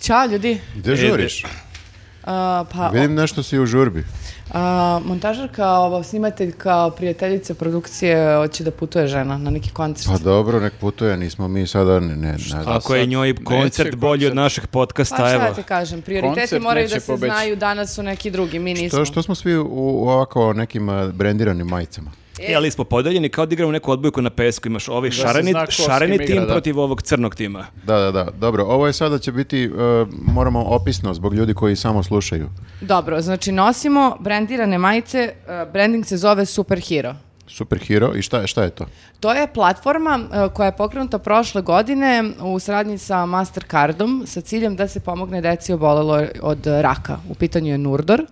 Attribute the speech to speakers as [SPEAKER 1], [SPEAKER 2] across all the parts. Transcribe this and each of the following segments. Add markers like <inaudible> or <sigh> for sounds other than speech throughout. [SPEAKER 1] Ćao ljudi.
[SPEAKER 2] Gde žuriš?
[SPEAKER 1] A, pa,
[SPEAKER 2] Vidim nešto si u žurbi.
[SPEAKER 1] a, montažarka, ova, snimateljka, prijateljica produkcije, hoće da putuje žena na neki koncert.
[SPEAKER 2] Pa dobro, nek putuje, nismo mi sada, ne, ne, ne znam.
[SPEAKER 3] Ako je
[SPEAKER 4] Pa sad
[SPEAKER 3] njoj
[SPEAKER 4] neće
[SPEAKER 3] koncert bolji od
[SPEAKER 4] koncert.
[SPEAKER 3] našeg podcasta,
[SPEAKER 1] Pa šta
[SPEAKER 3] evo.
[SPEAKER 1] da ti kažem, prioriteti
[SPEAKER 4] Koncert
[SPEAKER 1] moraju
[SPEAKER 4] neće
[SPEAKER 1] da se
[SPEAKER 4] pobeći.
[SPEAKER 1] znaju, danas su neki drugi, mi nismo.
[SPEAKER 2] To što smo svi u, u ovako nekim a, brendiranim majicama.
[SPEAKER 3] E, ali smo podeljeni kao da igramo neku odbojku na pesku. Imaš ovaj
[SPEAKER 4] se
[SPEAKER 3] šareni,
[SPEAKER 4] zna ko s kim
[SPEAKER 3] šareni
[SPEAKER 4] igra,
[SPEAKER 3] tim
[SPEAKER 4] da.
[SPEAKER 3] protiv ovog crnog tima.
[SPEAKER 2] Da, da, da. Dobro, ovo je sada će biti, e, moramo opisno zbog ljudi koji samo slušaju.
[SPEAKER 1] Dobro, znači nosimo brendirane majice, a, branding se zove Superhero.
[SPEAKER 2] Superhero i šta, šta je to?
[SPEAKER 1] To je platforma e, koja je pokrenuta prošle godine u saradnji sa Mastercardom sa ciljem da se pomogne deci obolelo od e, raka. U pitanju je Nurdor.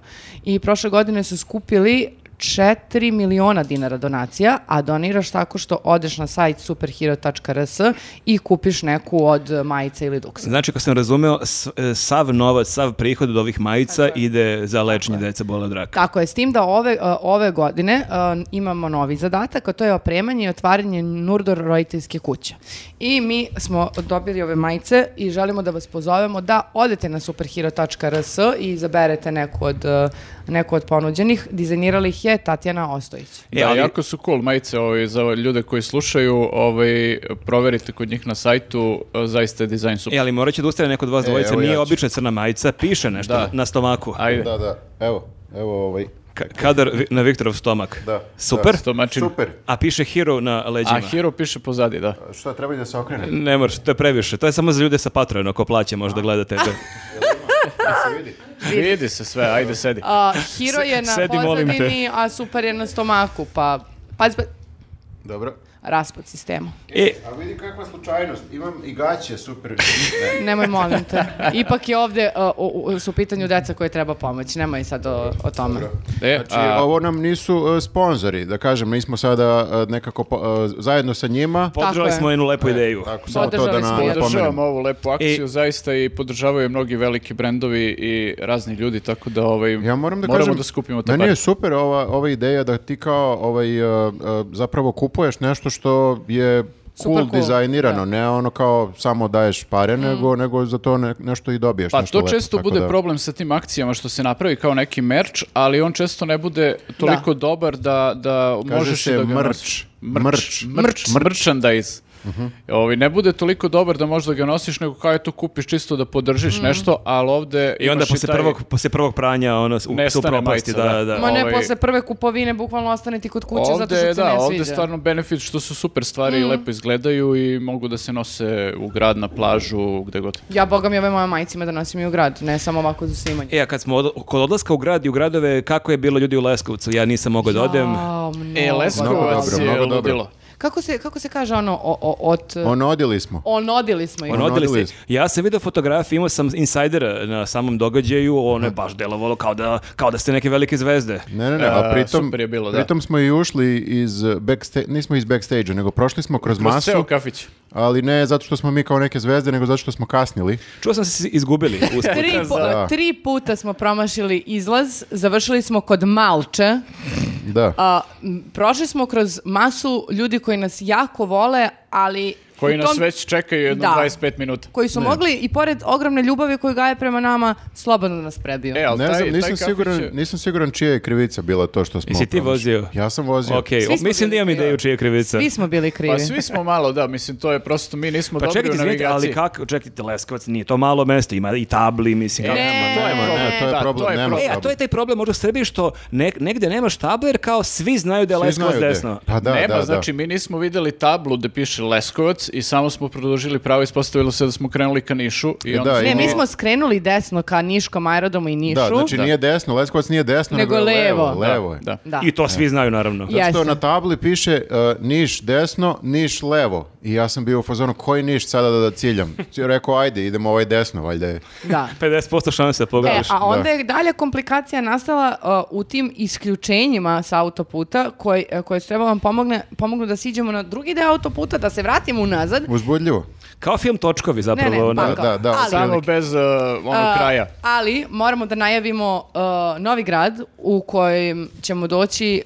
[SPEAKER 1] I prošle godine su skupili 4 miliona dinara donacija, a doniraš tako što odeš na sajt superhero.rs i kupiš neku od e, majice ili duksa.
[SPEAKER 3] Znači, ako sam razumeo, s- e, sav novac, sav prihod od ovih majica ide za lečenje dece bole od raka.
[SPEAKER 1] Tako je, s tim da ove, e, ove godine e, imamo novi zadatak, a to je opremanje i otvaranje Nurdor roditeljske kuće. I mi smo dobili ove majice i želimo da vas pozovemo da odete na superhero.rs i izaberete neku od, e, neku od ponuđenih. Dizajnirali ih je Tatjana Ostojić.
[SPEAKER 3] E,
[SPEAKER 4] Da,
[SPEAKER 3] ali-
[SPEAKER 4] jako su cool majice ovaj, za ljude koji slušaju, ovaj, proverite kod njih na sajtu, eh, zaista je dizajn super.
[SPEAKER 3] E, ali morat će da ustane neko od vas
[SPEAKER 2] E,
[SPEAKER 3] dvojice,
[SPEAKER 2] evo
[SPEAKER 3] nije
[SPEAKER 2] ja ću.
[SPEAKER 3] obična crna majica, piše nešto
[SPEAKER 4] Da.
[SPEAKER 3] na stomaku.
[SPEAKER 4] Ajde,
[SPEAKER 2] Da, da, evo, evo ovaj,
[SPEAKER 3] Ka- kadar vi- na Viktorov stomak.
[SPEAKER 2] da.
[SPEAKER 3] Super.
[SPEAKER 2] da.
[SPEAKER 4] Stomačin.
[SPEAKER 2] Super.
[SPEAKER 3] A piše hero na leđima.
[SPEAKER 4] a Hero piše pozadi, da.
[SPEAKER 2] Šta, treba i da se okrene?
[SPEAKER 3] Ne moraš, to je previše. To je samo za ljude sa Patreonom, ako plaća možda gledate. E,
[SPEAKER 1] <laughs>
[SPEAKER 4] Vidi se sve, ajde sedi.
[SPEAKER 1] A, Hiro je na
[SPEAKER 3] Sedi, molim te.
[SPEAKER 1] pozadini, a super je na stomaku, pa... Pa, pa
[SPEAKER 2] Dobro.
[SPEAKER 1] raspad sistema.
[SPEAKER 3] E,
[SPEAKER 2] A vidi kakva slučajnost, imam i gaće, super. <laughs> Ne.
[SPEAKER 1] Nemoj, molim
[SPEAKER 3] <laughs>
[SPEAKER 1] te. Ipak je ovde, e, u- u- su u pitanju deca koje treba pomoći. Nemoj sad o, o tome.
[SPEAKER 4] E,
[SPEAKER 2] Znači,
[SPEAKER 4] a-
[SPEAKER 2] ovo nam nisu e, sponzori, da kažem, mi smo sada e, nekako po- e, zajedno sa njima.
[SPEAKER 3] podržali
[SPEAKER 1] je.
[SPEAKER 3] smo jednu
[SPEAKER 4] E,
[SPEAKER 3] lepu ideju.
[SPEAKER 2] Tako, samo to da
[SPEAKER 1] Podržali
[SPEAKER 2] na,
[SPEAKER 1] smo je.
[SPEAKER 4] Podržavam
[SPEAKER 2] napomenemo.
[SPEAKER 4] ovu lepu akciju,
[SPEAKER 3] I-
[SPEAKER 4] zaista i podržavaju je mnogi veliki brendovi i razni ljudi, tako da ovaj,
[SPEAKER 2] Ja moram da
[SPEAKER 4] moramo
[SPEAKER 2] kažem,
[SPEAKER 4] da skupimo te
[SPEAKER 2] meni
[SPEAKER 4] pare.
[SPEAKER 2] je super ova, ova ideja da ti kao ovaj, e, e, zapravo kupuješ nešto što je cool,
[SPEAKER 1] Super cool,
[SPEAKER 2] dizajnirano,
[SPEAKER 1] da.
[SPEAKER 2] ne ono kao samo daješ pare, nego, nego za to ne- nešto i dobiješ.
[SPEAKER 4] Mm. Pa
[SPEAKER 2] nešto
[SPEAKER 4] to
[SPEAKER 2] lepo,
[SPEAKER 4] često
[SPEAKER 2] tako
[SPEAKER 4] bude
[SPEAKER 2] da-
[SPEAKER 4] problem sa tim akcijama što se napravi kao neki merch, ali on često ne bude toliko dobar da, da
[SPEAKER 2] Kaže
[SPEAKER 4] možeš i
[SPEAKER 2] se
[SPEAKER 4] da ga
[SPEAKER 2] merch.
[SPEAKER 4] nosiš.
[SPEAKER 2] Merch.
[SPEAKER 4] Merch. Merch. Merchandise. Ovi, ne bude toliko dobar da možda ga nosiš, nego kao je to kupiš čisto da podržiš nešto, ali ovde
[SPEAKER 3] I onda
[SPEAKER 4] imaš
[SPEAKER 3] posle
[SPEAKER 4] taj-
[SPEAKER 3] prvog, posle prvog pranja ono u- su
[SPEAKER 4] Nestane
[SPEAKER 3] propasti,
[SPEAKER 4] majica,
[SPEAKER 3] da,
[SPEAKER 4] da.
[SPEAKER 3] da.
[SPEAKER 1] Ma ne,
[SPEAKER 4] ovaj-
[SPEAKER 1] posle prve kupovine bukvalno ostane ti kod kuće zato
[SPEAKER 4] Ovde,
[SPEAKER 1] što
[SPEAKER 4] je,
[SPEAKER 1] se
[SPEAKER 4] da,
[SPEAKER 1] ne
[SPEAKER 4] ovde
[SPEAKER 1] sviđa.
[SPEAKER 4] je stvarno benefit što su super stvari i lepo izgledaju i mogu da se nose u grad, na plažu, gde god.
[SPEAKER 1] Ja, boga mi, ove moje majice ima da nosim i u grad, ne samo ovako za snimanje.
[SPEAKER 3] E, a kad smo od- kod odlaska u grad i u gradove, kako je bilo ljudi u Leskovcu? Ja nisam mogao da odem. Ono,
[SPEAKER 1] Jao, mnogo
[SPEAKER 4] E, Leskovac
[SPEAKER 2] dobro,
[SPEAKER 4] je
[SPEAKER 2] mnogo dobro.
[SPEAKER 4] ludilo.
[SPEAKER 1] Kako se, kako se kaže ono, o, o, ot...
[SPEAKER 2] Onodili Ono, smo.
[SPEAKER 1] Onodili smo ih.
[SPEAKER 3] Ono, odeli
[SPEAKER 2] odeli
[SPEAKER 3] ste. Ja sam video fotografije, imao sam insajdera na samom događaju, ono
[SPEAKER 2] Mhm.
[SPEAKER 3] je baš delovalo kao da, kao da ste neke velike zvezde.
[SPEAKER 2] Ne, ne, ne, a
[SPEAKER 4] E,
[SPEAKER 2] pritom,
[SPEAKER 4] super je bilo, da.
[SPEAKER 2] pritom smo i ušli iz backstage, nismo iz backstage nego prošli smo kroz,
[SPEAKER 4] Kroz
[SPEAKER 2] masu,
[SPEAKER 4] ceo kafić.
[SPEAKER 2] ali ne zato što smo mi kao neke zvezde, nego zato što smo kasnili.
[SPEAKER 3] Čuo sam da ste se
[SPEAKER 1] <laughs>
[SPEAKER 3] izgubili. usput.
[SPEAKER 1] Tri, pu-
[SPEAKER 2] Da.
[SPEAKER 1] tri puta smo promašili izlaz, završili smo kod Malče,
[SPEAKER 2] Da.
[SPEAKER 1] a, m, prošli smo kroz masu ljudi koji nas jako vole, ali...
[SPEAKER 4] Koji
[SPEAKER 1] u
[SPEAKER 4] nas
[SPEAKER 1] tom-
[SPEAKER 4] već čekaju jedno
[SPEAKER 1] Da.
[SPEAKER 4] 25 minuta.
[SPEAKER 1] koji su mogli i pored ogromne ljubavi koju gaje prema nama, slobodno da nas prebiju.
[SPEAKER 4] E, ali
[SPEAKER 2] ne
[SPEAKER 4] taj,
[SPEAKER 2] znam,
[SPEAKER 4] taj
[SPEAKER 2] nisam
[SPEAKER 4] kafić
[SPEAKER 2] siguran,
[SPEAKER 4] je-
[SPEAKER 2] nisam siguran čija je krivica bila to što smo...
[SPEAKER 3] Jesi ti
[SPEAKER 2] promašili.
[SPEAKER 3] vozio?
[SPEAKER 2] Ja sam vozio.
[SPEAKER 3] Okej,
[SPEAKER 1] Svi smo
[SPEAKER 3] mislim da
[SPEAKER 1] bili
[SPEAKER 3] imam
[SPEAKER 1] krivi.
[SPEAKER 3] ideju čija je krivica.
[SPEAKER 1] Svi smo bili krivi.
[SPEAKER 4] Pa svi smo malo, da, mislim, to je prosto, mi nismo
[SPEAKER 3] Pa
[SPEAKER 4] dobri
[SPEAKER 3] čekajte,
[SPEAKER 4] u
[SPEAKER 3] izvinite,
[SPEAKER 4] navigaciji.
[SPEAKER 3] ali kako, čekajte, Leskovac nije to malo mesto, ima i tabli, mislim.
[SPEAKER 4] E,
[SPEAKER 3] kako-
[SPEAKER 1] Ne.
[SPEAKER 4] to je
[SPEAKER 1] Nema,
[SPEAKER 4] problem,
[SPEAKER 2] ne, to je
[SPEAKER 4] da,
[SPEAKER 2] problem, nema
[SPEAKER 3] E, a to je taj problem možda u Srbiji što ne, negde nemaš tabla jer kao svi znaju da je
[SPEAKER 2] Svi
[SPEAKER 3] Leskovac
[SPEAKER 2] znaju gde.
[SPEAKER 3] desno.
[SPEAKER 2] Pa da,
[SPEAKER 4] Nema,
[SPEAKER 2] da, da.
[SPEAKER 4] znači mi nismo videli tablu gde piše Leskovac i samo smo produžili pravo i ispostavilo se da smo krenuli ka Nišu. I
[SPEAKER 2] E,
[SPEAKER 4] onda
[SPEAKER 2] da,
[SPEAKER 4] smo-
[SPEAKER 1] Ne, mi
[SPEAKER 2] imamo-
[SPEAKER 1] smo skrenuli desno ka Niškom aerodromu i Nišu.
[SPEAKER 2] Da, znači
[SPEAKER 4] Da.
[SPEAKER 2] nije desno, Leskovac nije desno,
[SPEAKER 1] Nego
[SPEAKER 2] nego, je levo.
[SPEAKER 1] levo.
[SPEAKER 4] Da,
[SPEAKER 2] Levo je.
[SPEAKER 4] Da.
[SPEAKER 1] Da.
[SPEAKER 3] I
[SPEAKER 4] E.
[SPEAKER 3] to svi znaju naravno.
[SPEAKER 1] Ja.
[SPEAKER 2] Zato što
[SPEAKER 1] Jeste.
[SPEAKER 2] na tabli piše uh, Niš desno, Niš levo. I ja sam bio u fazonu, koji Niš sada da, da ciljam? Rekao, ajde, idemo ovaj desno, valjda je.
[SPEAKER 1] Da.
[SPEAKER 3] 50% šanse da
[SPEAKER 1] E,
[SPEAKER 3] pogledaš.
[SPEAKER 1] a onda
[SPEAKER 2] da.
[SPEAKER 1] je dalje komplikacija nastala uh, u tim isključenjima sa autoputa koji, uh, koje su trebalo nam pomogne, pomognu da siđemo na drugi deo autoputa, da se vratimo unazad.
[SPEAKER 2] Uzbudljivo.
[SPEAKER 3] Kao film Točkovi zapravo.
[SPEAKER 1] ne, ne,
[SPEAKER 3] ono.
[SPEAKER 1] pa kao.
[SPEAKER 2] Da, da,
[SPEAKER 1] Ali-
[SPEAKER 2] otprilike.
[SPEAKER 4] Samo bez uh, onog
[SPEAKER 1] Uh,
[SPEAKER 4] kraja.
[SPEAKER 1] Ali e, moramo da najavimo uh, novi grad u kojem ćemo doći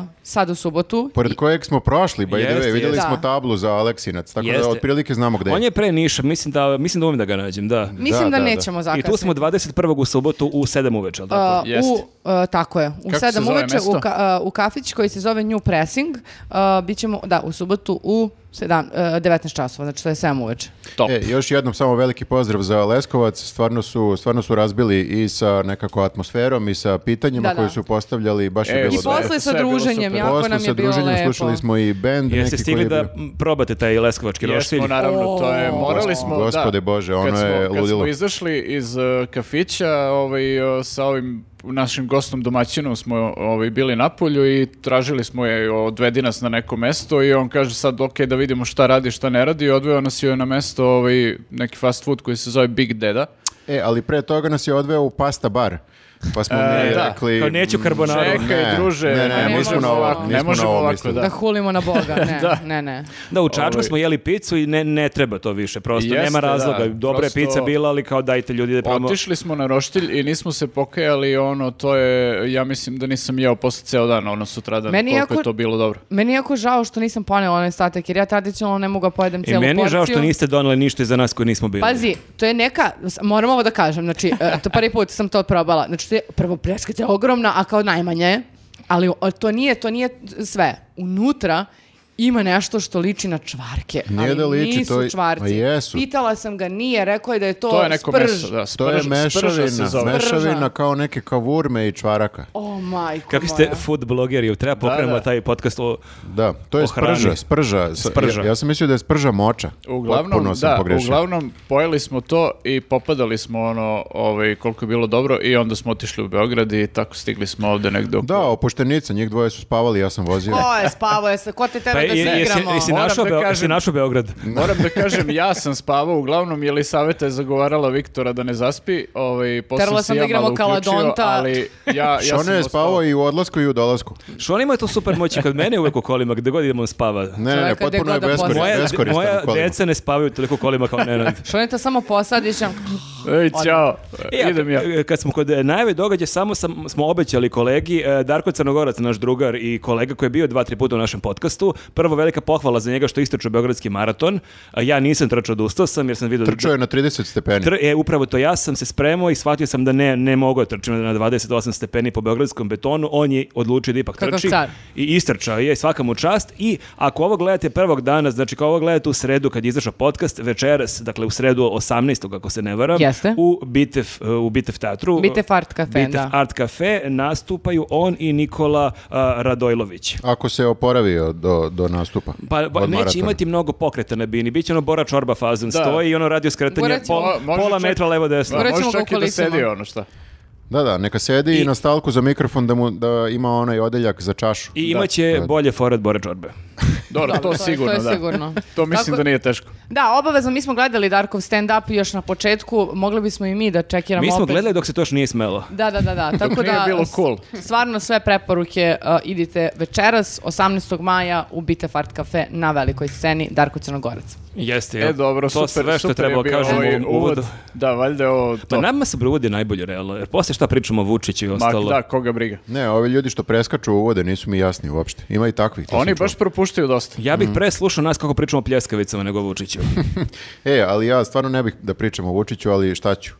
[SPEAKER 1] uh, sad u subotu.
[SPEAKER 2] Pored kojeg smo prošli, by the
[SPEAKER 3] Jeste,
[SPEAKER 2] way, vidjeli
[SPEAKER 1] jeste.
[SPEAKER 2] smo
[SPEAKER 1] Da.
[SPEAKER 2] tablu za Aleksinac, tako da
[SPEAKER 3] Jeste.
[SPEAKER 2] otprilike znamo gde je.
[SPEAKER 3] On je pre Niša, mislim da, mislim da umem da ga nađem, da.
[SPEAKER 1] Mislim
[SPEAKER 2] Da,
[SPEAKER 1] da,
[SPEAKER 2] da, da.
[SPEAKER 1] nećemo
[SPEAKER 3] I
[SPEAKER 1] zakasniti.
[SPEAKER 3] tu smo 21. u subotu u 7 uveče, ali tako?
[SPEAKER 1] Uh,
[SPEAKER 4] Jeste.
[SPEAKER 1] u, uh, tako je, u
[SPEAKER 4] Kako se
[SPEAKER 1] 7
[SPEAKER 4] zove
[SPEAKER 1] uveče u,
[SPEAKER 4] mesto?
[SPEAKER 1] ka- uh, u kafić koji se zove New Pressing, uh, bit ćemo, da, u subotu u sedam- uh, 19 časova, znači to je 7 uveče.
[SPEAKER 4] Top.
[SPEAKER 2] E, još jednom samo veliki pozdrav za Leskovac, stvarno su, stvarno su razbili i sa nekako atmosferom i sa pitanjima
[SPEAKER 1] Da, da.
[SPEAKER 2] koje su postavljali, baš
[SPEAKER 4] E,
[SPEAKER 2] je
[SPEAKER 1] I
[SPEAKER 2] bilo
[SPEAKER 4] Bilo da je-
[SPEAKER 1] posle sa
[SPEAKER 4] sve je bilo
[SPEAKER 1] druženjem,
[SPEAKER 4] super.
[SPEAKER 1] jako
[SPEAKER 2] Posle
[SPEAKER 1] nam
[SPEAKER 2] sa
[SPEAKER 1] je bilo
[SPEAKER 2] druženjem
[SPEAKER 1] lepo.
[SPEAKER 2] slušali smo i band
[SPEAKER 3] Jeste
[SPEAKER 2] neki koji
[SPEAKER 3] stigli
[SPEAKER 2] je
[SPEAKER 3] da
[SPEAKER 2] bio-
[SPEAKER 3] m, probate taj leskovački roštilj?
[SPEAKER 4] Jesmo, naravno, to je,
[SPEAKER 1] O,
[SPEAKER 4] morali smo, da.
[SPEAKER 2] gospode Bože, ono
[SPEAKER 4] kad smo,
[SPEAKER 2] je
[SPEAKER 4] Kad
[SPEAKER 2] ludilo.
[SPEAKER 4] smo izašli iz e, kafića, ovaj, o, sa ovim našim gostom domaćinom smo ovaj, bili na polju i tražili smo je, odvedi nas na neko mesto i on kaže sad, ok, da vidimo šta radi, šta ne radi, i odveo nas je na mesto ovaj, neki fast food koji se zove Big Deda.
[SPEAKER 2] E, ali pre toga nas je odveo u pasta bar. Pa smo
[SPEAKER 4] E,
[SPEAKER 2] mi
[SPEAKER 4] da.
[SPEAKER 2] rekli...
[SPEAKER 3] Kao, neću karbonaru.
[SPEAKER 2] "Mm,
[SPEAKER 4] Čekaj,
[SPEAKER 2] ne,
[SPEAKER 4] druže,
[SPEAKER 2] Ne, ne,
[SPEAKER 1] ne
[SPEAKER 2] nismo
[SPEAKER 1] možemo
[SPEAKER 2] na ovo,
[SPEAKER 1] ovako,
[SPEAKER 2] nismo
[SPEAKER 4] ne možemo
[SPEAKER 2] na ovo
[SPEAKER 4] ovako,
[SPEAKER 2] mislili.
[SPEAKER 4] da.
[SPEAKER 1] Da hulimo na Boga, ne,
[SPEAKER 4] Da.
[SPEAKER 1] ne, ne.
[SPEAKER 3] Da, u Čačku
[SPEAKER 4] Ovaj.
[SPEAKER 3] smo jeli picu i ne, ne treba to više, prosto
[SPEAKER 4] Jeste,
[SPEAKER 3] nema razloga.
[SPEAKER 4] da,
[SPEAKER 3] Dobra
[SPEAKER 4] prosto-
[SPEAKER 3] je pica bila, ali kao dajte ljudi
[SPEAKER 1] Pa
[SPEAKER 3] da
[SPEAKER 1] ono-
[SPEAKER 3] probamo.
[SPEAKER 4] Otišli smo na roštilj i nismo se pokajali, ono, to je, ja mislim da nisam jeo posle ceo dan, ono, sutradan,
[SPEAKER 1] Meni
[SPEAKER 4] koliko
[SPEAKER 1] jako-
[SPEAKER 4] je to bilo dobro.
[SPEAKER 1] Meni je jako žao što nisam ponela onaj statak, jer ja tradicionalno ne mogu da pojedem
[SPEAKER 3] I
[SPEAKER 1] cijelu porciju.
[SPEAKER 3] meni je žao što niste doneli ništa za nas koji nismo bili.
[SPEAKER 1] Pazi, to je neka, s- moram ovo da kažem, znači, e, to prvi put sam to probala. Znači, to je, prvo, pljeskavica je ogromna, a kao najmanja je, ali o- to nije, to nije sve. Unutra ima nešto što liči na čvarke,
[SPEAKER 2] Nije
[SPEAKER 1] ali
[SPEAKER 2] da liči,
[SPEAKER 1] nisu
[SPEAKER 2] to je-
[SPEAKER 1] čvarci.
[SPEAKER 2] a jesu.
[SPEAKER 1] Pitala sam ga, nije, rekao je da je to,
[SPEAKER 4] To je neko
[SPEAKER 1] sprž.
[SPEAKER 4] meso, da,
[SPEAKER 2] To je
[SPEAKER 4] sprž- sprža se
[SPEAKER 2] mešavina,
[SPEAKER 4] zove.
[SPEAKER 2] mešavina kao neke kavurme i čvaraka.
[SPEAKER 1] O, majko
[SPEAKER 3] Kako ste
[SPEAKER 1] moja.
[SPEAKER 3] food blogeri, treba pokrenemo
[SPEAKER 4] da.
[SPEAKER 3] taj podcast o...
[SPEAKER 2] Da, to je
[SPEAKER 3] O hrani.
[SPEAKER 2] sprža, sprža. S-
[SPEAKER 3] Sprža.
[SPEAKER 2] Ja, ja sam mislio da je sprža moča.
[SPEAKER 4] Uglavnom,
[SPEAKER 2] Potpuno sam
[SPEAKER 4] da,
[SPEAKER 2] pogrešio.
[SPEAKER 4] uglavnom pojeli smo to i popadali smo ono, ovaj, koliko je bilo dobro i onda smo otišli u Beograd i tako stigli smo ovde negde oko...
[SPEAKER 2] Da, opuštenica, njih dvoje su spavali, ja sam vozio.
[SPEAKER 1] Ko je spavao, je se, ko te tera
[SPEAKER 3] Pa,
[SPEAKER 1] da
[SPEAKER 3] je-
[SPEAKER 1] se
[SPEAKER 3] jesi,
[SPEAKER 1] igramo?
[SPEAKER 3] jesi
[SPEAKER 4] Moram
[SPEAKER 3] našao
[SPEAKER 4] da
[SPEAKER 3] Beo-
[SPEAKER 4] kažem-
[SPEAKER 3] jesi našao Beograd?
[SPEAKER 4] Moram da kažem, ja sam spavao, uglavnom Jelisaveta je zagovarala Viktora da ne zaspi, ovaj, posle
[SPEAKER 1] Terala
[SPEAKER 4] se
[SPEAKER 1] sam da
[SPEAKER 4] ja
[SPEAKER 1] igramo
[SPEAKER 4] malo uključio,
[SPEAKER 1] Kaladonta.
[SPEAKER 4] ali ja, ja
[SPEAKER 2] Šone
[SPEAKER 4] sam
[SPEAKER 2] je spavao
[SPEAKER 4] ostao-
[SPEAKER 2] i u odlasku i u dolasku.
[SPEAKER 3] Što on ima to super moći kod mene uvek u kolima, gde god idemo on spava.
[SPEAKER 2] Ne, ne, ne,
[SPEAKER 1] Čoveka gde
[SPEAKER 2] potpuno je
[SPEAKER 1] god da
[SPEAKER 2] beskori-
[SPEAKER 1] posla-
[SPEAKER 3] Moja,
[SPEAKER 2] beskoristan.
[SPEAKER 3] moja
[SPEAKER 2] kolima.
[SPEAKER 3] deca ne spavaju toliko u kolima kao
[SPEAKER 2] <laughs>
[SPEAKER 3] Nenad.
[SPEAKER 1] Šoneta samo posadiš, ja-
[SPEAKER 4] Ej, ćao,
[SPEAKER 3] E, a
[SPEAKER 4] idem ja.
[SPEAKER 3] k- Kad smo kod e, najave događaja, samo sam, smo obećali kolegi, e, Darko Crnogorac, naš drugar i kolega koji je bio dva, tri puta u našem podcastu, prvo velika pohvala za njega što je istračio Beogradski maraton, a ja nisam trčao, odustao sam jer sam vidio da...
[SPEAKER 2] Trčao je na 30 stepeni.
[SPEAKER 3] Tr- e, upravo to, ja sam se spremao i shvatio sam da ne, ne mogu da trčim na 28 stepeni po beogradskom betonu, on je odlučio da ipak
[SPEAKER 1] Kakav
[SPEAKER 3] trči
[SPEAKER 1] car.
[SPEAKER 3] i istrčao je, svaka mu čast i ako ovo gledate prvog dana, znači kao ovo gledate u sredu kad je izašao podcast, večeras, dakle u sredu 18. ako se ne varam,
[SPEAKER 1] Jeste.
[SPEAKER 3] u Bitef, e, u Bitef teatru,
[SPEAKER 1] Bitef Art Cafe,
[SPEAKER 3] Bitef
[SPEAKER 1] da.
[SPEAKER 3] Art Cafe nastupaju on i Nikola a, Radojlović.
[SPEAKER 2] Ako se oporavio do, do nastupa.
[SPEAKER 3] Pa, ba-
[SPEAKER 2] od
[SPEAKER 3] neće
[SPEAKER 2] maratona.
[SPEAKER 3] imati mnogo pokreta na bini, bit će ono Bora Čorba fazon,
[SPEAKER 4] Da.
[SPEAKER 3] stoji i ono radio skretanje
[SPEAKER 1] Borac-
[SPEAKER 3] pola,
[SPEAKER 4] Mo- može
[SPEAKER 3] pola
[SPEAKER 4] čak-
[SPEAKER 3] metra levo desno.
[SPEAKER 1] Morat
[SPEAKER 4] Da,
[SPEAKER 1] ćemo
[SPEAKER 4] može
[SPEAKER 1] ga
[SPEAKER 4] čak i da
[SPEAKER 1] ukolicima.
[SPEAKER 4] sedi ono šta.
[SPEAKER 2] Da, da, neka sedi i, na stalku za mikrofon da mu da ima onaj odeljak za čašu.
[SPEAKER 3] I imaće
[SPEAKER 2] Da.
[SPEAKER 3] bolje fore od Bora Čorbe.
[SPEAKER 4] Dobro,
[SPEAKER 1] to
[SPEAKER 4] to
[SPEAKER 1] je- to je
[SPEAKER 4] sigurno, da.
[SPEAKER 1] sigurno.
[SPEAKER 4] <laughs> To mislim
[SPEAKER 1] Tako-
[SPEAKER 4] da nije teško.
[SPEAKER 1] Da, obavezno, mi smo gledali Darkov stand-up još na početku, mogli bismo i mi da čekiramo
[SPEAKER 3] Mi smo
[SPEAKER 1] opet.
[SPEAKER 3] gledali dok se to još nije smelo.
[SPEAKER 1] Da, da, da,
[SPEAKER 4] <laughs>
[SPEAKER 1] da. Tako
[SPEAKER 4] nije
[SPEAKER 1] da
[SPEAKER 4] bilo cool.
[SPEAKER 1] stvarno sve preporuke uh, idite večeras 18. maja u Bitef Art Cafe na velikoj sceni Darko Crnogorac.
[SPEAKER 3] Jeste,
[SPEAKER 4] E, dobro,
[SPEAKER 3] to
[SPEAKER 4] super,
[SPEAKER 3] sve što
[SPEAKER 4] super
[SPEAKER 3] trebao
[SPEAKER 4] je bio
[SPEAKER 3] kažem
[SPEAKER 4] ovaj
[SPEAKER 3] u ovom uvodu.
[SPEAKER 4] Da, valjda je ovo
[SPEAKER 3] Pa
[SPEAKER 4] to.
[SPEAKER 3] nama se uvod je najbolje, realno, jer poslije šta pričamo o Vučiću i
[SPEAKER 4] Ma,
[SPEAKER 3] ostalo.
[SPEAKER 4] da, koga briga.
[SPEAKER 2] Ne, ovi ljudi što preskaču uvode nisu mi jasni uopšte. Ima i takvih. to
[SPEAKER 4] Oni
[SPEAKER 2] sam čuo.
[SPEAKER 4] baš propuštaju dosta.
[SPEAKER 3] Ja bih pre slušao nas kako pričamo o pljeskavicama nego o Vučiću.
[SPEAKER 2] E, ali ja stvarno ne bih da pričam o Vučiću, ali šta ću?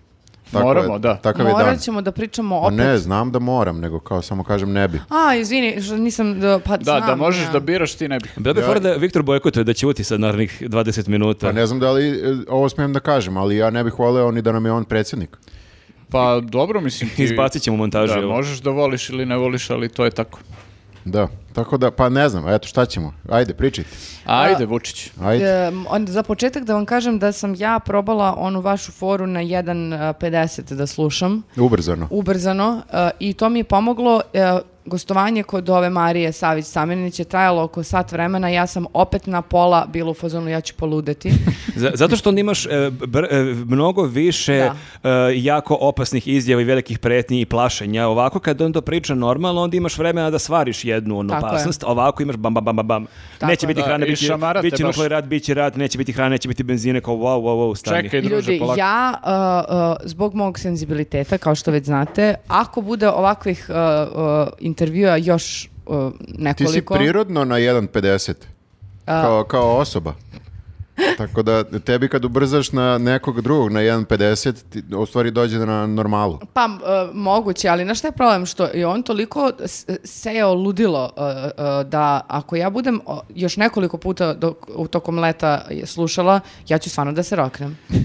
[SPEAKER 4] Moramo, da.
[SPEAKER 2] Takav je dan.
[SPEAKER 1] Morat ćemo da pričamo
[SPEAKER 2] Pa
[SPEAKER 1] opet.
[SPEAKER 2] ne, znam da moram, nego kao samo kažem ne bi.
[SPEAKER 1] A, izvini, što nisam, da, pa
[SPEAKER 4] Da, da
[SPEAKER 1] znam,
[SPEAKER 4] možeš
[SPEAKER 1] ja.
[SPEAKER 4] da biraš ti ne bih.
[SPEAKER 3] Bilo bi fora da Viktor bojkotuje da ćuti sad narednih 20 minuta.
[SPEAKER 2] Pa ne znam da li e, ovo smijem da kažem, ali ja ne bih voleo ni da nam je on predsjednik.
[SPEAKER 4] Pa dobro mislim ti.
[SPEAKER 3] Izbacit ćemo u montažu.
[SPEAKER 4] Da,
[SPEAKER 3] evo.
[SPEAKER 4] možeš da voliš ili ne voliš, ali to je tako.
[SPEAKER 2] Da, tako da, pa ne znam, eto šta ćemo. Ajde, pričajte.
[SPEAKER 4] Ajde, Vučić.
[SPEAKER 2] Ajde.
[SPEAKER 1] E, onda za početak da vam kažem da sam ja probala onu vašu foru na 1.50 da slušam.
[SPEAKER 2] Ubrzano.
[SPEAKER 1] ubrzano e, i to mi je pomoglo e, gostovanje kod ove Marije Savić Samenić je trajalo oko sat vremena ja sam opet na pola bila u fazonu ja ću poludeti
[SPEAKER 3] Z- Zato što onda imaš e, br- e, mnogo više e, jako opasnih izjava i velikih pretnji i plašenja. Ovako kad on to priča normalno, onda imaš vremena da svariš jednu onu
[SPEAKER 1] Tako je.
[SPEAKER 3] opasnost. Ovako imaš bam, bam, bam, bam, bam.
[SPEAKER 1] Tako
[SPEAKER 3] neće
[SPEAKER 1] je.
[SPEAKER 3] biti
[SPEAKER 4] Da,
[SPEAKER 3] hrane,
[SPEAKER 4] i
[SPEAKER 3] biće,
[SPEAKER 4] šamarate
[SPEAKER 3] biće
[SPEAKER 4] baš.
[SPEAKER 3] nuklearni rat, biće rat, neće biti hrane, neće biti benzine, kao wow, wow, wow, stani.
[SPEAKER 4] Čekaj, druže,
[SPEAKER 1] ljudi
[SPEAKER 4] polako.
[SPEAKER 1] ja e, e, zbog mog senzibiliteta kao što već znate ako bude ovakvih e, e, uh, intervjua još uh,
[SPEAKER 2] Ti si
[SPEAKER 1] nekoliko.
[SPEAKER 2] prirodno na 1.50
[SPEAKER 1] A.
[SPEAKER 2] kao, kao osoba. Tako da tebi kad ubrzaš na nekog drugog na 1.50, ti u stvari dođe na normalu.
[SPEAKER 1] Pa, m, e, moguće, ali znaš šta je problem? Što je on toliko s- sejao ludilo e, e, da ako ja budem o, još nekoliko puta dok, u tokom leta je slušala, ja ću stvarno da se roknem.
[SPEAKER 4] <laughs>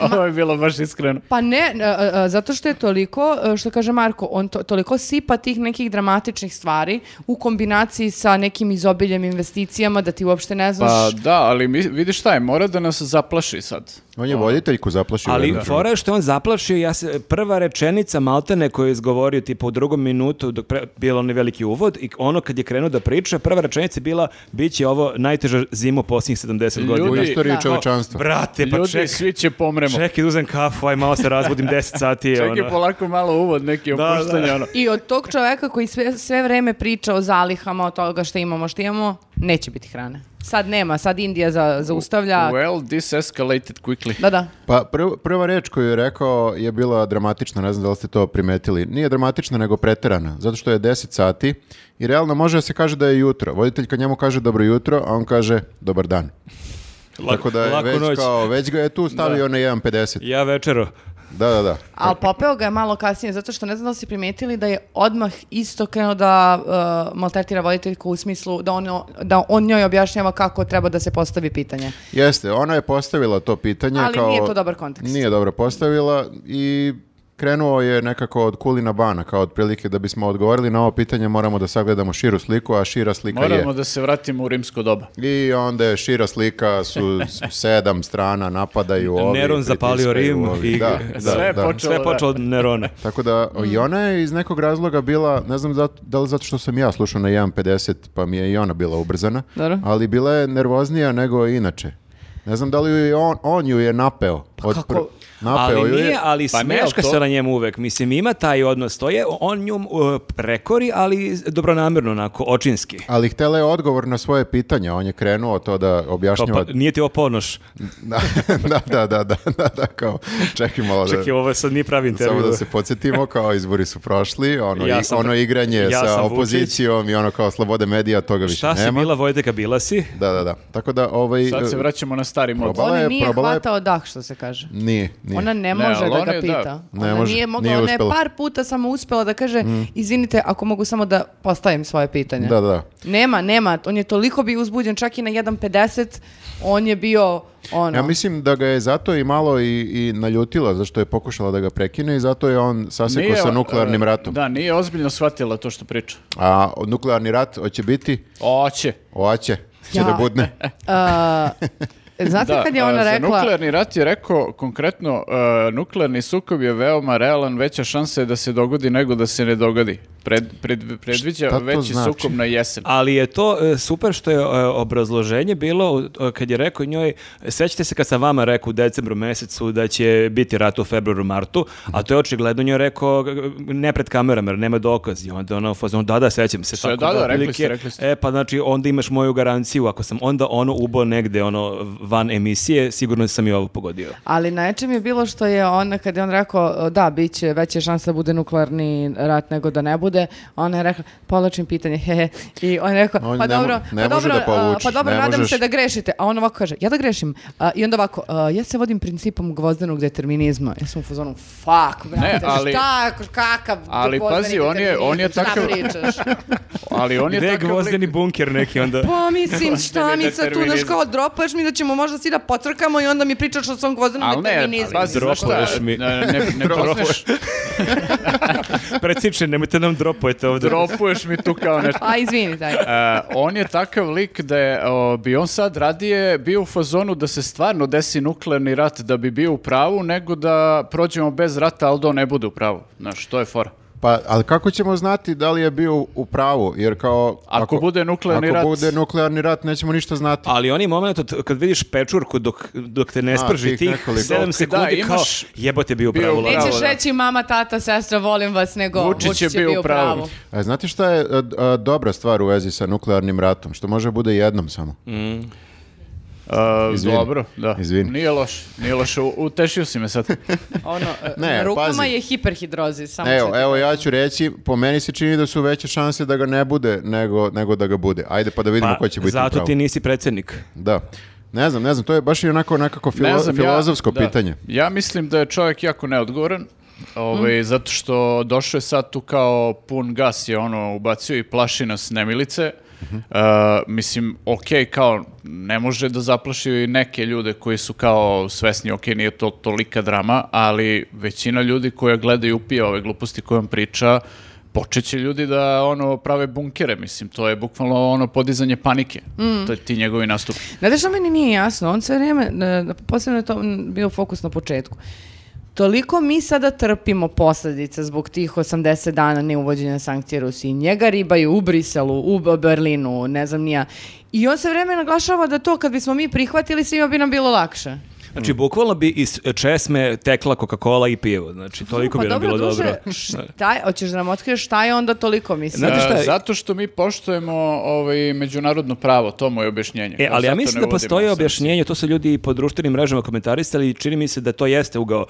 [SPEAKER 4] Ovo je bilo baš iskreno.
[SPEAKER 1] Pa ne, e, e, e, zato što je toliko, e, što kaže Marko, on to, toliko sipa tih nekih dramatičnih stvari u kombinaciji sa nekim izobiljem investicijama da ti uopšte ne znaš...
[SPEAKER 4] Pa da, ali mi, vidiš šta je, mora da nas zaplaši sad.
[SPEAKER 2] On je voditeljku zaplašio. u
[SPEAKER 3] Ali
[SPEAKER 2] jednom
[SPEAKER 3] fora je što je on zaplašio, ja se, prva rečenica Maltene koju je izgovorio tipa u drugom minutu, dok pre, bilo onaj veliki uvod, i ono kad je krenuo da priča, prva rečenica je bila, bit će ovo najteža zima u posljednjih 70 godina.
[SPEAKER 2] trenutku. U
[SPEAKER 4] Ljudi-
[SPEAKER 2] istoriji
[SPEAKER 1] Da.
[SPEAKER 2] čovečanstva.
[SPEAKER 3] Brate, pa
[SPEAKER 4] Ljudi,
[SPEAKER 3] ček,
[SPEAKER 4] svi će pomremo.
[SPEAKER 3] čekaj da uzem kafu, aj malo se
[SPEAKER 4] <laughs>
[SPEAKER 3] razbudim 10 sati.
[SPEAKER 4] Čekaj
[SPEAKER 3] ono.
[SPEAKER 4] polako malo uvod neki
[SPEAKER 3] Da,
[SPEAKER 4] opuštanje.
[SPEAKER 3] da.
[SPEAKER 4] Ono.
[SPEAKER 1] I od tog čoveka koji sve, sve vreme priča o zalihama, o toga što imamo, što imamo, neće biti hrane. Sad nema, sad Indija za, zaustavlja.
[SPEAKER 4] Well, this escalated quickly.
[SPEAKER 1] Da, da.
[SPEAKER 2] Pa prv- prva reč koju je rekao je bila dramatična, ne znam da li ste to primetili. Nije dramatična, nego preterana, zato što je 10 sati i realno može da se kaže da je jutro. Voditelj kad njemu kaže dobro jutro, a on kaže dobar dan.
[SPEAKER 3] Lako-
[SPEAKER 2] Tako da je
[SPEAKER 3] lako
[SPEAKER 2] već,
[SPEAKER 3] noć.
[SPEAKER 2] kao, već ga je tu stavio na 1.50.
[SPEAKER 3] Ja večero.
[SPEAKER 2] Da, da, da.
[SPEAKER 1] Ali popeo ga je malo kasnije, zato što ne znam da li si primetili da je odmah isto krenuo da uh, maltretira voditeljku u smislu da on, da on njoj objašnjava kako treba da se postavi pitanje.
[SPEAKER 2] Jeste, ona je postavila to pitanje.
[SPEAKER 1] Ali
[SPEAKER 2] kao,
[SPEAKER 1] nije to dobar kontekst.
[SPEAKER 2] Nije dobro postavila i krenuo je nekako od kulina bana, kao otprilike da bismo odgovorili na ovo pitanje moramo da sagledamo širu sliku, a šira slika je...
[SPEAKER 4] Moramo da se vratimo u rimsko doba.
[SPEAKER 2] I onda je šira slika,
[SPEAKER 3] <laughs>
[SPEAKER 2] su s- sedam strana, napadaju ovi.
[SPEAKER 3] Neron zapalio
[SPEAKER 2] pritiskaju
[SPEAKER 3] Rim
[SPEAKER 2] ovi.
[SPEAKER 3] i- <laughs> Mm.
[SPEAKER 2] Da,
[SPEAKER 3] da,
[SPEAKER 2] da,
[SPEAKER 4] sve je
[SPEAKER 2] da.
[SPEAKER 4] počelo.
[SPEAKER 3] Sve je počelo od Nerona.
[SPEAKER 2] Tako da, i ona je iz nekog razloga bila, ne znam zato- da li zato što sam ja slušao na 1.50, pa mi je i ona bila ubrzana,
[SPEAKER 1] Dobro.
[SPEAKER 2] ali bila je nervoznija nego inače. Ne znam da li ju je on, on ju je napeo. od
[SPEAKER 1] kako?
[SPEAKER 2] pr- Napeo
[SPEAKER 3] Pa Ali
[SPEAKER 2] ju je.
[SPEAKER 3] nije, ali
[SPEAKER 4] Pa ne, ali
[SPEAKER 3] smeška
[SPEAKER 4] to-
[SPEAKER 3] se na njemu uvek. Mislim, ima taj odnos. To je, on nju uh, prekori, ali dobronamirno, onako, očinski.
[SPEAKER 2] Ali htela je odgovor na svoje pitanje, on je krenuo to da
[SPEAKER 3] Kao, pa,
[SPEAKER 2] objašnjava.
[SPEAKER 3] nije ti ovo ponoš.
[SPEAKER 2] <laughs> Da, da, da, da, da, da, da, kao, čekaj malo da...
[SPEAKER 3] Čekaj, ovo sad nije pravi intervju.
[SPEAKER 2] Samo da se podsjetimo, kao izbori su prošli, ono,
[SPEAKER 3] Ja
[SPEAKER 2] i-
[SPEAKER 3] sam-
[SPEAKER 2] ono igranje
[SPEAKER 3] ja
[SPEAKER 2] sa
[SPEAKER 3] sam Vučić.
[SPEAKER 2] opozicijom i ono kao slobode medija, toga više
[SPEAKER 3] Šta si
[SPEAKER 2] nema.
[SPEAKER 3] bila, Vojteka, bila si?
[SPEAKER 2] Da, da, da. Tako da, ovaj...
[SPEAKER 4] Sad se
[SPEAKER 2] eh,
[SPEAKER 4] vraćamo na stari mod.
[SPEAKER 2] Probala
[SPEAKER 1] Ona
[SPEAKER 2] je-
[SPEAKER 1] nije
[SPEAKER 2] probala je-
[SPEAKER 1] hvatao dah, što se kaže.
[SPEAKER 2] Nije, pa nije.
[SPEAKER 1] Ona ne
[SPEAKER 4] Ne,
[SPEAKER 1] može
[SPEAKER 4] ali
[SPEAKER 1] da
[SPEAKER 4] ona
[SPEAKER 1] ga
[SPEAKER 4] je,
[SPEAKER 1] pita.
[SPEAKER 4] da.
[SPEAKER 2] Ne
[SPEAKER 1] ona
[SPEAKER 2] može,
[SPEAKER 1] nije mogla,
[SPEAKER 2] nije
[SPEAKER 1] ona je
[SPEAKER 2] uspela. Mm.
[SPEAKER 1] par puta samo uspela da kaže, izvinite, ako mogu samo da postavim svoje pitanje.
[SPEAKER 2] Da, da, da.
[SPEAKER 1] Nema, nema. On je toliko bio uzbuđen, čak i na 1.50 on je bio ono...
[SPEAKER 2] Ja mislim da ga je zato i malo i, i naljutila, zašto je pokušala da ga prekine i zato je on sasekao
[SPEAKER 4] Nije,
[SPEAKER 2] sa nuklearnim
[SPEAKER 4] e,
[SPEAKER 2] ratom.
[SPEAKER 4] Da, nije ozbiljno shvatila to što priča.
[SPEAKER 2] A nuklearni rat hoće biti,
[SPEAKER 4] Oće.
[SPEAKER 2] oće, će
[SPEAKER 1] Ja.
[SPEAKER 2] da
[SPEAKER 4] <laughs>
[SPEAKER 2] budne.
[SPEAKER 4] E.
[SPEAKER 2] <laughs>
[SPEAKER 1] A, znate kad je ona
[SPEAKER 4] a, Za
[SPEAKER 1] rekla...
[SPEAKER 4] nuklearni rat je rekao konkretno e, nuklearni sukob je veoma realan, veća šansa je da se dogodi nego da se ne dogodi. Pred, pred, predviđa
[SPEAKER 2] Šta to
[SPEAKER 4] veći
[SPEAKER 2] znači?
[SPEAKER 4] sukob na jesen.
[SPEAKER 3] Ali je to e, super što je e, obrazloženje bilo u- e, kad je rekao njoj, sećate se kad sam vama rekao u decembru mesecu da će biti rat u februaru, martu, a to je očigledno njoj rekao g- g- ne pred kamerama jer nema dokaz. I onda ona u fazonu, da, da, sećam se.
[SPEAKER 4] Sve,
[SPEAKER 3] tako
[SPEAKER 4] da, da, rekli
[SPEAKER 3] otprilike,
[SPEAKER 4] ste, rekli ste.
[SPEAKER 3] E, pa znači, onda imaš moju garanciju. Ako sam onda ono ubo negde, ono, van emisije, sigurno sam i ovo pogodio.
[SPEAKER 1] Ali najčem je bilo što je ona, kad je on rekao, da, bit će veća šansa da bude nuklearni rat nego da ne bude, ona je rekla, povlačim pitanje, <laughs> hehe. I on je rekao,
[SPEAKER 2] On
[SPEAKER 1] pa
[SPEAKER 2] ne mo-
[SPEAKER 1] dobro,
[SPEAKER 2] ne
[SPEAKER 1] pa
[SPEAKER 2] može
[SPEAKER 1] dobro,
[SPEAKER 2] da
[SPEAKER 1] a,
[SPEAKER 2] povuče,
[SPEAKER 1] pa dobro,
[SPEAKER 2] ne
[SPEAKER 1] nadam
[SPEAKER 2] možeš.
[SPEAKER 1] se da grešite. A on ovako kaže, ja da grešim. A, I onda ovako, a, ja se vodim principom gvozdenog determinizma. Ja sam u fazonu, fuck, brate,
[SPEAKER 4] Ne, ali-
[SPEAKER 1] šta, kakav
[SPEAKER 4] Ali
[SPEAKER 1] gvozdeni
[SPEAKER 4] pazi, on je- on je
[SPEAKER 1] determinizam,
[SPEAKER 4] takav-
[SPEAKER 1] Šta pričaš?
[SPEAKER 4] <laughs> Ali on je
[SPEAKER 3] Gde je
[SPEAKER 4] takav lik-
[SPEAKER 3] gvozdeni bunker neki
[SPEAKER 4] <laughs>
[SPEAKER 3] onda?
[SPEAKER 1] Pa mislim, šta mi sad tu,
[SPEAKER 4] determinizam.
[SPEAKER 1] znaš kao, dropaš mi da ćemo možda svi da pocrkamo i onda mi pričaš o svom
[SPEAKER 4] Ali
[SPEAKER 1] gvozdenom
[SPEAKER 4] ne,
[SPEAKER 1] determinizmu.
[SPEAKER 4] pazi,
[SPEAKER 3] Dropuješ
[SPEAKER 4] znaš šta,
[SPEAKER 3] mi.
[SPEAKER 4] Ne, ne,
[SPEAKER 3] <laughs>
[SPEAKER 4] ne poznaš,
[SPEAKER 3] Preciče, nemojte nam dropujete ovde.
[SPEAKER 4] dropuješ mi tu kao nešto.
[SPEAKER 1] A, izvini, daj.
[SPEAKER 4] E, on je takav lik da je, o, bi on sad radije bio u fazonu da se stvarno desi nuklearni rat da bi bio u pravu nego da prođemo bez rata, ali da on ne bude u pravu. Znaš, to je fora.
[SPEAKER 2] Pa, ali kako ćemo znati da li je bio u pravu? Jer kao...
[SPEAKER 4] Ako bude nuklearni
[SPEAKER 2] ako
[SPEAKER 4] rat-
[SPEAKER 2] bude nuklearni rat, nećemo ništa znati.
[SPEAKER 3] Ali oni moment od- kad vidiš pečurku dok, dok te ne
[SPEAKER 2] A,
[SPEAKER 3] sprži
[SPEAKER 2] tih
[SPEAKER 3] tih
[SPEAKER 2] nekoliko.
[SPEAKER 3] 7
[SPEAKER 2] Da,
[SPEAKER 3] sekundi kao
[SPEAKER 4] imaš-
[SPEAKER 3] jebote bio
[SPEAKER 4] bio
[SPEAKER 3] pravo.
[SPEAKER 4] u pravu.
[SPEAKER 1] Nećeš
[SPEAKER 4] da.
[SPEAKER 1] reći mama, tata, sestra, volim vas, nego
[SPEAKER 4] Vučić
[SPEAKER 1] Vučić,
[SPEAKER 4] je bio u pravu.
[SPEAKER 2] A znate šta je e, d- a, dobra stvar u vezi sa nuklearnim ratom? Što može bude jednom samo.
[SPEAKER 4] A,
[SPEAKER 2] Izvini.
[SPEAKER 4] Dobro, da.
[SPEAKER 2] Izvini.
[SPEAKER 4] Nije loš, nije loš. U- Utešio si me sad.
[SPEAKER 1] <laughs> Ono, e,
[SPEAKER 2] Ne,
[SPEAKER 1] na rukama
[SPEAKER 2] pazi.
[SPEAKER 1] je hiperhidrozi. Samo ću
[SPEAKER 2] Evo,
[SPEAKER 1] ti-
[SPEAKER 2] evo ja ću reći, po meni se čini da su veće šanse da ga ne bude nego, nego da ga bude. Ajde pa da vidimo ko će biti u
[SPEAKER 3] zato
[SPEAKER 2] pravu.
[SPEAKER 3] ti nisi predsednik.
[SPEAKER 2] Da. Ne znam, ne znam, to je baš i onako nekako filo-
[SPEAKER 4] Ne znam, ja-
[SPEAKER 2] filozofsko
[SPEAKER 4] da.
[SPEAKER 2] pitanje.
[SPEAKER 4] Ja mislim da je čovjek jako neodgovoran. Ovaj, Zato što došao je sad tu kao pun gas je ono ubacio i plaši nas nemilice.
[SPEAKER 2] Mhm.
[SPEAKER 4] E, mislim, ok, kao ne može da zaplaši i neke ljude koji su kao svesni, ok, nije to tolika drama, ali većina ljudi koja gleda i upija ove gluposti koje on priča, počeće ljudi da ono prave bunkere, mislim, to je bukvalno ono podizanje panike, to je ti njegovi nastupi.
[SPEAKER 1] Znate što meni nije jasno? On sve vrijeme, e, posebno je to m, bio fokus na početku. Toliko mi sada trpimo posljedice zbog tih 80 dana neuvođenja sankcija Rusiji. Njega ribaju u Briselu, u B- Berlinu, ne znam nija. I on se vreme naglašava da to kad bismo mi prihvatili svima bi nam bilo lakše.
[SPEAKER 3] Znači,
[SPEAKER 2] Mm.
[SPEAKER 3] bukvalno bi iz česme tekla Coca-Cola i pivo. Znači, toliko
[SPEAKER 1] Pa
[SPEAKER 3] bi nam bilo
[SPEAKER 1] druže,
[SPEAKER 3] dobro.
[SPEAKER 1] Šta je, hoćeš da nam otkriješ šta je onda toliko mislim?
[SPEAKER 3] Znate
[SPEAKER 4] E,
[SPEAKER 3] šta je-
[SPEAKER 4] Zato što mi poštujemo ovaj međunarodno pravo, to moje objašnjenje.
[SPEAKER 3] E, ali ja
[SPEAKER 4] Zato
[SPEAKER 3] mislim
[SPEAKER 4] ne
[SPEAKER 3] da
[SPEAKER 4] uvodimo
[SPEAKER 3] postoji
[SPEAKER 4] sankcije.
[SPEAKER 3] objašnjenje, to su ljudi i po društvenim mrežama komentarisali i čini mi se da to jeste ugao.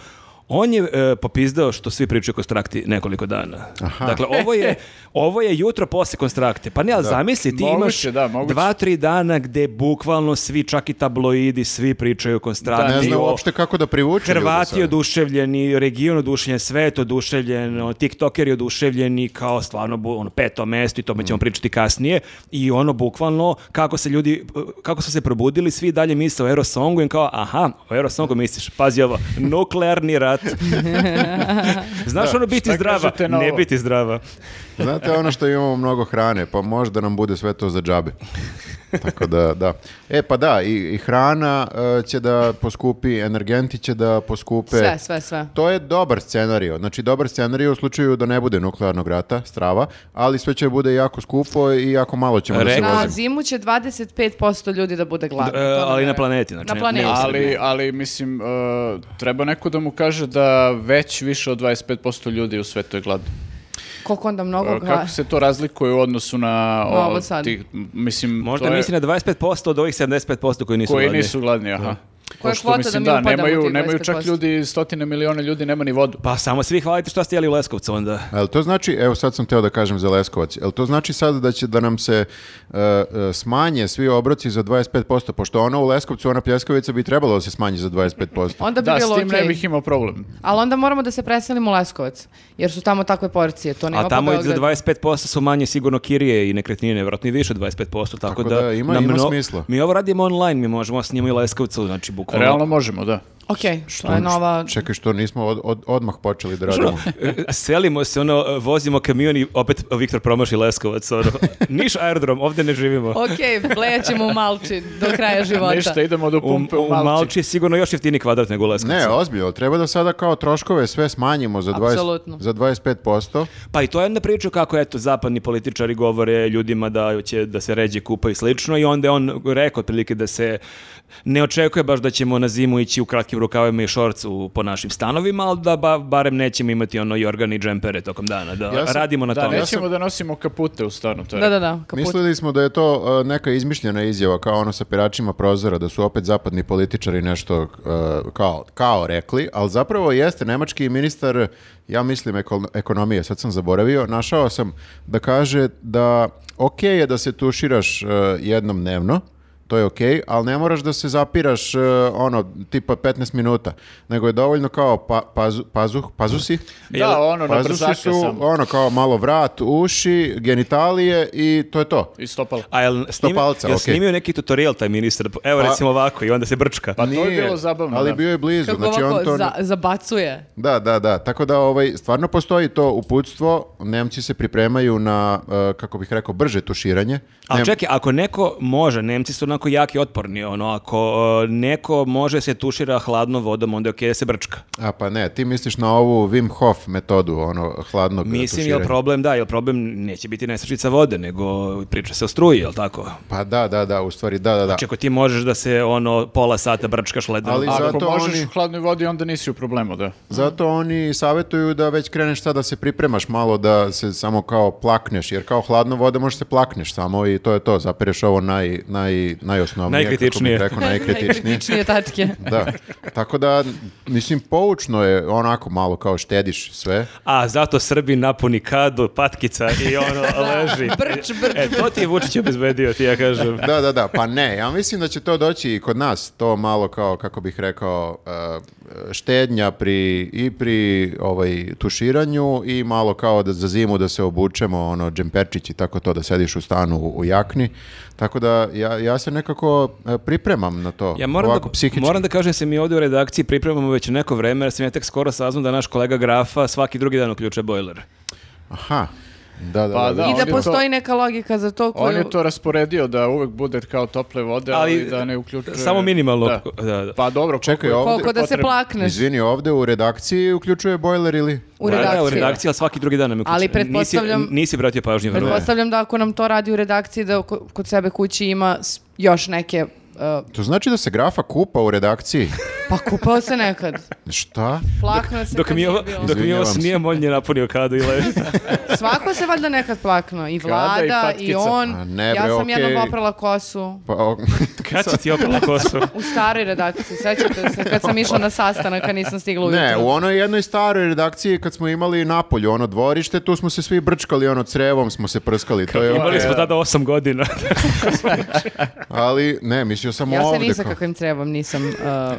[SPEAKER 3] On je e, popizdao što svi pričaju o konstrakti nekoliko dana. Dakle, ovo je,
[SPEAKER 2] <laughs>
[SPEAKER 3] ovo je jutro posle konstrakte. Pa ne, ali zamisli, ti
[SPEAKER 4] Moguće,
[SPEAKER 3] imaš
[SPEAKER 4] da, moguće.
[SPEAKER 3] dva, tri dana gde bukvalno svi, čak i tabloidi, svi pričaju o konstrakti.
[SPEAKER 2] Ne znam
[SPEAKER 3] Pa, o-
[SPEAKER 2] uopšte kako da privuče
[SPEAKER 4] Znači,
[SPEAKER 2] ljude
[SPEAKER 3] Hrvati
[SPEAKER 2] sada.
[SPEAKER 3] oduševljeni, region oduševljen, svet oduševljen, o, TikTokeri oduševljeni kao stvarno bu- ono, peto mesto i tome
[SPEAKER 4] Mm.
[SPEAKER 3] ćemo pričati kasnije. I ono bukvalno kako se ljudi, kako su se probudili, svi dalje misle o Eurosongu i kao aha, o Eurosongu misliš, pazi ovo, nuklearni rat. Znaš ono biti
[SPEAKER 4] šta
[SPEAKER 3] zdrava,
[SPEAKER 4] kažete na
[SPEAKER 3] ne
[SPEAKER 4] ovo?
[SPEAKER 3] biti zdrava.
[SPEAKER 2] Znate ono što imamo mnogo hrane, pa možda nam bude sve to za džabe. Tako da, da. E, pa da, i, i hrana e, će da poskupi, energenti će da poskupe.
[SPEAKER 1] Sve, sve, sve.
[SPEAKER 2] To je dobar scenario. Znači, dobar scenario u slučaju da ne bude nuklearnog rata, strava, ali sve će bude jako skupo i jako malo ćemo
[SPEAKER 4] E,
[SPEAKER 2] da se
[SPEAKER 3] Rekao-
[SPEAKER 1] Na
[SPEAKER 2] vozimo.
[SPEAKER 1] zimu će 25% ljudi da bude gladno.
[SPEAKER 3] E, ali na planeti, znači,
[SPEAKER 1] Na
[SPEAKER 3] ne-
[SPEAKER 1] planeti.
[SPEAKER 3] ne u Srbiji.
[SPEAKER 4] Ali, ali mislim, e, treba neko da mu kaže da već više od 25% ljudi u svetu je gladno.
[SPEAKER 1] Koliko onda mnogo
[SPEAKER 4] E,
[SPEAKER 1] gla-
[SPEAKER 4] Kako se to razlikuje u odnosu na... o,
[SPEAKER 1] Na ovo sad.
[SPEAKER 4] ti- m, mislim,
[SPEAKER 3] Možda
[SPEAKER 4] to je-
[SPEAKER 3] misli na 25% od ovih 75% koji nisu
[SPEAKER 4] koji
[SPEAKER 3] gladni.
[SPEAKER 4] nisu gladni, aha.
[SPEAKER 1] Koja
[SPEAKER 4] Pošto,
[SPEAKER 1] kvota da mi upadamo u
[SPEAKER 4] nemaju,
[SPEAKER 1] tih
[SPEAKER 4] nemaju čak
[SPEAKER 1] 25%?
[SPEAKER 4] ljudi, stotine miliona ljudi nema ni vodu.
[SPEAKER 3] Pa samo svi hvalite što ste jeli u Leskovcu onda.
[SPEAKER 2] Jel to znači, evo sad sam teo da kažem za Leskovac, jel to znači sad da će da nam se e, e, smanje svi obroci za 25%, pošto ono u Leskovcu, ona pljeskavica bi trebalo da se smanji za 25%.
[SPEAKER 1] Onda bi
[SPEAKER 4] Da,
[SPEAKER 1] bilo
[SPEAKER 4] s tim
[SPEAKER 1] okej.
[SPEAKER 4] ne bih imao problem.
[SPEAKER 1] Ali onda moramo da se preselimo u Leskovac, jer su tamo takve porcije, to nema
[SPEAKER 3] A tamo
[SPEAKER 1] po
[SPEAKER 3] je za
[SPEAKER 1] Beogradu.
[SPEAKER 3] 25% su manje sigurno kirije i nekretnine, vjerojatno i više od 25%, tako,
[SPEAKER 2] Tako
[SPEAKER 3] da,
[SPEAKER 2] da, ima-
[SPEAKER 3] na
[SPEAKER 2] ima
[SPEAKER 3] mno-
[SPEAKER 2] smisla.
[SPEAKER 3] Mi ovo radimo online, mi možemo s njima i Leskovcu, znači bukvalno.
[SPEAKER 4] Realno možemo, da.
[SPEAKER 1] Okej, to je nova...
[SPEAKER 2] Čekaj što nismo od, od- odmah počeli da radimo.
[SPEAKER 3] Ono, e, Selimo se, ono, e, vozimo kamion i opet Viktor promaši Leskovac. Ono. Niš aerodrom, ovdje ne živimo.
[SPEAKER 1] Okej, blejaćemo u Malči do kraja života.
[SPEAKER 4] Ništa, idemo do
[SPEAKER 3] U,
[SPEAKER 4] pumpe u
[SPEAKER 3] u
[SPEAKER 4] Malči.
[SPEAKER 3] Malči je sigurno još jeftini kvadrat nego u Leskovcu.
[SPEAKER 2] Ne, ozbiljno, treba da sada kao troškove sve smanjimo za, 20,
[SPEAKER 1] Apsolutno.
[SPEAKER 2] za 25%.
[SPEAKER 3] Pa i to je jedna priča kako eto zapadni političari govore ljudima da će da se ređe kupa i slično i onda je on rekao otprilike da se ne očekuje baš da ćemo na zimu ići u kratkim rukavima i šorcu po našim stanovima, ali da ba- barem nećemo imati ono jorgan i džempere tokom dana, da
[SPEAKER 2] Ja sam-
[SPEAKER 3] radimo na
[SPEAKER 4] Da,
[SPEAKER 3] tome.
[SPEAKER 4] nećemo da nosimo kapute u stanu, to je
[SPEAKER 1] Da, da, da, kaput.
[SPEAKER 2] Mislili smo da je to e, neka izmišljena izjava kao ono sa piračima prozora, da su opet zapadni političari nešto e, kao, kao rekli, ali zapravo jeste nemački ministar, ja mislim ekol- ekonomije, sad sam zaboravio, našao sam da kaže da ok je da se tuširaš e, jednom dnevno, to je okej, ali ne moraš da se zapiraš e, ono, tipa 15 minuta, nego je dovoljno kao pa, pazu, pazuh, pazusi.
[SPEAKER 4] Da, ono, na brzaka
[SPEAKER 2] Pazusi Pa su
[SPEAKER 4] samo.
[SPEAKER 2] ono kao malo vrat, uši, genitalije i to je to.
[SPEAKER 4] I stopala.
[SPEAKER 3] A jel snimio,
[SPEAKER 2] palca,
[SPEAKER 3] jel
[SPEAKER 2] okej.
[SPEAKER 3] snimio neki tutorial taj ministar? Evo
[SPEAKER 2] Pa-
[SPEAKER 3] recimo ovako i onda se brčka.
[SPEAKER 4] Pa to je bilo zabavno,
[SPEAKER 2] Ali
[SPEAKER 4] da.
[SPEAKER 2] bio je blizu,
[SPEAKER 1] Kako
[SPEAKER 2] znači
[SPEAKER 1] ovako
[SPEAKER 2] on to...
[SPEAKER 1] za- zabacuje.
[SPEAKER 2] Da, da, da. Tako da ovaj stvarno postoji to uputstvo. Nemci se pripremaju na eh, kako bih rekao brže tuširanje.
[SPEAKER 3] A
[SPEAKER 2] Nem-
[SPEAKER 3] čekaj, ako neko može, Nemci su onako jaki otporni, ono, ako e, neko može se tušira hladnom vodom, onda je okej da se brčka.
[SPEAKER 2] A pa ne, ti misliš na ovu Wim Hof metodu, ono hladnog eh,
[SPEAKER 3] Mislim,
[SPEAKER 2] tuširanja.
[SPEAKER 3] jel problem, da, jel problem neće biti nestašica vode, nego priča se o struji, jel tako?
[SPEAKER 2] Pa da, da, da, u stvari da, da, da.
[SPEAKER 3] Znači, ako ti možeš da se ono pola sata brčkaš ledeno.
[SPEAKER 2] Ali-
[SPEAKER 3] A,
[SPEAKER 4] Ako
[SPEAKER 2] zato
[SPEAKER 4] možeš
[SPEAKER 2] oni-
[SPEAKER 4] u hladnoj vodi, onda nisi u problemu, da.
[SPEAKER 2] Zato oni savjetuju da već kreneš sada da se pripremaš malo da se samo kao plakneš, jer kao hladno voda možeš se plakneš samo i to je to, zapereš ovo naj, naj, najosnovnije,
[SPEAKER 3] Najkritičnije.
[SPEAKER 2] kako bih rekao, najkritičnije.
[SPEAKER 1] <laughs> Najkritičnije tačke.
[SPEAKER 2] da. Tako da, mislim, poučno je onako malo kao štediš sve.
[SPEAKER 3] A zato Srbi napuni kadu, patkica i ono leži.
[SPEAKER 1] Brč, brč,
[SPEAKER 3] E, to ti je Vučić obezbedio, ti ja kažem.
[SPEAKER 2] Da, da, da, pa ne, ja mislim da će to doći i kod nas, to malo kao, kako bih rekao, e, štednja pri, i pri ovaj, tuširanju i malo kao da za zimu da se obučemo, ono, džemperčić i tako to, da sediš u stanu u, u jakni, tako da ja, ja se nekako e, pripremam na to,
[SPEAKER 3] Ja moram,
[SPEAKER 2] ovako
[SPEAKER 3] da,
[SPEAKER 2] psihički.
[SPEAKER 3] moram da kažem da se mi ovdje u redakciji pripremamo već neko vreme, jer sam ja tek skoro saznao da naš kolega Grafa svaki drugi dan uključuje bojler.
[SPEAKER 2] Aha, da, da,
[SPEAKER 4] Pa da,
[SPEAKER 2] da.
[SPEAKER 1] I
[SPEAKER 4] on
[SPEAKER 1] da
[SPEAKER 4] je to-
[SPEAKER 1] postoji neka logika za to
[SPEAKER 4] On
[SPEAKER 1] koju...
[SPEAKER 4] je to rasporedio da uvek bude kao tople vode, ali,
[SPEAKER 3] Ali,
[SPEAKER 4] da ne uključuje...
[SPEAKER 3] Samo minimalno.
[SPEAKER 4] Da.
[SPEAKER 3] Da, da.
[SPEAKER 4] Pa dobro,
[SPEAKER 2] Čekaj,
[SPEAKER 4] koliko
[SPEAKER 2] ovdje-
[SPEAKER 4] je-
[SPEAKER 1] Koliko da se
[SPEAKER 4] potrebno.
[SPEAKER 1] plakneš
[SPEAKER 2] Izvini, ovdje u redakciji uključuje bojler ili...
[SPEAKER 1] u
[SPEAKER 3] Da, da,
[SPEAKER 1] redakciji.
[SPEAKER 3] u redakciji, ali svaki drugi dan nam je
[SPEAKER 1] Ali
[SPEAKER 3] uključen.
[SPEAKER 1] pretpostavljam-
[SPEAKER 3] Nisi, nisi bratio pažnju, vrlo.
[SPEAKER 1] Pretpostavljam da ako nam to radi u redakciji, da ko- kod sebe kući ima s- još neke... uh,
[SPEAKER 2] To znači da se grafa kupa u
[SPEAKER 3] <laughs>
[SPEAKER 2] redakciji.
[SPEAKER 1] pa kupao se nekad.
[SPEAKER 2] Šta?
[SPEAKER 1] Plaknuo se
[SPEAKER 3] Dok
[SPEAKER 1] kad
[SPEAKER 3] mi
[SPEAKER 1] nije
[SPEAKER 3] ovo,
[SPEAKER 1] bilo.
[SPEAKER 3] dok mi ovo
[SPEAKER 2] Izvinjavam se.
[SPEAKER 3] snijem, on je napunio kadu i leži.
[SPEAKER 1] Svako se valjda nekad plaknuo. I
[SPEAKER 4] Kada i
[SPEAKER 1] vlada, i,
[SPEAKER 4] patkica.
[SPEAKER 1] on.
[SPEAKER 2] A ne,
[SPEAKER 1] ja
[SPEAKER 2] bre,
[SPEAKER 1] sam
[SPEAKER 2] okej.
[SPEAKER 1] jednom oprala kosu.
[SPEAKER 2] Pa, o-
[SPEAKER 3] Kad si ti opala kosu?
[SPEAKER 1] U staroj redakciji, sećate se, kad sam išla na sastanak, a nisam stigla ujutro.
[SPEAKER 2] ne, u onoj jednoj staroj redakciji kad smo imali napolju ono dvorište, tu smo se svi brčkali, ono crevom smo se prskali. To je,
[SPEAKER 3] Imali smo tada osam godina.
[SPEAKER 2] ali ne, mislio sam
[SPEAKER 1] Ja se
[SPEAKER 2] ovdje.
[SPEAKER 1] ni sa
[SPEAKER 2] kao-
[SPEAKER 1] kakvim trebam, nisam... uh,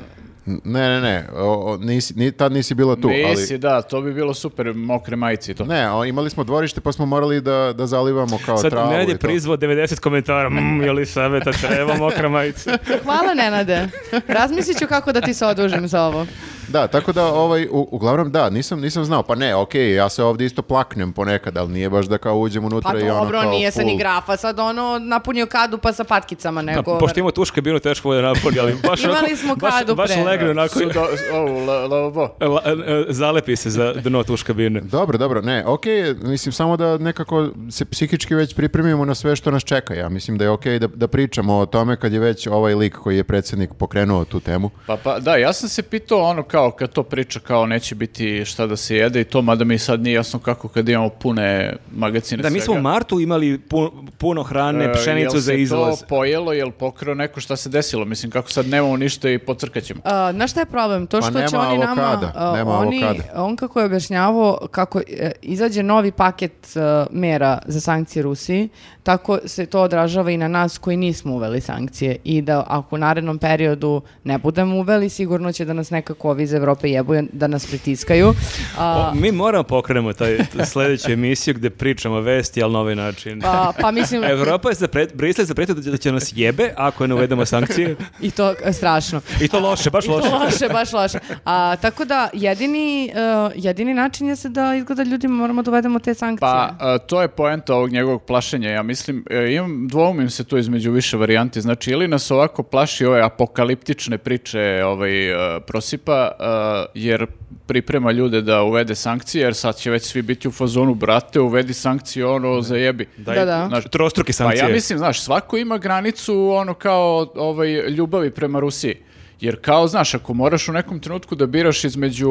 [SPEAKER 2] Ne, ne, ne, o, o, nisi, ni, tad nisi bila tu.
[SPEAKER 4] Nisi,
[SPEAKER 2] ali...
[SPEAKER 4] da, to bi bilo super, mokre majice i to.
[SPEAKER 2] Ne, o, imali smo dvorište pa smo morali da, da zalivamo kao
[SPEAKER 3] Sad
[SPEAKER 2] pa travu.
[SPEAKER 3] Nenad
[SPEAKER 2] i
[SPEAKER 3] je
[SPEAKER 2] to.
[SPEAKER 3] prizvao 90 komentara. Mm, je li saveta treba mokra majica?
[SPEAKER 1] Hvala Nenade. Razmislit ću kako da ti se odužim za ovo.
[SPEAKER 2] Da, tako da, ovaj, u, uglavnom da, nisam, nisam znao. Pa ne, okej, ja se ovdje isto plaknem ponekad, ali nije baš da kao uđem unutra
[SPEAKER 1] Pa
[SPEAKER 2] i ono
[SPEAKER 1] dobro,
[SPEAKER 2] kao
[SPEAKER 1] nije se ni
[SPEAKER 2] full-
[SPEAKER 1] grafa. Sad ono napunio kadu pa sa patkicama
[SPEAKER 3] Pa,
[SPEAKER 1] nego...
[SPEAKER 3] Pošto ima tuška, bilo je teško volje napolje, ali baš,
[SPEAKER 1] Imali
[SPEAKER 3] onako-
[SPEAKER 1] smo
[SPEAKER 3] baš,
[SPEAKER 1] kadu
[SPEAKER 3] baš
[SPEAKER 1] pre.
[SPEAKER 3] legne onako,
[SPEAKER 4] Su do, ovu, la- lavabo.
[SPEAKER 3] la- e, zalepi se za dno tuška bine.
[SPEAKER 2] Dobro, dobro, ne, okej, mislim samo da nekako se psihički već pripremimo na sve što nas čeka. Ja mislim da je okej da, da pričamo o tome kad je već ovaj lik koji je predsjednik pokrenuo tu temu.
[SPEAKER 4] Pa, pa, da, ja sam se pitao ono kao kad to priča kao neće biti šta da se jede i to, mada mi sad nije jasno kako kad imamo pune magazine
[SPEAKER 3] Da, mi smo u
[SPEAKER 4] svega.
[SPEAKER 3] martu imali pu- puno
[SPEAKER 4] E,
[SPEAKER 3] hrane, pšenicu
[SPEAKER 4] jel
[SPEAKER 3] za
[SPEAKER 4] se
[SPEAKER 3] izvoz.
[SPEAKER 4] to pojelo, jel pokrao neko šta se desilo? Mislim, kako sad nemamo ništa i pocrkat ćemo.
[SPEAKER 1] A, znaš šta je problem? To
[SPEAKER 2] Pa
[SPEAKER 1] što će
[SPEAKER 2] nema
[SPEAKER 1] oni
[SPEAKER 2] avokada,
[SPEAKER 1] nama... a,
[SPEAKER 2] nema
[SPEAKER 1] oni,
[SPEAKER 2] avokada.
[SPEAKER 1] On kako je objašnjavao kako e, izađe novi paket e, mera za sankcije Rusiji, tako se to odražava i na nas koji nismo uveli sankcije i da ako u narednom periodu ne budemo uveli, sigurno će da nas nekako ovi iz Evrope jebuju, da nas pritiskaju. A,
[SPEAKER 3] O, mi moramo pokrenemo taj t- sljedeću emisiju gde pričamo vesti, ali na ovaj način.
[SPEAKER 1] pa, pa
[SPEAKER 3] <laughs>
[SPEAKER 1] mislim...
[SPEAKER 3] Evropa je zapret, Brisel je zapretio da će- da će nas jebe ako ne uvedemo sankcije.
[SPEAKER 1] I to e, strašno.
[SPEAKER 3] I to loše, baš
[SPEAKER 1] I to
[SPEAKER 3] loše.
[SPEAKER 1] loše, baš loše. A, tako da, jedini, e, jedini način je se da izgleda ljudima moramo dovedemo te sankcije.
[SPEAKER 4] Pa, a, to je poenta ovog njegovog plašenja, ja mislim. E, imam, dvoumim se tu između više varijanti. Znači, ili nas ovako plaši ove apokaliptične priče ovaj, e, prosipa, e, jer priprema ljude da uvede sankcije, jer sad će već svi biti u fazonu, brate, uvedi sankcije, ono, zajebi.
[SPEAKER 1] Da, da.
[SPEAKER 3] Znači, trostruke
[SPEAKER 4] Pa
[SPEAKER 3] sankcije.
[SPEAKER 4] ja mislim, znaš, svako ima granicu ono kao ovaj, ljubavi prema Rusiji. Jer kao, znaš, ako moraš u nekom trenutku da biraš između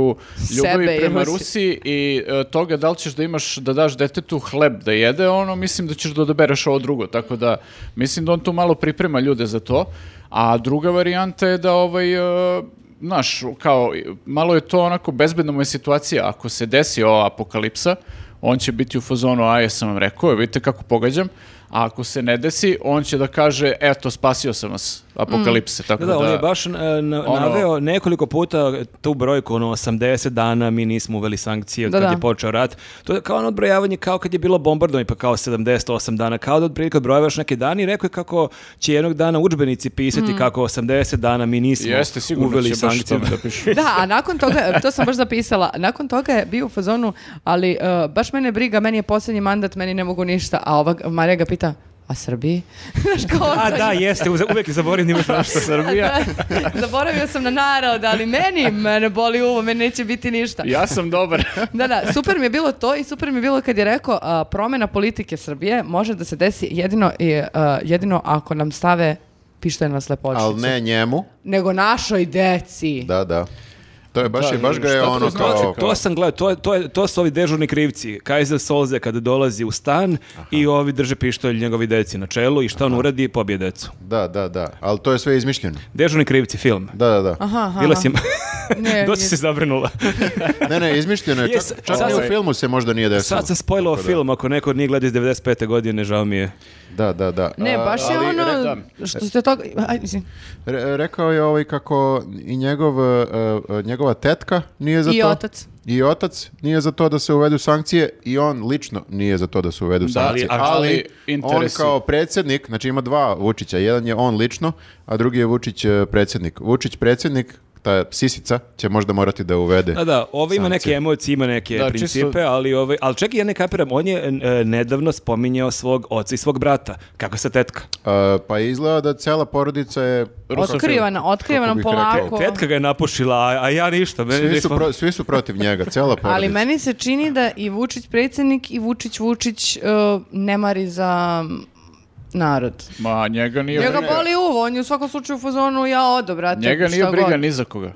[SPEAKER 4] ljubavi
[SPEAKER 1] Sebe i
[SPEAKER 4] prema
[SPEAKER 1] Rusije.
[SPEAKER 4] Rusiji i e, toga da li ćeš da imaš, da daš detetu hleb da jede, ono, mislim da ćeš da odabereš ovo drugo. Tako da, mislim da on tu malo priprema ljude za to. A druga varijanta je da, ovaj, e, znaš, kao, malo je to onako, bezbedna mu je situacija. Ako se desi ova apokalipsa, on će biti u fazonu, a ja sam vam rekao, evo vidite kako pogađam, a ako se ne desi, on će da kaže, eto, spasio sam vas, apokalipse, tako
[SPEAKER 3] Da,
[SPEAKER 4] da...
[SPEAKER 3] da, on je
[SPEAKER 4] <laughs>
[SPEAKER 3] baš e, na-
[SPEAKER 4] ono-
[SPEAKER 3] naveo nekoliko puta tu brojku, ono 80 dana mi nismo uveli sankcije od
[SPEAKER 1] Da,
[SPEAKER 3] kad
[SPEAKER 1] da.
[SPEAKER 3] je počeo rat. To je kao ono odbrojavanje kao kad je bilo bombardovanje, pa kao 78 dana, kao da otprilike odbrojavaš neke dane i rekao je kako će jednog dana udžbenici pisati
[SPEAKER 1] Mm.
[SPEAKER 3] kako 80 dana mi nismo
[SPEAKER 4] Jeste, sigurno
[SPEAKER 3] uveli
[SPEAKER 4] će baš
[SPEAKER 3] sankcije.
[SPEAKER 4] tome da pišu.
[SPEAKER 1] Da, a nakon toga, to sam baš zapisala, nakon toga je bio u fazonu, ali e, baš mene briga, meni je posljednji mandat, meni ne mogu ništa, a ova Marija ga pita, a Srbiji? <laughs> Znaš, kao
[SPEAKER 3] A
[SPEAKER 1] sad- <laughs>
[SPEAKER 3] da, jeste, uze- uvek zaboravim imaš našto <laughs> Srbija.
[SPEAKER 1] Da, Zaboravio sam na narod, ali meni, mene boli uvo, meni neće biti ništa.
[SPEAKER 4] Ja sam dobar. <laughs>
[SPEAKER 1] Da, da, super mi je bilo to i super mi je bilo kad je rekao a, promjena politike Srbije može da se desi jedino, i, a, jedino ako nam stave pištolj na slepočicu.
[SPEAKER 2] Ali ne njemu.
[SPEAKER 1] Nego našoj deci.
[SPEAKER 2] Da, da. To je baš,
[SPEAKER 4] Da,
[SPEAKER 2] je, baš ga je
[SPEAKER 4] šta to
[SPEAKER 2] ono
[SPEAKER 4] znači
[SPEAKER 2] kao...
[SPEAKER 3] Pa To sam gledao, to, je- to, je- to su ovi dežurni krivci. Kaiser Solze kada dolazi u stan i ovi drže pištolj njegovi deci na čelu i šta on uradi, pobije decu.
[SPEAKER 2] Da, da, da. Ali to je sve izmišljeno.
[SPEAKER 3] Dežurni krivci, film.
[SPEAKER 2] Da, da, da.
[SPEAKER 1] Aha, aha.
[SPEAKER 3] Bila si... <laughs>
[SPEAKER 1] Ne,
[SPEAKER 3] Doći
[SPEAKER 1] nije.
[SPEAKER 3] se
[SPEAKER 2] <laughs>
[SPEAKER 3] zabrinula.
[SPEAKER 2] Ne, ne, izmišljeno je.
[SPEAKER 3] Jes,
[SPEAKER 2] Čak, čak
[SPEAKER 3] sad
[SPEAKER 2] ni u
[SPEAKER 3] sam-
[SPEAKER 2] filmu se možda nije desilo.
[SPEAKER 3] Sad sam spojlao film, ako neko od njih gleda iz 95. godine, žao mi je.
[SPEAKER 2] Da, da, da.
[SPEAKER 1] Ne,
[SPEAKER 2] A,
[SPEAKER 1] baš je
[SPEAKER 2] ali re-
[SPEAKER 1] ono, što ste toga, aj, mislim,
[SPEAKER 2] re- rekao je ovaj kako i njegov, e, e, njegova tetka nije za
[SPEAKER 1] I
[SPEAKER 2] to.
[SPEAKER 1] otac.
[SPEAKER 2] I otac nije za to da se uvedu sankcije i on lično nije za to da se uvedu sankcije.
[SPEAKER 4] ali- ali
[SPEAKER 2] on
[SPEAKER 4] interesi.
[SPEAKER 2] kao predsjednik, znači ima dva Vučića, jedan je on lično, a drugi je Vučić e, predsjednik. Vučić predsjednik, ta sisica, će možda morati da uvede.
[SPEAKER 3] Da, da, ovo ima neke
[SPEAKER 2] Sankcije.
[SPEAKER 3] emocije, ima neke
[SPEAKER 4] Da,
[SPEAKER 3] principe,
[SPEAKER 4] čisto-
[SPEAKER 3] ali, ovaj, ali čekaj, ja ne kapiram, on je e, nedavno spominjao svog oca i svog brata. Kako se tetka?
[SPEAKER 2] E, pa izgleda da cijela porodica je...
[SPEAKER 4] Rusofil.
[SPEAKER 1] otkrivana, otkrivana
[SPEAKER 2] Kako bih
[SPEAKER 1] polako.
[SPEAKER 3] Tetka ga je napušila, a, a ja ništa. Meni
[SPEAKER 2] Svi su,
[SPEAKER 3] nismo-
[SPEAKER 2] pro- svi su protiv njega, cijela porodica.
[SPEAKER 1] Ali meni se čini da i Vučić predsjednik i Vučić Vučić e, ne mari za narod.
[SPEAKER 4] Ma, njega nije
[SPEAKER 1] Njega
[SPEAKER 4] briga.
[SPEAKER 1] boli uvo, on je u svakom slučaju u fazonu ja odo, brate.
[SPEAKER 4] Njega nije
[SPEAKER 1] Pa šta
[SPEAKER 4] briga
[SPEAKER 1] god.
[SPEAKER 4] ni za koga.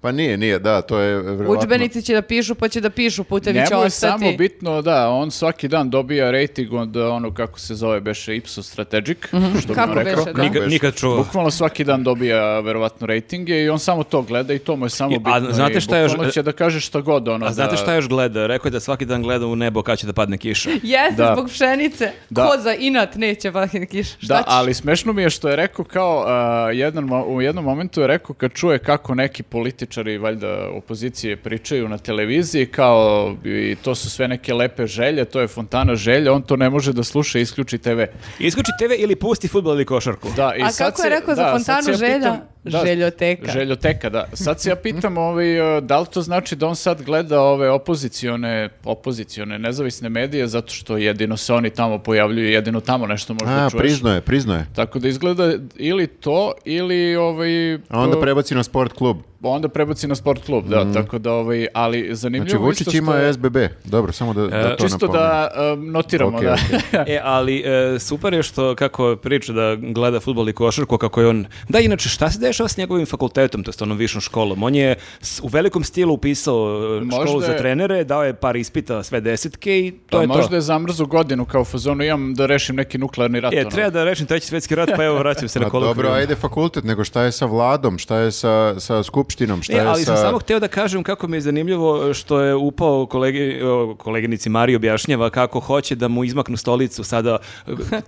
[SPEAKER 2] Pa nije, nije, da, to je verovatno.
[SPEAKER 1] Udžbenici će da pišu, pa će da pišu, putevi će
[SPEAKER 4] Njemu je
[SPEAKER 1] ostati.
[SPEAKER 4] samo bitno, da, on svaki dan dobija rejting od ono kako se zove, beše Ipsos Strategic, što bi
[SPEAKER 1] Mhm. Kako
[SPEAKER 4] on rekao.
[SPEAKER 1] beše, da.
[SPEAKER 2] Nikad-
[SPEAKER 3] Nikad, nikad čuo.
[SPEAKER 4] Bukvalno svaki dan dobija eh, verovatno rejtinge i on samo to gleda i to mu je samo
[SPEAKER 3] I- a
[SPEAKER 4] bitno.
[SPEAKER 3] znate
[SPEAKER 4] i
[SPEAKER 3] šta je još-
[SPEAKER 4] bukvalno će da kaže šta god ono.
[SPEAKER 3] A znate
[SPEAKER 4] da-
[SPEAKER 3] šta još gleda? Rekao je da svaki dan gleda u nebo kada će da padne
[SPEAKER 4] <laughs>
[SPEAKER 3] kiša.
[SPEAKER 1] Jeste,
[SPEAKER 4] Da.
[SPEAKER 1] zbog pšenice.
[SPEAKER 4] Da.
[SPEAKER 1] Ko za inat neće vahin kiš. Šta
[SPEAKER 4] Da,
[SPEAKER 1] ćeš?
[SPEAKER 4] ali smešno mi je što je rekao kao a, jedan, mo- u jednom momentu je rekao kad čuje kako neki političari valjda opozicije pričaju na televiziji kao i to su sve neke lepe želje, to je fontana želja, on to ne može da sluša, isključi TV.
[SPEAKER 3] Isključi TV ili pusti futbol ili košarku.
[SPEAKER 4] Da, i
[SPEAKER 1] A
[SPEAKER 4] sad
[SPEAKER 1] kako je
[SPEAKER 4] se-
[SPEAKER 1] rekao za
[SPEAKER 4] da, sad
[SPEAKER 1] fontanu
[SPEAKER 4] se ja
[SPEAKER 1] želja?
[SPEAKER 4] pitam-
[SPEAKER 1] Željoteka.
[SPEAKER 4] Željoteka, da. Sad se ja
[SPEAKER 1] <laughs>
[SPEAKER 4] pitam ovaj, e, da li to znači da on sad gleda ove opozicione, opozicione nezavisne medije zato što jedino se oni tamo pojavljuju, jedino tamo nešto možda
[SPEAKER 2] A,
[SPEAKER 4] čuješ.
[SPEAKER 2] priznao je, priznao je.
[SPEAKER 4] Tako da izgleda ili to ili ovaj
[SPEAKER 2] A onda
[SPEAKER 4] e,
[SPEAKER 2] prebaci na sport klub.
[SPEAKER 4] onda prebaci na sport klub, da, tako da ovaj ali zanimljivo
[SPEAKER 2] Znači, Vučić
[SPEAKER 4] isto što
[SPEAKER 2] ima
[SPEAKER 4] je-
[SPEAKER 2] SBB. Dobro, samo da, da to
[SPEAKER 4] čisto
[SPEAKER 2] napomenem.
[SPEAKER 4] da em, notiramo
[SPEAKER 2] Okej,
[SPEAKER 4] <laughs> da.
[SPEAKER 2] okej.
[SPEAKER 3] E, ali e, super je što kako priča da gleda futbol i košarku, kako je on... Da, inače, šta se dešava s njegovim fakultetom, to je onom višom školom? On je s- u velikom stilu upisao e,
[SPEAKER 4] Možda
[SPEAKER 3] školu za
[SPEAKER 4] je-
[SPEAKER 3] trenere, dao je par ispita, sve desetke i to
[SPEAKER 4] Pa
[SPEAKER 3] je
[SPEAKER 4] možda
[SPEAKER 3] to.
[SPEAKER 4] je zamrzu godinu kao u fazonu imam da rešim neki nuklearni rat.
[SPEAKER 3] E,
[SPEAKER 4] ono.
[SPEAKER 3] treba da rešim treći svjetski rat, pa evo vraćam se
[SPEAKER 2] A
[SPEAKER 3] na kolokvijum.
[SPEAKER 2] dobro, ajde fakultet, nego šta je sa vladom, šta je sa, sa skupštinom, šta
[SPEAKER 3] E,
[SPEAKER 2] je
[SPEAKER 3] ali
[SPEAKER 2] sa...
[SPEAKER 3] sam samo hteo da kažem kako mi je zanimljivo što je upao kolegi, o, koleginici Mari objašnjava kako hoće da mu izmaknu stolicu sada,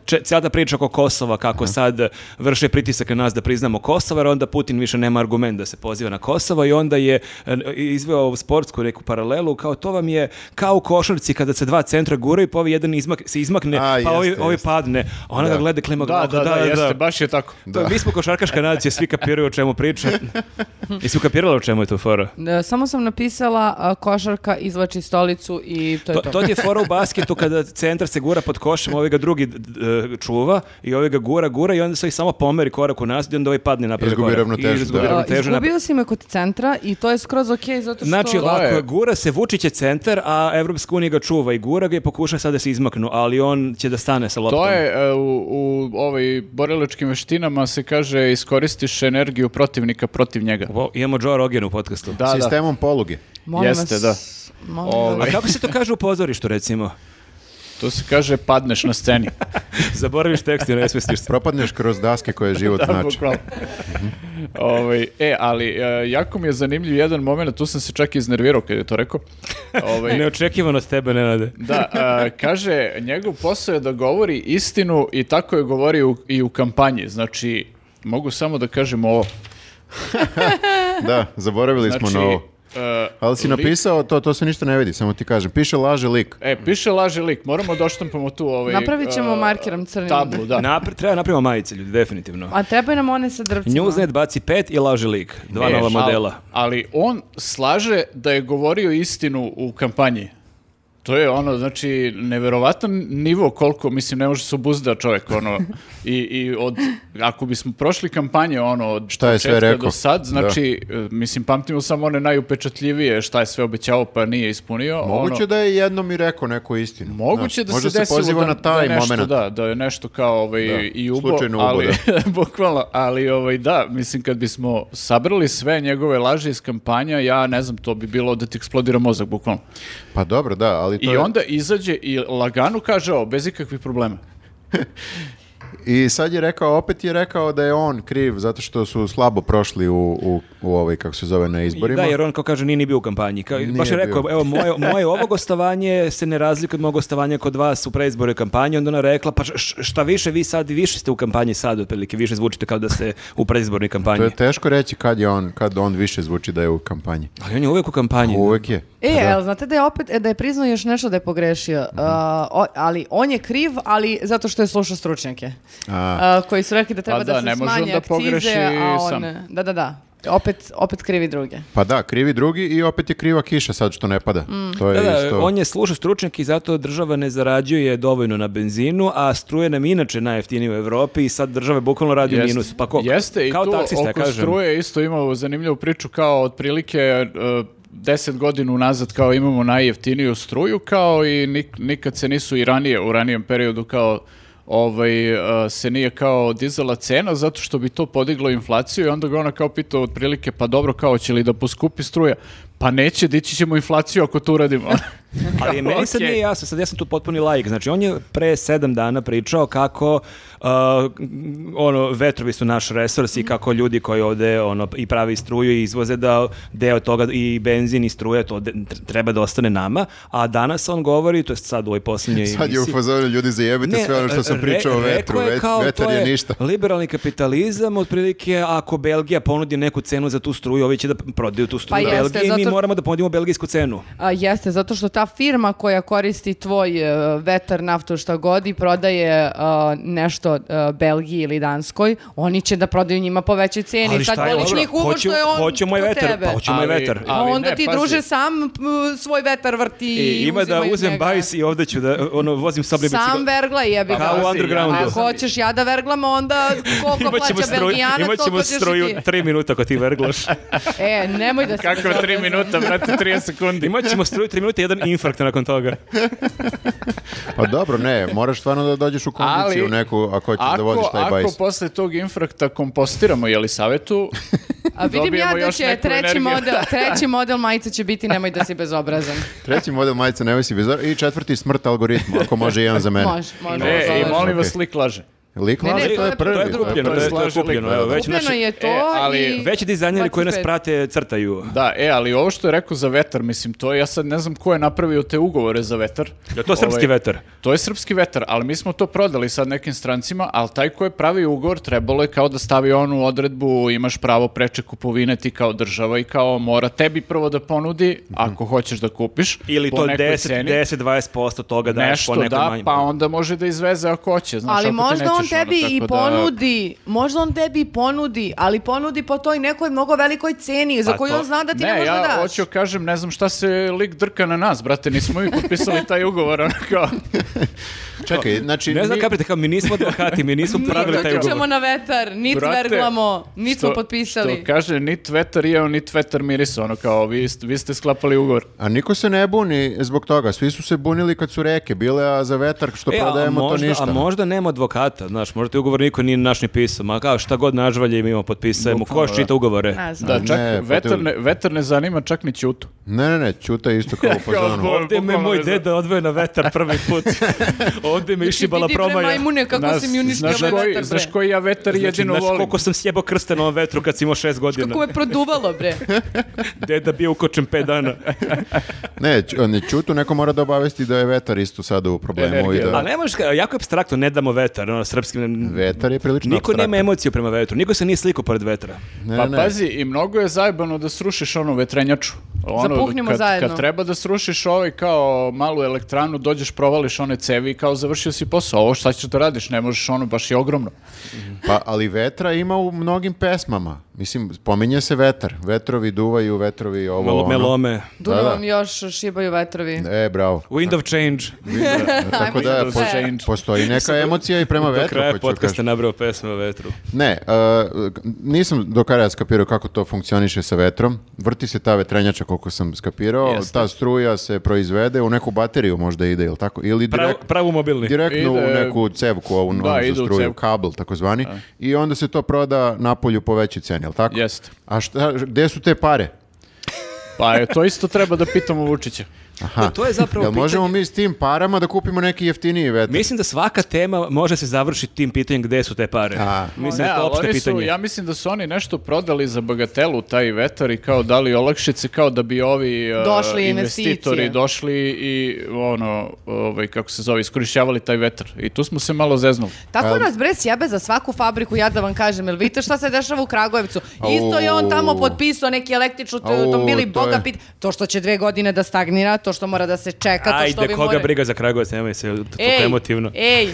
[SPEAKER 3] če, sada priča oko Kosova, kako sad vrše pritisak na nas da priznamo Kosovo, jer onda Putin više nema argument da se poziva na Kosovo i onda je e, izveo ovu sportsku neku paralelu, kao to vam je kao u košarci kada se dva centra guraju, pa ovaj jedan izmak, se izmakne,
[SPEAKER 2] A,
[SPEAKER 3] pa
[SPEAKER 2] jeste,
[SPEAKER 3] ovaj, ovaj
[SPEAKER 2] jeste.
[SPEAKER 3] padne, a ona
[SPEAKER 2] Da.
[SPEAKER 3] ga gleda klima
[SPEAKER 4] Da, da, da, jeste, baš je tako.
[SPEAKER 3] To, mi smo košarkaška nacija, svi kapiraju o čemu priča. Jesi ukapirala o čemu je to fora?
[SPEAKER 1] E, Samo sam napisala a, košarka izvlači stolicu i to je
[SPEAKER 3] To,
[SPEAKER 1] to.
[SPEAKER 3] to ti je fora u basketu kada centar se gura pod košem, ovaj ga drugi d- d- čuva i ovaj ga gura, gura i onda se ovaj samo pomeri korak u nas i onda ovaj padne napred.
[SPEAKER 2] Izgubi
[SPEAKER 3] korak.
[SPEAKER 2] ravnotežu,
[SPEAKER 3] I izgubi
[SPEAKER 2] da.
[SPEAKER 1] E,
[SPEAKER 3] ravnotežu. napred.
[SPEAKER 1] Izgubio si me kod centra i to je skroz okej zato što...
[SPEAKER 3] Znači, ovako,
[SPEAKER 4] To je-
[SPEAKER 3] gura se Vučić je centar, a Evropska unija ga čuva i gura ga i pokuša sad da se izmaknu, ali on će da stane sa loptom.
[SPEAKER 4] To je e, u, u ovaj borilačkim veštinama se kaže iskoristiš energiju protivnika protiv njega.
[SPEAKER 3] Wow, imamo Joe Rogan u podcastu.
[SPEAKER 4] Da, da.
[SPEAKER 2] Sistemom poluge.
[SPEAKER 1] Molim
[SPEAKER 4] Jeste,
[SPEAKER 1] vas,
[SPEAKER 4] da.
[SPEAKER 1] molim
[SPEAKER 4] Ovaj.
[SPEAKER 3] A
[SPEAKER 1] vas.
[SPEAKER 3] kako se to kaže u pozorištu,
[SPEAKER 4] <laughs>
[SPEAKER 3] recimo?
[SPEAKER 4] To se kaže padneš na <laughs> sceni.
[SPEAKER 3] Zaboraviš tekst i ne svestiš se.
[SPEAKER 2] Propadneš kroz daske
[SPEAKER 4] <laughs>
[SPEAKER 2] koje život znači.
[SPEAKER 4] Bukvalno. Ovaj, e, ali e, jako mi je zanimljiv jedan moment, tu sam se čak iznervirao kad je to rekao. Ovaj,
[SPEAKER 3] Neočekivano od tebe, Nenade.
[SPEAKER 4] da, e, kaže, njegov posao je da govori istinu i tako je govorio u- i u kampanji. Znači, mogu samo da kažem ovo.
[SPEAKER 2] Da, zaboravili
[SPEAKER 4] Znači,
[SPEAKER 2] smo na ovo.
[SPEAKER 4] e,
[SPEAKER 2] Ali si
[SPEAKER 4] lik-
[SPEAKER 2] napisao, to, to se ništa ne vidi, samo ti kažem. Piše laže lik.
[SPEAKER 4] E, piše laži lik, moramo doštampamo tu ovaj...
[SPEAKER 1] Napravit ćemo
[SPEAKER 4] e,
[SPEAKER 1] markerom crnim.
[SPEAKER 4] Tablu, da.
[SPEAKER 3] Napre- treba napravimo majice, ljudi, definitivno.
[SPEAKER 1] A trebaju nam one sa drvcima.
[SPEAKER 3] Newsnet baci pet i laži lik. Dva
[SPEAKER 4] E,
[SPEAKER 3] nova
[SPEAKER 4] šal-
[SPEAKER 3] modela.
[SPEAKER 4] Ali on slaže da je govorio istinu u kampanji. To je ono, znači, neverovatan nivo koliko, mislim, ne može se obuzda čovjek, ono, i, i od, ako bismo prošli kampanje, ono, od
[SPEAKER 2] Šta je sve
[SPEAKER 4] početka
[SPEAKER 2] rekao?
[SPEAKER 4] do sad, znači, e, mislim, pamtimo samo one najupečatljivije, šta je sve obećao pa nije ispunio,
[SPEAKER 2] Moguće
[SPEAKER 4] ono,
[SPEAKER 2] da je jednom i rekao neku istinu.
[SPEAKER 4] Moguće
[SPEAKER 2] Znaš,
[SPEAKER 4] da
[SPEAKER 2] možda
[SPEAKER 4] se desilo
[SPEAKER 2] poziva
[SPEAKER 4] da,
[SPEAKER 2] na taj
[SPEAKER 4] da nešto,
[SPEAKER 2] moment.
[SPEAKER 4] da, da je nešto kao ovaj, i ubo,
[SPEAKER 2] slučajno ubo,
[SPEAKER 4] ali, <laughs> bukvalno, ali ovaj, da, mislim kad bismo sabrali sve njegove laži iz kampanja, ja ne znam, to bi bilo da ti eksplodira mozak, bukvalno.
[SPEAKER 2] Pa dobro, da, ali to
[SPEAKER 4] I
[SPEAKER 2] je-
[SPEAKER 4] onda izađe i lagano kaže ovo, bez ikakvih problema.
[SPEAKER 2] I sad je rekao, opet je rekao da je on kriv zato što su slabo prošli u, u, u ovaj, kako se zove, na izborima.
[SPEAKER 3] Da, jer on kao kaže nije ni bio u kampanji. Kao,
[SPEAKER 2] Nije
[SPEAKER 3] baš je rekao,
[SPEAKER 2] bio.
[SPEAKER 3] evo moje, moje ovo gostovanje se ne razlikuje od mog gostavanja kod vas u preizboru i kampanji. Onda ona rekla, pa š- šta više vi sad, više ste u kampanji sad, otprilike, više zvučite kao da ste u predizbornoj kampanji.
[SPEAKER 2] To je teško reći kad je on, kad on više zvuči da je u kampanji.
[SPEAKER 3] Ali on je uvijek u kampanji.
[SPEAKER 2] Uvek je.
[SPEAKER 1] E,
[SPEAKER 2] Da.
[SPEAKER 1] el, znate da je opet, e, da je priznao još nešto da je pogrešio.
[SPEAKER 4] Mhm.
[SPEAKER 1] A, o- ali on je kriv, ali zato što je slušao stručnjake. A, koji su rekli da treba
[SPEAKER 4] Pa
[SPEAKER 1] da,
[SPEAKER 4] da,
[SPEAKER 1] se
[SPEAKER 4] ne može
[SPEAKER 1] smanje
[SPEAKER 4] on da
[SPEAKER 1] akcize,
[SPEAKER 4] pogreši
[SPEAKER 1] a on...
[SPEAKER 4] sam.
[SPEAKER 1] Da, da, da. Opet, opet krivi druge.
[SPEAKER 2] Pa da, krivi drugi i opet je kriva kiša sad što ne pada.
[SPEAKER 1] Mm.
[SPEAKER 2] To je
[SPEAKER 3] Da, da,
[SPEAKER 2] isto.
[SPEAKER 3] on je slušao stručnjak i zato država ne zarađuje dovoljno na benzinu, a struje nam inače najjeftinije u Evropi i sad država bukvalno radi u
[SPEAKER 4] Jeste.
[SPEAKER 3] minusu. Pa ko?
[SPEAKER 4] Jeste, i
[SPEAKER 3] kao
[SPEAKER 4] tu
[SPEAKER 3] taksista,
[SPEAKER 4] oko
[SPEAKER 3] kažem.
[SPEAKER 4] struje isto imao zanimljivu priču kao otprilike e, deset godina unazad kao imamo najjeftiniju struju kao i nik- nikad se nisu i ranije u ranijem periodu kao ovaj, e, se nije kao dizala cena zato što bi to podiglo inflaciju i onda ga ona kao pitao otprilike pa dobro kao će li da poskupi struja pa neće, dići ćemo inflaciju ako to uradimo. <laughs>
[SPEAKER 3] Ali je meni sad
[SPEAKER 4] Okej.
[SPEAKER 3] nije jasno, sad ja sam tu potpuni laik. Znači, on je pre sedam dana pričao kako uh, ono, vetrovi su naš resurs i kako ljudi koji ovde ono, i pravi struju i izvoze da deo toga i benzin i struje, to de- treba da ostane nama. A danas on govori, to je sad u ovoj posljednjoj
[SPEAKER 2] Sad je u
[SPEAKER 3] emisiji-
[SPEAKER 2] fazonu ljudi zajebite sve ono što sam
[SPEAKER 3] re-
[SPEAKER 2] pričao o
[SPEAKER 3] rekao
[SPEAKER 2] vetru.
[SPEAKER 3] je
[SPEAKER 2] Vet-
[SPEAKER 3] kao,
[SPEAKER 2] vetar
[SPEAKER 3] to
[SPEAKER 2] je ništa.
[SPEAKER 3] Liberalni kapitalizam, otprilike, ako Belgija ponudi neku cenu za tu struju, ovi će da prodaju tu struju
[SPEAKER 1] Pa jeste,
[SPEAKER 3] Belgiji i mi
[SPEAKER 1] zato-
[SPEAKER 3] moramo da ponudimo belgijsku cenu.
[SPEAKER 1] A, jeste, zato što ta firma koja koristi tvoj e, vetar, naftu, šta god i prodaje e, nešto e, Belgiji ili Danskoj, oni će da prodaju njima po većoj cijeni. Sad boliš
[SPEAKER 3] dobro,
[SPEAKER 1] njih uvo što je on
[SPEAKER 3] hoću moj
[SPEAKER 1] kod
[SPEAKER 3] vetar,
[SPEAKER 1] tebe.
[SPEAKER 3] pa hoću moj
[SPEAKER 4] Ali-
[SPEAKER 3] vetar.
[SPEAKER 1] A
[SPEAKER 4] Ali
[SPEAKER 1] onda
[SPEAKER 4] ne,
[SPEAKER 1] ti
[SPEAKER 4] pazi.
[SPEAKER 1] druže sam m, svoj vetar vrti
[SPEAKER 3] I E, ima da
[SPEAKER 1] uzimaj iz
[SPEAKER 3] uzem
[SPEAKER 1] njega.
[SPEAKER 3] bajs i ovde ću da ono, vozim sobne
[SPEAKER 1] Sam vergla jebi
[SPEAKER 3] Kao
[SPEAKER 1] ga.
[SPEAKER 3] u undergroundu.
[SPEAKER 1] A Ako
[SPEAKER 3] <laughs>
[SPEAKER 1] hoćeš ja da verglam, onda koliko plaća Belgijanac, toliko
[SPEAKER 3] imaćemo
[SPEAKER 1] ćeš i
[SPEAKER 3] struju
[SPEAKER 1] ti.
[SPEAKER 3] tri minuta ako ti
[SPEAKER 1] <laughs>
[SPEAKER 3] verglaš.
[SPEAKER 1] E, nemoj da se...
[SPEAKER 4] Kako tri
[SPEAKER 1] zezam.
[SPEAKER 4] minuta, brate, 30 sekundi.
[SPEAKER 3] Imaćemo struju tri minuta i jedan infarkt nakon
[SPEAKER 1] <laughs>
[SPEAKER 3] toga.
[SPEAKER 2] Pa dobro, ne, moraš stvarno da dođeš u kondiciju
[SPEAKER 4] Ali,
[SPEAKER 2] neku ako hoćeš da voziš taj
[SPEAKER 4] ako
[SPEAKER 2] bajs.
[SPEAKER 4] posle tog infrakta kompostiramo
[SPEAKER 1] <laughs>
[SPEAKER 4] Jelisavetu,
[SPEAKER 1] A vidim ja
[SPEAKER 4] dobijemo
[SPEAKER 1] da
[SPEAKER 4] još
[SPEAKER 1] će
[SPEAKER 4] neku
[SPEAKER 1] treći
[SPEAKER 4] energiju. <laughs>
[SPEAKER 1] model, treći model majice će biti nemoj da si bezobrazan.
[SPEAKER 2] Treći model majice nemoj si bezor i četvrti smrt algoritmu, ako može jedan za mene.
[SPEAKER 1] Može, može.
[SPEAKER 4] E,
[SPEAKER 1] može.
[SPEAKER 4] i molim vas,
[SPEAKER 2] Okej.
[SPEAKER 4] lik laže.
[SPEAKER 2] Lik
[SPEAKER 1] Ne, ne,
[SPEAKER 2] laže,
[SPEAKER 1] E, to
[SPEAKER 2] to
[SPEAKER 1] je-
[SPEAKER 2] je prvi.
[SPEAKER 3] To je
[SPEAKER 2] prvi.
[SPEAKER 3] kupljeno, to je, to je
[SPEAKER 4] slažu
[SPEAKER 3] kupljeno.
[SPEAKER 4] lik.
[SPEAKER 3] Evo, već
[SPEAKER 1] Kupljeno
[SPEAKER 3] naši-
[SPEAKER 1] je to
[SPEAKER 4] E,
[SPEAKER 1] i...
[SPEAKER 4] ali
[SPEAKER 3] Veći dizajneri koji nas
[SPEAKER 1] 25.
[SPEAKER 3] prate crtaju.
[SPEAKER 4] Da, e, ali ovo što je rekao za vetar, mislim, to je, ja sad ne znam ko je napravio te ugovore za vetar.
[SPEAKER 3] Je to srpski
[SPEAKER 4] Ovaj,
[SPEAKER 3] vetar?
[SPEAKER 4] To je srpski vetar, ali mi smo to prodali sad nekim strancima, ali taj ko je pravio ugovor trebalo je kao da stavi onu odredbu imaš pravo preče kupovine ti kao država i kao mora tebi prvo da ponudi ako hoćeš da kupiš.
[SPEAKER 3] Ili
[SPEAKER 4] po
[SPEAKER 3] to
[SPEAKER 4] nekoj
[SPEAKER 3] 10,
[SPEAKER 4] ceni.
[SPEAKER 3] 10, 20% toga daješ
[SPEAKER 4] nešto
[SPEAKER 3] po nekom
[SPEAKER 4] da,
[SPEAKER 3] manjem.
[SPEAKER 4] pa onda može da izveze ako hoće. Znaš,
[SPEAKER 1] ali
[SPEAKER 4] ako ti
[SPEAKER 1] možda on
[SPEAKER 4] nećeš ono,
[SPEAKER 1] tebi i
[SPEAKER 4] tako
[SPEAKER 1] ponudi, možda on tebi i ponudi, ali ponudi po toj nekoj mnogo velikoj ceni za
[SPEAKER 3] Pa
[SPEAKER 1] koju
[SPEAKER 3] to-
[SPEAKER 1] on zna da ti
[SPEAKER 4] ne,
[SPEAKER 1] ne, može
[SPEAKER 4] ja
[SPEAKER 1] da daš.
[SPEAKER 4] hoću kažem, ne znam šta se lik drka na nas, brate, nismo mi potpisali taj ugovor, ono kao.
[SPEAKER 3] <laughs>
[SPEAKER 2] Čekaj, znači...
[SPEAKER 3] Ne znam
[SPEAKER 2] ni-
[SPEAKER 3] kapite, kao mi nismo advokati, mi
[SPEAKER 1] <laughs>
[SPEAKER 3] nismo pravili taj ugovor.
[SPEAKER 1] Niti na vetar, nit
[SPEAKER 4] Brate,
[SPEAKER 1] verglamo, nit smo
[SPEAKER 4] što-
[SPEAKER 1] potpisali.
[SPEAKER 4] Što kaže, nit vetar jeo, nit vetar mirisao, ono kao, vi, ste- vi ste sklapali ugovor.
[SPEAKER 2] A niko se ne buni zbog toga. Svi su se bunili kad su reke bile, a za vetar što
[SPEAKER 3] E,
[SPEAKER 2] Pa
[SPEAKER 3] a
[SPEAKER 2] prodajemo
[SPEAKER 3] možda,
[SPEAKER 2] to ništa.
[SPEAKER 3] A možda nema advokata, znaš, možda ti ugovor niko nije naš ni pisao, ma kao šta god nažvalje mi imamo potpisajemo, ko
[SPEAKER 4] Bukvalno,
[SPEAKER 3] još čita ugovore?
[SPEAKER 1] Ne znam.
[SPEAKER 4] Da,
[SPEAKER 2] Ne,
[SPEAKER 4] čak
[SPEAKER 2] pa to-
[SPEAKER 4] vetar, ne, vetar ne zanima čak ni Ćutu.
[SPEAKER 2] Ne, ne, ne, Ćuta je
[SPEAKER 3] <laughs>
[SPEAKER 2] isto kao u fazonu.
[SPEAKER 4] Kao
[SPEAKER 3] Ovdje me
[SPEAKER 4] Bukvalno
[SPEAKER 3] moj
[SPEAKER 4] ne znam.
[SPEAKER 3] deda odveo na vetar prvi put. Znači, Ovdje me išibala
[SPEAKER 1] Vidi bre
[SPEAKER 3] promaja.
[SPEAKER 1] majmune kako
[SPEAKER 4] Nas-
[SPEAKER 1] si mi uništio
[SPEAKER 4] znaš
[SPEAKER 1] ovaj
[SPEAKER 4] koji-
[SPEAKER 1] vetar,
[SPEAKER 4] Znaš
[SPEAKER 1] bre.
[SPEAKER 4] koji ja vetar
[SPEAKER 3] Znači,
[SPEAKER 4] jedino
[SPEAKER 3] znaš
[SPEAKER 4] volim?
[SPEAKER 3] koliko sam sjebao krste na ovom vetru kad si imao šest godina.
[SPEAKER 1] Kako me produvalo, bre.
[SPEAKER 3] Deda bio ukočen pet dana.
[SPEAKER 2] Ne, Ću- ne, Ćutu neko mora da obavesti da je vetar isto sada u problemu.
[SPEAKER 4] Energija,
[SPEAKER 2] i da...
[SPEAKER 3] A ne možeš, ka- jako je abstraktno, ne damo vetar, ono, srpskim...
[SPEAKER 2] Vetar je prilično
[SPEAKER 3] Niko nema
[SPEAKER 2] apstraktan.
[SPEAKER 3] emociju prema vetru, niko se nije slikao pored vetra.
[SPEAKER 2] Ne,
[SPEAKER 4] pa
[SPEAKER 2] ne, ne.
[SPEAKER 4] pazi, i mnogo je zajebano da srušiš onu vetrenjaču. Ono,
[SPEAKER 1] Zapuhnimo
[SPEAKER 4] kad,
[SPEAKER 1] zajedno.
[SPEAKER 4] Kad treba da srušiš ovaj kao malu elektranu, dođeš, provališ one cevi i kao završio si posao. Ovo šta ćeš da radiš, ne možeš, ono baš je ogromno.
[SPEAKER 2] Pa, ali vetra ima u mnogim pesmama. Mislim, spominje se vetar. Vetrovi duvaju, vetrovi ovo,
[SPEAKER 3] Malo
[SPEAKER 2] ono.
[SPEAKER 3] melome.
[SPEAKER 1] Dunavom još šibaju vetrovi.
[SPEAKER 2] E, bravo.
[SPEAKER 3] Wind of change.
[SPEAKER 2] Tako da,
[SPEAKER 4] da
[SPEAKER 2] po-
[SPEAKER 4] se-
[SPEAKER 2] postoji neka emocija i prema
[SPEAKER 3] Do
[SPEAKER 2] vetru.
[SPEAKER 3] kraja
[SPEAKER 2] hoću da
[SPEAKER 3] podcasta
[SPEAKER 2] kažem.
[SPEAKER 3] nabrao pesme o vetru.
[SPEAKER 2] Ne, uh, nisam do kraja skapirao kako to funkcioniše sa vetrom. Vrti se ta vetrenjača koliko sam skapirao,
[SPEAKER 3] Jeste.
[SPEAKER 2] ta struja se proizvede u neku bateriju možda ide, ili tako? Ili
[SPEAKER 3] Pravu,
[SPEAKER 2] direkt,
[SPEAKER 3] pravu mobilni.
[SPEAKER 2] direktno u
[SPEAKER 4] Ide-
[SPEAKER 2] neku cevku ovu
[SPEAKER 4] Da,
[SPEAKER 2] da,
[SPEAKER 4] ide u
[SPEAKER 2] struju,
[SPEAKER 4] cevku.
[SPEAKER 2] kabel takozvani, i onda se to proda napolju po većoj ceni, jel tako?
[SPEAKER 4] Jeste.
[SPEAKER 2] A šta, gde su te pare?
[SPEAKER 4] Pa je, to isto treba da pitamo Vučića.
[SPEAKER 2] Aha.
[SPEAKER 3] E, to je zapravo
[SPEAKER 2] Jel možemo
[SPEAKER 3] pitanje.
[SPEAKER 2] mi s tim parama da kupimo neki jeftiniji vetar?
[SPEAKER 3] Mislim da svaka tema može se završiti tim pitanjem gde su te pare.
[SPEAKER 2] A.
[SPEAKER 3] <laughs> Mislim da
[SPEAKER 4] Ne,
[SPEAKER 3] je to
[SPEAKER 4] ali
[SPEAKER 3] opšte
[SPEAKER 4] oni su,
[SPEAKER 3] pitanje.
[SPEAKER 4] ja mislim da su oni nešto prodali za bagatelu, taj vetar i kao dali olakšice, kao da bi ovi e,
[SPEAKER 1] Došli investicije.
[SPEAKER 4] investitori došli i ono, ovaj, kako se zove, iskorišćavali taj vetar. I tu smo se malo zeznuli.
[SPEAKER 1] Tako nas bre sjebe za svaku fabriku, ja da vam kažem, jel vidite šta se dešava u Kragujevcu? Isto je on tamo potpisao neki električni
[SPEAKER 2] Au,
[SPEAKER 1] automobili,
[SPEAKER 2] to
[SPEAKER 1] boga
[SPEAKER 2] je-
[SPEAKER 1] pit, to što će dve godine da stagnira, to što mora da se čeka, to što
[SPEAKER 3] Ajde,
[SPEAKER 1] vi
[SPEAKER 3] koga
[SPEAKER 1] morali-
[SPEAKER 3] briga za Kragujevac, nemoj se t- tako
[SPEAKER 1] Ej,
[SPEAKER 3] emotivno.
[SPEAKER 1] Ej,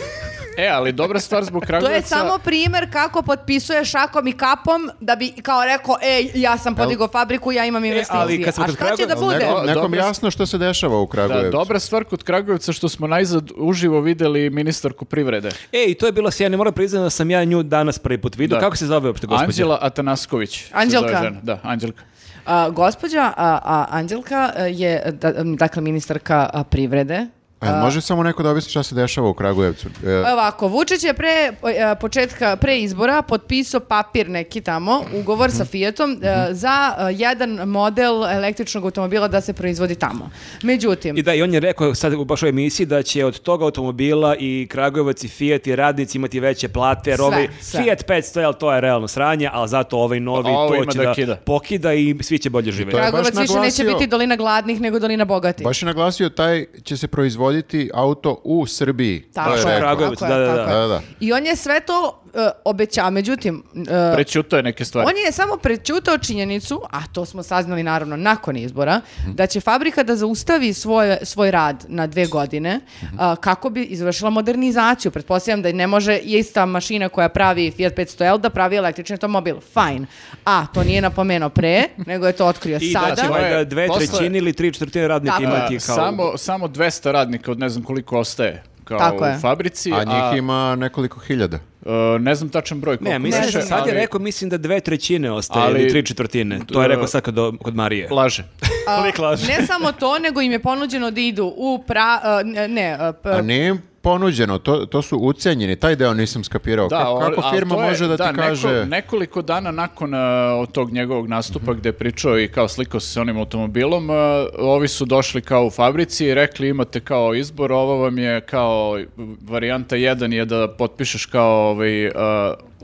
[SPEAKER 4] E, ali dobra stvar
[SPEAKER 1] <laughs>
[SPEAKER 4] zbog
[SPEAKER 1] to
[SPEAKER 4] Kragujevca...
[SPEAKER 1] je samo primer kako potpisuje šakom i kapom da bi kao rekao, ej, ja sam podigao fabriku, ja imam investicije.
[SPEAKER 3] E, ali kad smo
[SPEAKER 1] A
[SPEAKER 3] kod
[SPEAKER 1] šta će da
[SPEAKER 3] Kragujevca-
[SPEAKER 2] Jel
[SPEAKER 1] bude?
[SPEAKER 2] neko- nekom
[SPEAKER 4] Dobro.
[SPEAKER 2] jasno što se dešava u
[SPEAKER 4] Da,
[SPEAKER 2] Kragujevcu.
[SPEAKER 4] dobra stvar kod Kragujevca što smo najzad uživo videli ministarku privrede.
[SPEAKER 3] Ej, to je bilo sjajno, moram priznati da sam ja nju danas prvi put vidio.
[SPEAKER 4] Da.
[SPEAKER 3] Kako se zove uopšte gospođa?
[SPEAKER 4] Anđela Atanasković. se
[SPEAKER 1] Anđelka.
[SPEAKER 4] zove žena. Da, Anđelka.
[SPEAKER 1] A, gospođa a, a, Anđelka a, je, da, m, dakle, ministarka a, privrede.
[SPEAKER 2] A jel E, može samo neko da objasni šta se dešava u Kragujevcu? E,
[SPEAKER 1] Ovako, Vučić je pre e, početka, pre izbora potpisao papir neki tamo, ugovor
[SPEAKER 2] Mhm.
[SPEAKER 1] sa Fiatom, e, za e, jedan model električnog automobila da se proizvodi tamo. Međutim,
[SPEAKER 3] I da, i on je rekao sad u baš u emisiji da će od toga automobila i Kragujevac i Fiat i radnici imati veće plate, jer
[SPEAKER 1] Sve,
[SPEAKER 3] ovaj
[SPEAKER 1] sve.
[SPEAKER 3] Fiat 500, jel, to je realno sranje, ali zato ovaj novi
[SPEAKER 4] A ovo
[SPEAKER 3] to
[SPEAKER 4] ima
[SPEAKER 3] će
[SPEAKER 4] da
[SPEAKER 3] da,
[SPEAKER 4] kida.
[SPEAKER 3] pokida i svi će bolje živjeti.
[SPEAKER 2] to je-
[SPEAKER 1] Kragovac
[SPEAKER 2] baš
[SPEAKER 1] više neće
[SPEAKER 2] naglasio-
[SPEAKER 1] biti dolina gladnih nego dolina bogatih.
[SPEAKER 2] Baš je naglasio, taj će se proizvoditi auto u Srbiji. Dakle,
[SPEAKER 1] Tako
[SPEAKER 2] to
[SPEAKER 1] je,
[SPEAKER 2] je rekao.
[SPEAKER 3] u Kragujevac.
[SPEAKER 1] tako je,
[SPEAKER 3] da, da,
[SPEAKER 1] tako
[SPEAKER 3] da.
[SPEAKER 1] je.
[SPEAKER 2] Da, da.
[SPEAKER 1] I on je sve to e, obećao, međutim, e,
[SPEAKER 4] Prećuto je neke stvari.
[SPEAKER 1] On je samo prećutao činjenicu, a to smo saznali naravno nakon izbora,
[SPEAKER 3] Mhm.
[SPEAKER 1] da će fabrika da zaustavi svoj, svoj rad na dve godine
[SPEAKER 3] Mhm.
[SPEAKER 1] a, kako bi izvršila modernizaciju. Pretpostavljam da ne može ista mašina koja pravi Fiat 500L da pravi električni automobil. Fine. A, to nije napomenuo pre, nego je to otkrio
[SPEAKER 3] I
[SPEAKER 1] sada.
[SPEAKER 3] da će Znači, valjda dve
[SPEAKER 4] Posle-
[SPEAKER 3] trećine ili tri četvrtine radnika
[SPEAKER 1] Tako je.
[SPEAKER 3] imati
[SPEAKER 4] A,
[SPEAKER 3] kao...
[SPEAKER 4] Samo, samo 200 radnika od ne znam koliko ostaje kao
[SPEAKER 1] Tako
[SPEAKER 4] u
[SPEAKER 1] je.
[SPEAKER 4] fabrici.
[SPEAKER 2] A njih ima nekoliko hiljada.
[SPEAKER 4] e, ne znam tačan broj.
[SPEAKER 3] Ne,
[SPEAKER 4] koliko
[SPEAKER 3] mislim
[SPEAKER 1] Ne
[SPEAKER 3] da
[SPEAKER 4] tačno,
[SPEAKER 1] znam.
[SPEAKER 3] sad je
[SPEAKER 4] ali
[SPEAKER 3] rekao, mislim da dve trećine ostaje
[SPEAKER 4] Ali-
[SPEAKER 3] ili tri četvrtine. To je rekao sad kod, kod Marije.
[SPEAKER 4] Laže.
[SPEAKER 1] A,
[SPEAKER 3] Lik laže.
[SPEAKER 1] ne samo to, nego im je ponuđeno da idu u pra... a, ne, ne, a, p-
[SPEAKER 2] A nije im ponuđeno, to, to su ucenjeni, taj deo nisam skapirao.
[SPEAKER 4] Da,
[SPEAKER 2] kako,
[SPEAKER 4] ali-
[SPEAKER 2] kako
[SPEAKER 4] ali
[SPEAKER 2] firma
[SPEAKER 4] to je-
[SPEAKER 2] može da, ti
[SPEAKER 4] neko-
[SPEAKER 2] kaže...
[SPEAKER 4] nekoliko dana nakon e, od tog njegovog nastupa gdje je pričao i kao slikao se s onim automobilom, e, ovi su došli kao u fabrici i rekli imate kao izbor, ovo vam je kao varijanta jedan je da potpišeš kao ovaj, e,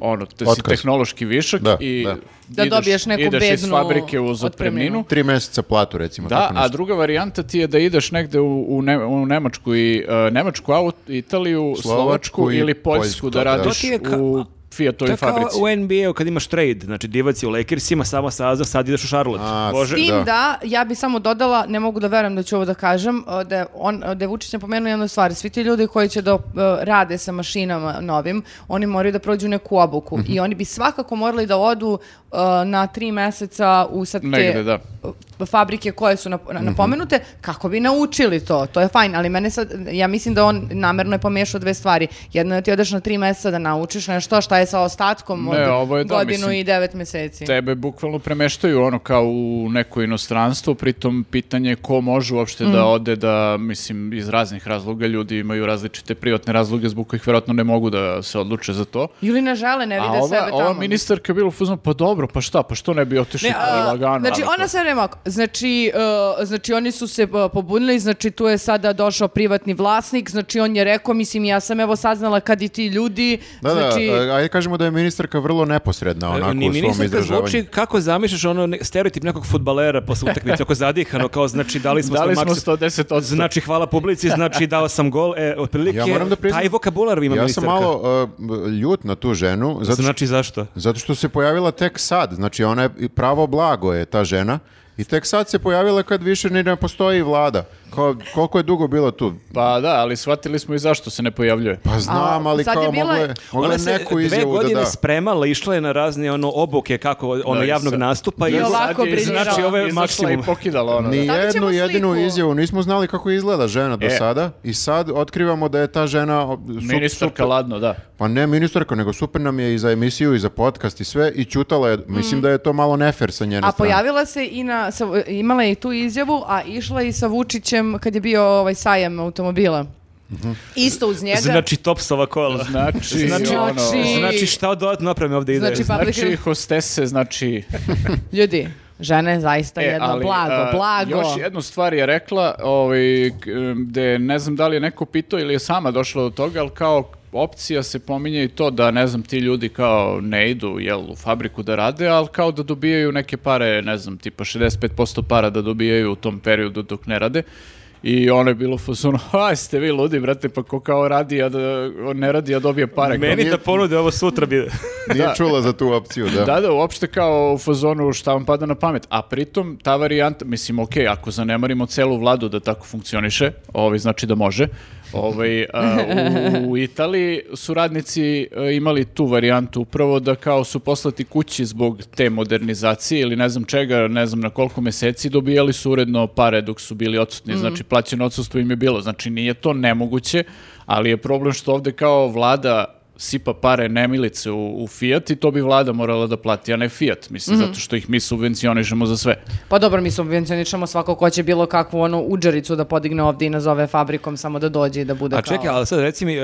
[SPEAKER 4] ono, te si
[SPEAKER 2] Otkaz.
[SPEAKER 4] tehnološki višak
[SPEAKER 2] Da,
[SPEAKER 4] i
[SPEAKER 2] da.
[SPEAKER 1] Da dobiješ neku
[SPEAKER 4] ideš iz
[SPEAKER 1] bednu
[SPEAKER 4] fabrike uz
[SPEAKER 1] otpremninu.
[SPEAKER 4] otpremninu.
[SPEAKER 2] Tri meseca platu, recimo.
[SPEAKER 3] Pa
[SPEAKER 4] Da,
[SPEAKER 2] tako
[SPEAKER 4] a
[SPEAKER 2] nešto.
[SPEAKER 4] druga varijanta ti je da ideš negde u, u, ne, u Nemačku i e, Nemačku, aut- Italiju,
[SPEAKER 2] Slovačku
[SPEAKER 4] Slovačku
[SPEAKER 2] i
[SPEAKER 4] ili Poljsku,
[SPEAKER 2] Poljsku,
[SPEAKER 4] da
[SPEAKER 2] da.
[SPEAKER 4] radiš
[SPEAKER 3] To ti je ka-
[SPEAKER 4] u
[SPEAKER 3] To je
[SPEAKER 4] Fiatovoj
[SPEAKER 3] kao
[SPEAKER 4] fabrici.
[SPEAKER 3] u NBA-u kad imaš trade, znači divac je u Lakersima, samo sazna, sad ideš u Charlotte.
[SPEAKER 2] A,
[SPEAKER 3] Bože,
[SPEAKER 1] S tim da.
[SPEAKER 2] Da.
[SPEAKER 1] ja bi samo dodala, ne mogu da verujem da ću ovo da kažem, a, da je, on, a, da je Vučić napomenuo jednu stvar. Svi ti ljudi koji će da a, rade sa mašinama novim, oni moraju da prođu neku obuku
[SPEAKER 4] Mhm.
[SPEAKER 1] i oni bi svakako morali da odu a, na tri meseca u sad te
[SPEAKER 4] Negde, da. Mhm.
[SPEAKER 1] a, fabrike koje su nap- na- napomenute, kako bi naučili to. To je fajn, ali mene sad, ja mislim da on namerno je pomiješao dve stvari. Jedno je da ti odeš na tri meseca da naučiš nešto, šta je sa ostatkom
[SPEAKER 4] Ne,
[SPEAKER 1] od
[SPEAKER 4] ovo je da,
[SPEAKER 1] godinu
[SPEAKER 4] mislim,
[SPEAKER 1] i devet meseci.
[SPEAKER 4] Tebe bukvalno premeštaju ono kao u neko inostranstvo, pritom pitanje je ko može uopšte
[SPEAKER 3] Mhm.
[SPEAKER 4] da ode da, mislim, iz raznih razloga ljudi imaju različite privatne razloge zbog kojih vjerojatno ne mogu da se odluče za to.
[SPEAKER 1] Ili ne žele, ne
[SPEAKER 4] A
[SPEAKER 1] vide
[SPEAKER 4] ova,
[SPEAKER 1] sebe tamo.
[SPEAKER 4] ova ministarka je bila u fuzonu, pa dobro, pa šta, pa što ne bi otišli
[SPEAKER 3] Ne,
[SPEAKER 4] kao
[SPEAKER 3] a,
[SPEAKER 4] lagano.
[SPEAKER 1] Znači,
[SPEAKER 4] ali pa-
[SPEAKER 1] ona
[SPEAKER 4] to-
[SPEAKER 1] se nema. Znači, e, znači, oni su se e, pobunili, znači, tu je sada došao privatni vlasnik, znači, on je rekao, mislim, ja sam evo saznala kad i ti ljudi,
[SPEAKER 2] Da,
[SPEAKER 1] znači...
[SPEAKER 2] da, e, ajde kažemo da je ministarka vrlo neposredna onako
[SPEAKER 3] E, Ni
[SPEAKER 2] u svom
[SPEAKER 3] ministarka
[SPEAKER 2] izražavanju.
[SPEAKER 3] zvuči kako zamišljaš ono ne- stereotip nekog futbalera posle utakmice, ako zadihano, kao znači
[SPEAKER 2] <laughs>
[SPEAKER 3] dali smo,
[SPEAKER 4] Dali
[SPEAKER 3] svoj
[SPEAKER 4] smo
[SPEAKER 3] maksimum.
[SPEAKER 4] 110 odsto.
[SPEAKER 3] Znači, hvala publici, znači dao sam gol, e, otprilike,
[SPEAKER 2] Ja moram da priznam-
[SPEAKER 3] taj vokabular ima
[SPEAKER 2] Ja sam
[SPEAKER 3] ministarka.
[SPEAKER 2] malo e, ljut na tu ženu, zato što
[SPEAKER 3] Znači, zašto?
[SPEAKER 2] Zato što se pojavila tek sad, znači ona je pravo blago je ta žena I tek sad se pojavila kad više ni ne postoji vlada. Kao, koliko je dugo bilo tu?
[SPEAKER 4] Pa da, ali shvatili smo i zašto se ne pojavljuje.
[SPEAKER 2] Pa znam,
[SPEAKER 1] A,
[SPEAKER 2] ali
[SPEAKER 1] sad
[SPEAKER 2] kao
[SPEAKER 1] je bila-
[SPEAKER 2] mogla je, mogla je
[SPEAKER 3] se
[SPEAKER 2] neku
[SPEAKER 3] dve
[SPEAKER 2] izjavu da
[SPEAKER 3] godine
[SPEAKER 2] da.
[SPEAKER 3] spremala, išla je na razne ono obuke kako ono
[SPEAKER 4] Da, i
[SPEAKER 3] javnog
[SPEAKER 4] sad-
[SPEAKER 3] nastupa i
[SPEAKER 1] I ovako
[SPEAKER 4] Sad je
[SPEAKER 1] briljirala.
[SPEAKER 4] Znači, ovo je maksimum.
[SPEAKER 3] maksimum.
[SPEAKER 4] i pokidala ona.
[SPEAKER 2] Ni
[SPEAKER 1] Sad ćemo
[SPEAKER 2] jednu jedinu
[SPEAKER 1] sliku.
[SPEAKER 2] izjavu nismo znali kako izgleda žena do
[SPEAKER 4] E.
[SPEAKER 2] sada i sad otkrivamo da je ta žena o, su-
[SPEAKER 4] Ministarka ladno, <laughs> da.
[SPEAKER 2] Pa ne ministarka, nego super nam je i za emisiju i za podcast i sve i čutala je. Mislim da je to malo nefer sa njene
[SPEAKER 1] Mm. A
[SPEAKER 2] strane.
[SPEAKER 1] pojavila se i na, sa, imala je i tu izjavu, a išla je i sa Vučićem kad je bio ovaj sajam automobila.
[SPEAKER 2] Mhm.
[SPEAKER 1] Isto uz njega.
[SPEAKER 3] Znači topsova kola.
[SPEAKER 4] Znači,
[SPEAKER 3] Znači-
[SPEAKER 4] ono,
[SPEAKER 1] Znači-
[SPEAKER 3] Znači šta dodatno napravim ovde ide.
[SPEAKER 1] Znači, pa-
[SPEAKER 4] znači hostese, znači...
[SPEAKER 1] Ljudi, žene zaista
[SPEAKER 4] E,
[SPEAKER 1] jedno
[SPEAKER 4] ali,
[SPEAKER 1] blago,
[SPEAKER 4] a,
[SPEAKER 1] blago.
[SPEAKER 4] Još jednu stvar je rekla, ovaj, k- em, gde ne znam da li je neko pitao ili je sama došla do toga, ali kao opcija se pominje i to da, ne znam, ti ljudi kao ne idu jel, u fabriku da rade, ali kao da dobijaju neke pare, ne znam, tipa 65% para da dobijaju u tom periodu dok ne rade. I ono je bilo u fazonu, a ste vi ludi, brate, pa ko kao radi, a da, ne radi, a dobije pare. Kao,
[SPEAKER 3] Meni da ponude ovo sutra bi...
[SPEAKER 2] Nije
[SPEAKER 4] Da.
[SPEAKER 2] čula za tu opciju, da.
[SPEAKER 4] da, da, uopšte kao u fazonu šta vam pada na pamet. A pritom, ta varijanta, mislim, ok, ako zanemarimo celu vladu da tako funkcioniše, ovaj, znači da može, ovaj, a, u, u Italiji su radnici a, imali tu varijantu upravo da kao su poslati kući zbog te modernizacije ili ne znam čega, ne znam na koliko meseci, dobijali su uredno pare dok su bili odsutni, znači plaćeno odsustvo im je bilo. Znači nije to nemoguće, ali je problem što ovde kao vlada sipa pare nemilice u, u Fiat i to bi vlada morala da plati, a ne Fiat, mislim,
[SPEAKER 1] Mhm.
[SPEAKER 4] zato što ih mi subvencionišemo za sve.
[SPEAKER 1] Pa dobro, mi subvencioničamo svako ko će bilo kakvu onu uđaricu da podigne ovdje i nazove fabrikom samo da dođe i da bude
[SPEAKER 3] A
[SPEAKER 1] kao...
[SPEAKER 3] čekaj, ali sad reci mi, e,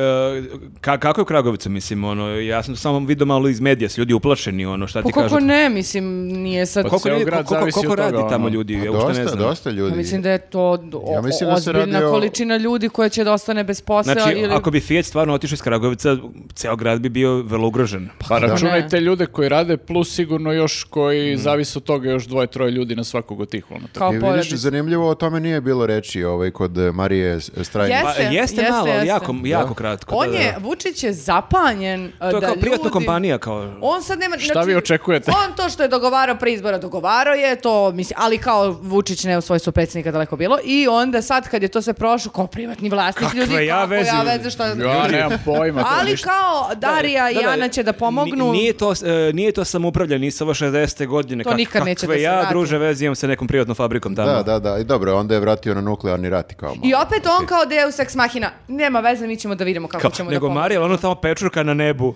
[SPEAKER 3] ka- kako je u Kragovicu, mislim, ono, ja sam samo vidio malo iz medija, su ljudi uplašeni, ono, šta
[SPEAKER 1] Pa
[SPEAKER 3] ti
[SPEAKER 1] kako
[SPEAKER 3] kažu?
[SPEAKER 1] ne, mislim, nije sad...
[SPEAKER 4] Pa
[SPEAKER 3] Koliko,
[SPEAKER 4] Ceo
[SPEAKER 3] ljudi-
[SPEAKER 4] grad
[SPEAKER 3] koliko-
[SPEAKER 4] zavisi
[SPEAKER 3] koliko
[SPEAKER 4] od toga,
[SPEAKER 3] radi tamo
[SPEAKER 4] ono.
[SPEAKER 3] ljudi,
[SPEAKER 2] Pa
[SPEAKER 3] ja uopšte
[SPEAKER 2] dosta,
[SPEAKER 3] ne znam.
[SPEAKER 2] dosta ljudi.
[SPEAKER 1] Ja mislim da je to d- o-
[SPEAKER 2] Ja mislim da se
[SPEAKER 1] ozbiljna
[SPEAKER 2] radi o-
[SPEAKER 1] količina ljudi koja će da ostane bez posla
[SPEAKER 3] Znači,
[SPEAKER 1] ili...
[SPEAKER 3] ako bi Fiat stvarno otišao iz Kragovica, ceo grad bi bio vrlo ugrožen.
[SPEAKER 4] Pa
[SPEAKER 1] ne? Mhm.
[SPEAKER 4] računajte ljude koji rade, plus sigurno još koji zavise od toga još dvoje, troje ljudi na svakog od tih. Ono, tako.
[SPEAKER 1] Kao
[SPEAKER 2] I vidiš,
[SPEAKER 1] porodica.
[SPEAKER 2] zanimljivo, o tome nije bilo reči ovaj, kod eh, Marije Strajnice.
[SPEAKER 1] Jeste,
[SPEAKER 3] Pa, jeste,
[SPEAKER 1] jeste,
[SPEAKER 3] malo, ali
[SPEAKER 1] jeste.
[SPEAKER 3] jako, jako kratko.
[SPEAKER 1] On
[SPEAKER 3] da, da.
[SPEAKER 1] je, Vučić je zapanjen a,
[SPEAKER 3] To je
[SPEAKER 1] da
[SPEAKER 3] kao privatna
[SPEAKER 1] ljudi-
[SPEAKER 3] kompanija, kao...
[SPEAKER 1] On sad nema... znači,
[SPEAKER 4] Šta vi očekujete?
[SPEAKER 1] On to što je dogovarao pre izbora, dogovarao je to, mislim, ali kao Vučić ne u svojstvu predsjednika daleko bilo i onda sad kad je to sve prošlo, kao privatni vlasnik
[SPEAKER 3] Kakve
[SPEAKER 1] ljudi,
[SPEAKER 3] ja
[SPEAKER 1] kako
[SPEAKER 3] veze?
[SPEAKER 1] ja veze, šta...
[SPEAKER 4] Ja nemam pojma. to
[SPEAKER 1] ali
[SPEAKER 4] ništa.
[SPEAKER 1] kao Darija i
[SPEAKER 3] Da, da,
[SPEAKER 1] Ana će da pomognu...
[SPEAKER 3] ni- Nije to, e, nije to samoupravljanje, nisu ovo 60. godine.
[SPEAKER 1] To nikad neće
[SPEAKER 3] kakve
[SPEAKER 1] da se
[SPEAKER 3] ja,
[SPEAKER 1] vrati.
[SPEAKER 3] druže, veze imam sa nekom privatnom fabrikom tamo.
[SPEAKER 2] Da, da, da. I dobro, onda je vratio na nuklearni rat i kao malo.
[SPEAKER 1] I opet on kao Deus ex machina. Nema veze, mi ćemo da vidimo kako
[SPEAKER 3] Kao,
[SPEAKER 1] ćemo da
[SPEAKER 3] nego
[SPEAKER 1] pomognemo.
[SPEAKER 3] Marija, ono tamo pečurka na nebu.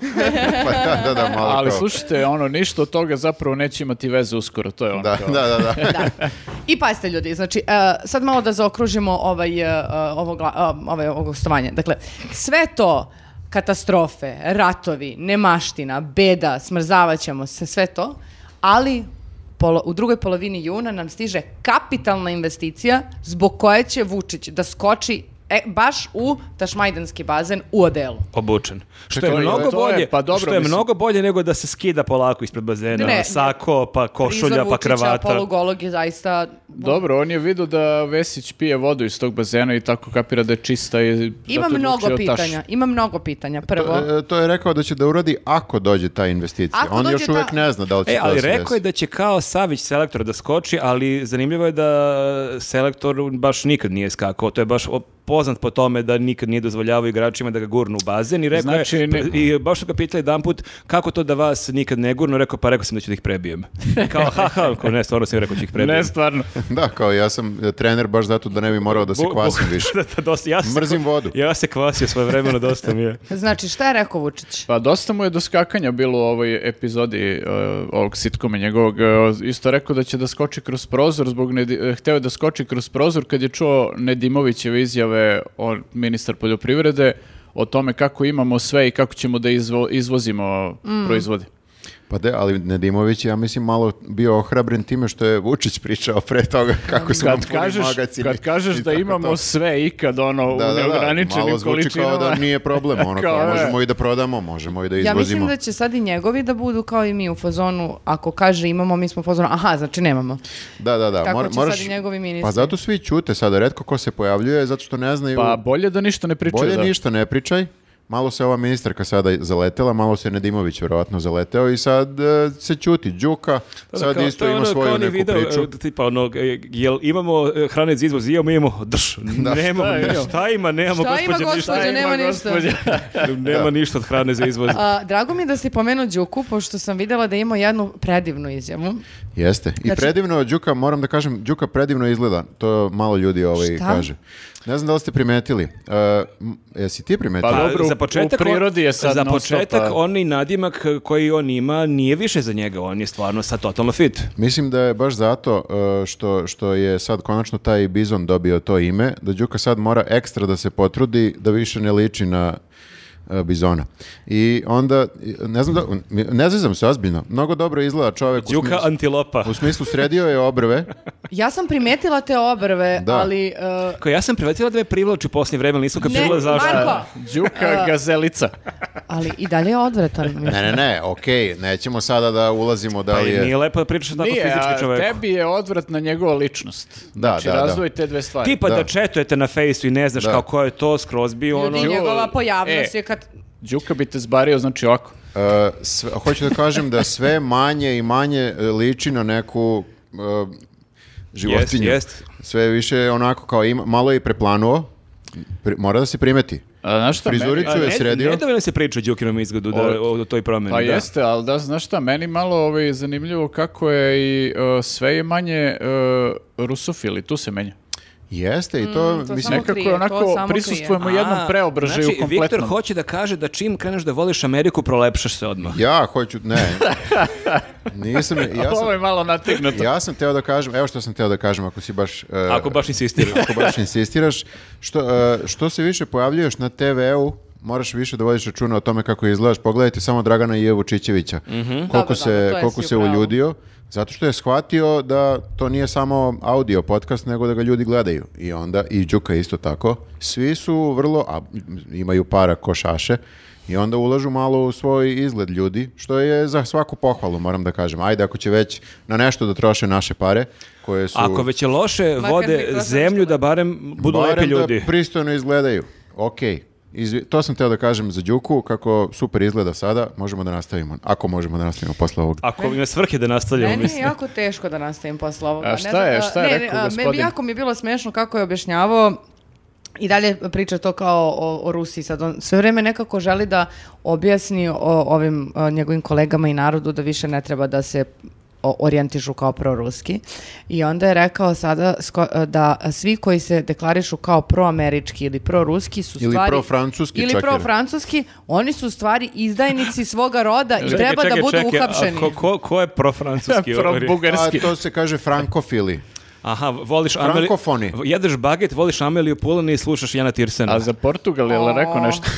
[SPEAKER 2] Pa <laughs> da, da, da, malo
[SPEAKER 4] Ali
[SPEAKER 2] kao-
[SPEAKER 4] slušajte, ono, ništa od toga zapravo neće imati veze uskoro, to je ono.
[SPEAKER 2] Da,
[SPEAKER 4] kao-
[SPEAKER 2] da, da, da.
[SPEAKER 1] Da. I pazite ljudi, znači e, sad malo da zaokružimo ovaj, e, e, ovo, gla- e, ovaj, ovo gostovanje. Dakle, sve to katastrofe, ratovi, nemaština, beda, smrzavaćemo se, sve to, ali polo- u drugoj polovini juna nam stiže kapitalna investicija zbog koje će Vučić da skoči e, baš u Tašmajdanski bazen u odelu.
[SPEAKER 3] Obučen. Što
[SPEAKER 2] Čekaj,
[SPEAKER 3] je
[SPEAKER 2] to je-
[SPEAKER 3] mnogo
[SPEAKER 4] to je-
[SPEAKER 3] bolje,
[SPEAKER 4] pa dobro,
[SPEAKER 3] što je
[SPEAKER 4] mislim.
[SPEAKER 3] mnogo bolje nego da se skida polako ispred bazena,
[SPEAKER 1] Ne, ne.
[SPEAKER 3] sako, pa košulja,
[SPEAKER 1] Prizor
[SPEAKER 3] pa
[SPEAKER 1] Vučića,
[SPEAKER 3] kravata.
[SPEAKER 1] polugolog je zaista...
[SPEAKER 4] Dobro, on je vidio da Vesić pije vodu iz tog bazena i tako kapira da je čista i
[SPEAKER 1] Ima
[SPEAKER 4] zato je
[SPEAKER 1] mnogo
[SPEAKER 4] odlučio taš.
[SPEAKER 1] pitanja, ima mnogo pitanja. Prvo,
[SPEAKER 2] To, e, to je rekao da će da uradi ako dođe ta investicija.
[SPEAKER 1] Ako
[SPEAKER 2] On
[SPEAKER 1] dođe
[SPEAKER 2] još
[SPEAKER 1] ta-
[SPEAKER 2] uvijek ne zna da li će
[SPEAKER 3] E,
[SPEAKER 2] to
[SPEAKER 3] ali
[SPEAKER 2] da se
[SPEAKER 3] rekao
[SPEAKER 2] desi.
[SPEAKER 3] je da će kao Savić selektor da skoči, ali zanimljivo je da selektor baš nikad nije skakao. To je baš o- poznat po tome da nikad nije dozvoljavao igračima da ga gurnu u bazen i rekao je,
[SPEAKER 4] Znači, ne-
[SPEAKER 3] i baš su ga pitali jedan put kako to da vas nikad ne gurnu, rekao pa rekao sam da ću da ih <laughs> prebijem. Kao haha, kao, ne, stvarno sam rekao da ću ih prebijem.
[SPEAKER 4] Ne, stvarno.
[SPEAKER 2] Da, kao ja sam e, trener baš zato da ne bi morao da se
[SPEAKER 3] Bu- bu-
[SPEAKER 2] kvasim više.
[SPEAKER 3] <laughs> da, da, dosta, ja sam se
[SPEAKER 2] Mrzim
[SPEAKER 3] kva-
[SPEAKER 2] vodu.
[SPEAKER 3] Ja se kvasio svoje vremeno, dosta mi je.
[SPEAKER 4] e,
[SPEAKER 1] znači šta je rekao Vučić?
[SPEAKER 4] Pa dosta mu je do skakanja bilo u ovoj epizodi e, ovog sitkoma njegovog. E, isto je rekao da će da skoči kroz prozor, zbog Nedi- e, hteo je da skoči kroz prozor kad je čuo Nedimovićeve izjave o ministar poljoprivrede o tome kako imamo sve i kako ćemo da izvo- izvozimo proizvode.
[SPEAKER 2] Pa de, ali Nedimović je, ja mislim, malo bio ohrabren time što je Vučić pričao pre toga kako su nam
[SPEAKER 4] Kad
[SPEAKER 2] puni
[SPEAKER 4] kažeš,
[SPEAKER 2] magacini
[SPEAKER 4] kad kažeš
[SPEAKER 2] i
[SPEAKER 4] da
[SPEAKER 2] tako
[SPEAKER 4] imamo
[SPEAKER 2] to.
[SPEAKER 4] sve ikad ono
[SPEAKER 3] Pa
[SPEAKER 4] u
[SPEAKER 2] malo
[SPEAKER 4] neograničenim
[SPEAKER 2] zvuči kao
[SPEAKER 4] količinama.
[SPEAKER 3] <laughs>
[SPEAKER 2] da nije problem, ono
[SPEAKER 4] Kao,
[SPEAKER 2] kao,
[SPEAKER 4] e.
[SPEAKER 2] možemo i da prodamo, možemo i da
[SPEAKER 1] Ja
[SPEAKER 2] izvozimo.
[SPEAKER 1] mislim da će sad i njegovi da budu kao i mi u fazonu, ako kaže imamo, mi smo u fazonu, aha, znači
[SPEAKER 2] <laughs>
[SPEAKER 1] nemamo.
[SPEAKER 2] Da, da, da.
[SPEAKER 1] Tako će sad i njegovi ministri.
[SPEAKER 2] Pa zato svi ćute sada, redko ko se pojavljuje, zato što ne znaju,
[SPEAKER 3] Pa,
[SPEAKER 4] Pa bolje da ništa ne pričaju.
[SPEAKER 2] bolje
[SPEAKER 4] da.
[SPEAKER 2] ništa ne pričaj, Malo se ova ministarka sada zaletela, malo se Nedimović vjerovatno zaleteo i sad e, se ćuti. Đuka
[SPEAKER 3] Da, da,
[SPEAKER 2] sad
[SPEAKER 3] kao-
[SPEAKER 2] isto
[SPEAKER 3] to je
[SPEAKER 2] ima
[SPEAKER 3] ono, kao
[SPEAKER 2] svoju
[SPEAKER 3] onaj
[SPEAKER 2] neku
[SPEAKER 3] video,
[SPEAKER 2] priču.
[SPEAKER 3] e, Tipa ono, e, jel imamo e, hrane za izvoz? Imamo, imamo,
[SPEAKER 4] <laughs>
[SPEAKER 3] drž. Nemamo,
[SPEAKER 4] šta je?
[SPEAKER 3] šta ima, nemamo,
[SPEAKER 1] Šta ima,
[SPEAKER 3] gospođo, ništa.
[SPEAKER 1] gospođo? nema ništa.
[SPEAKER 4] <laughs>
[SPEAKER 3] Nema ništa od hrane za izvoz.
[SPEAKER 1] A, drago mi je da si pomenuo Đuku, pošto sam videla da ima jednu predivnu izjavu.
[SPEAKER 2] Jeste. I
[SPEAKER 1] Znači-
[SPEAKER 2] predivno Đuka, moram da kažem, Đuka predivno izgleda. To malo ljudi ovaj
[SPEAKER 1] Šta?
[SPEAKER 2] kaže. Ne znam da li ste primetili. E, m, jesi ti primetio?
[SPEAKER 4] Pa, dobro, u-
[SPEAKER 3] za početak,
[SPEAKER 4] u prirodi je
[SPEAKER 3] on-
[SPEAKER 4] sad
[SPEAKER 3] Za
[SPEAKER 4] non stop,
[SPEAKER 3] početak,
[SPEAKER 4] a-
[SPEAKER 3] onaj nadimak e, koji on ima nije više za njega, on je stvarno sad totalno fit.
[SPEAKER 2] Mislim da je baš zato e, što, što je sad konačno taj Bizon dobio to ime, da Đuka sad mora ekstra da se potrudi da više ne liči na e, Bizona. I onda, i, ne znam da, ne zezam se ozbiljno, mnogo dobro izgleda čovek u
[SPEAKER 3] Đuka
[SPEAKER 2] smislu,
[SPEAKER 3] antilopa.
[SPEAKER 2] u smislu sredio je obrve,
[SPEAKER 1] Ja sam primetila te obrve,
[SPEAKER 2] <laughs> Da.
[SPEAKER 1] ali... e,
[SPEAKER 3] Ko ja sam privatila da me privlači u posljednje vreme, ali nisam kapirala zašto.
[SPEAKER 1] Marko,
[SPEAKER 4] Đuka gazelica.
[SPEAKER 1] ali i dalje je odvratan. mislim.
[SPEAKER 2] Ne, ne, ne, okej, nećemo sada da ulazimo da
[SPEAKER 3] Pa
[SPEAKER 2] li
[SPEAKER 3] i nije
[SPEAKER 2] je...
[SPEAKER 3] lepo da pričaš tako
[SPEAKER 4] Nije,
[SPEAKER 3] fizički
[SPEAKER 4] a
[SPEAKER 3] čoveku.
[SPEAKER 4] tebi je odvratna njegova ličnost.
[SPEAKER 2] Da,
[SPEAKER 4] znači,
[SPEAKER 2] da, da.
[SPEAKER 4] razvoj te dve stvari.
[SPEAKER 3] Ti pa da.
[SPEAKER 2] Da.
[SPEAKER 3] četujete na fejsu i ne znaš
[SPEAKER 2] Da.
[SPEAKER 3] kako ko je to, skroz bi ono...
[SPEAKER 1] Ljudi, njegova pojavnost
[SPEAKER 4] E.
[SPEAKER 1] je kad...
[SPEAKER 4] Đuka bi te zbario, znači ovako.
[SPEAKER 2] E, sve- hoću da kažem da sve manje i manje e, liči na neku e, životinju.
[SPEAKER 3] Jest, jest.
[SPEAKER 2] Sve više je onako kao ima, malo je i preplanuo, Pri- mora da se primeti.
[SPEAKER 4] A, znaš šta,
[SPEAKER 2] Frizuricu
[SPEAKER 4] meni-
[SPEAKER 2] je
[SPEAKER 3] Ne-
[SPEAKER 2] sredio.
[SPEAKER 3] Nedovoljno se priča o Đukinom izgledu da,
[SPEAKER 4] Ovo-
[SPEAKER 3] o, o toj promjeni.
[SPEAKER 4] Pa
[SPEAKER 3] da.
[SPEAKER 4] jeste, ali da, znaš šta, meni malo ovaj, zanimljivo kako je i e, sve je manje uh, rusofili, tu se menja.
[SPEAKER 2] Jeste i to,
[SPEAKER 1] to
[SPEAKER 2] mislim,
[SPEAKER 1] samo-
[SPEAKER 4] Nekako
[SPEAKER 1] krije, to
[SPEAKER 4] onako
[SPEAKER 1] samo
[SPEAKER 4] prisustvujemo jednom
[SPEAKER 3] A,
[SPEAKER 4] preobražaju
[SPEAKER 3] znači,
[SPEAKER 4] kompletnom.
[SPEAKER 3] Viktor hoće da kaže da čim kreneš da voliš Ameriku, prolepšaš se odmah.
[SPEAKER 2] ja hoću, ne, nisam, ja
[SPEAKER 4] Ovo
[SPEAKER 2] sam,
[SPEAKER 4] je
[SPEAKER 2] <laughs>
[SPEAKER 4] malo nategnuto.
[SPEAKER 2] ja sam teo da kažem, evo što sam teo da kažem, ako si baš, e,
[SPEAKER 3] Ako baš insistiraš.
[SPEAKER 2] ako baš insistiraš, što, e, što se više pojavljuješ na TV-u, moraš više da vodiš računa o tome kako izgledaš. Pogledajte samo Dragana i Evu Čičevića.
[SPEAKER 1] Da, da, da,
[SPEAKER 2] Koliko se,
[SPEAKER 1] Mhm. to
[SPEAKER 2] koliko
[SPEAKER 1] jesi
[SPEAKER 2] se
[SPEAKER 1] u pravu.
[SPEAKER 2] uljudio. Zato što je shvatio da to nije samo audio podcast, nego da ga ljudi gledaju. I onda, i Đuka isto tako. Svi su vrlo, a imaju para košaše, i onda ulažu malo u svoj izgled ljudi, što je za svaku pohvalu, moram da kažem. Ajde, ako će već na nešto da troše naše pare, koje su...
[SPEAKER 3] Ako već je loše
[SPEAKER 1] Makar mi
[SPEAKER 3] vode
[SPEAKER 1] prošlo
[SPEAKER 3] zemlju,
[SPEAKER 1] nešto
[SPEAKER 3] da barem budu
[SPEAKER 2] Barem
[SPEAKER 3] lepi ljudi.
[SPEAKER 2] da pristojno izgledaju. Ok. to sam teo da kažem za Đuku, kako super izgleda sada, možemo da nastavimo, ako možemo da nastavimo posle ovog.
[SPEAKER 3] Ako ima svrhe da nastavljamo,
[SPEAKER 1] Meni je
[SPEAKER 3] mislim.
[SPEAKER 1] jako teško da nastavim posle ovoga.
[SPEAKER 4] A
[SPEAKER 1] Ne
[SPEAKER 4] šta
[SPEAKER 1] znam
[SPEAKER 4] je,
[SPEAKER 1] da-
[SPEAKER 4] šta je
[SPEAKER 1] ne, ne,
[SPEAKER 4] rekao
[SPEAKER 1] a, me-
[SPEAKER 4] gospodin?
[SPEAKER 1] Jako mi je bilo smešno kako je objašnjavao i dalje priča to kao o, o Rusiji. Sad on sve vreme nekako želi da objasni o, ovim a, njegovim kolegama i narodu da više ne treba da se o- orijentišu kao proruski. I onda je rekao sada sko- a, da svi koji se deklarišu kao proamerički ili proruski su
[SPEAKER 2] Ili
[SPEAKER 1] stvari...
[SPEAKER 2] profrancuski
[SPEAKER 1] Ili
[SPEAKER 2] čak je.
[SPEAKER 1] profrancuski, oni su u stvari izdajnici svoga roda i ono
[SPEAKER 3] Čekaj,
[SPEAKER 1] treba
[SPEAKER 3] čekaj,
[SPEAKER 1] da budu
[SPEAKER 3] čekaj, a
[SPEAKER 1] uhapšeni.
[SPEAKER 3] Ko, ko, ko je
[SPEAKER 4] <laughs>
[SPEAKER 3] profrancuski? govori?
[SPEAKER 2] A
[SPEAKER 4] Pro-bugarski.
[SPEAKER 2] to se kaže frankofili.
[SPEAKER 3] Aha, voliš Ameliju...
[SPEAKER 2] Frankofoni.
[SPEAKER 3] Jedeš baget, voliš Ameliju Pulan i slušaš Jana Tirsena.
[SPEAKER 4] A za Portugal je li rekao nešto?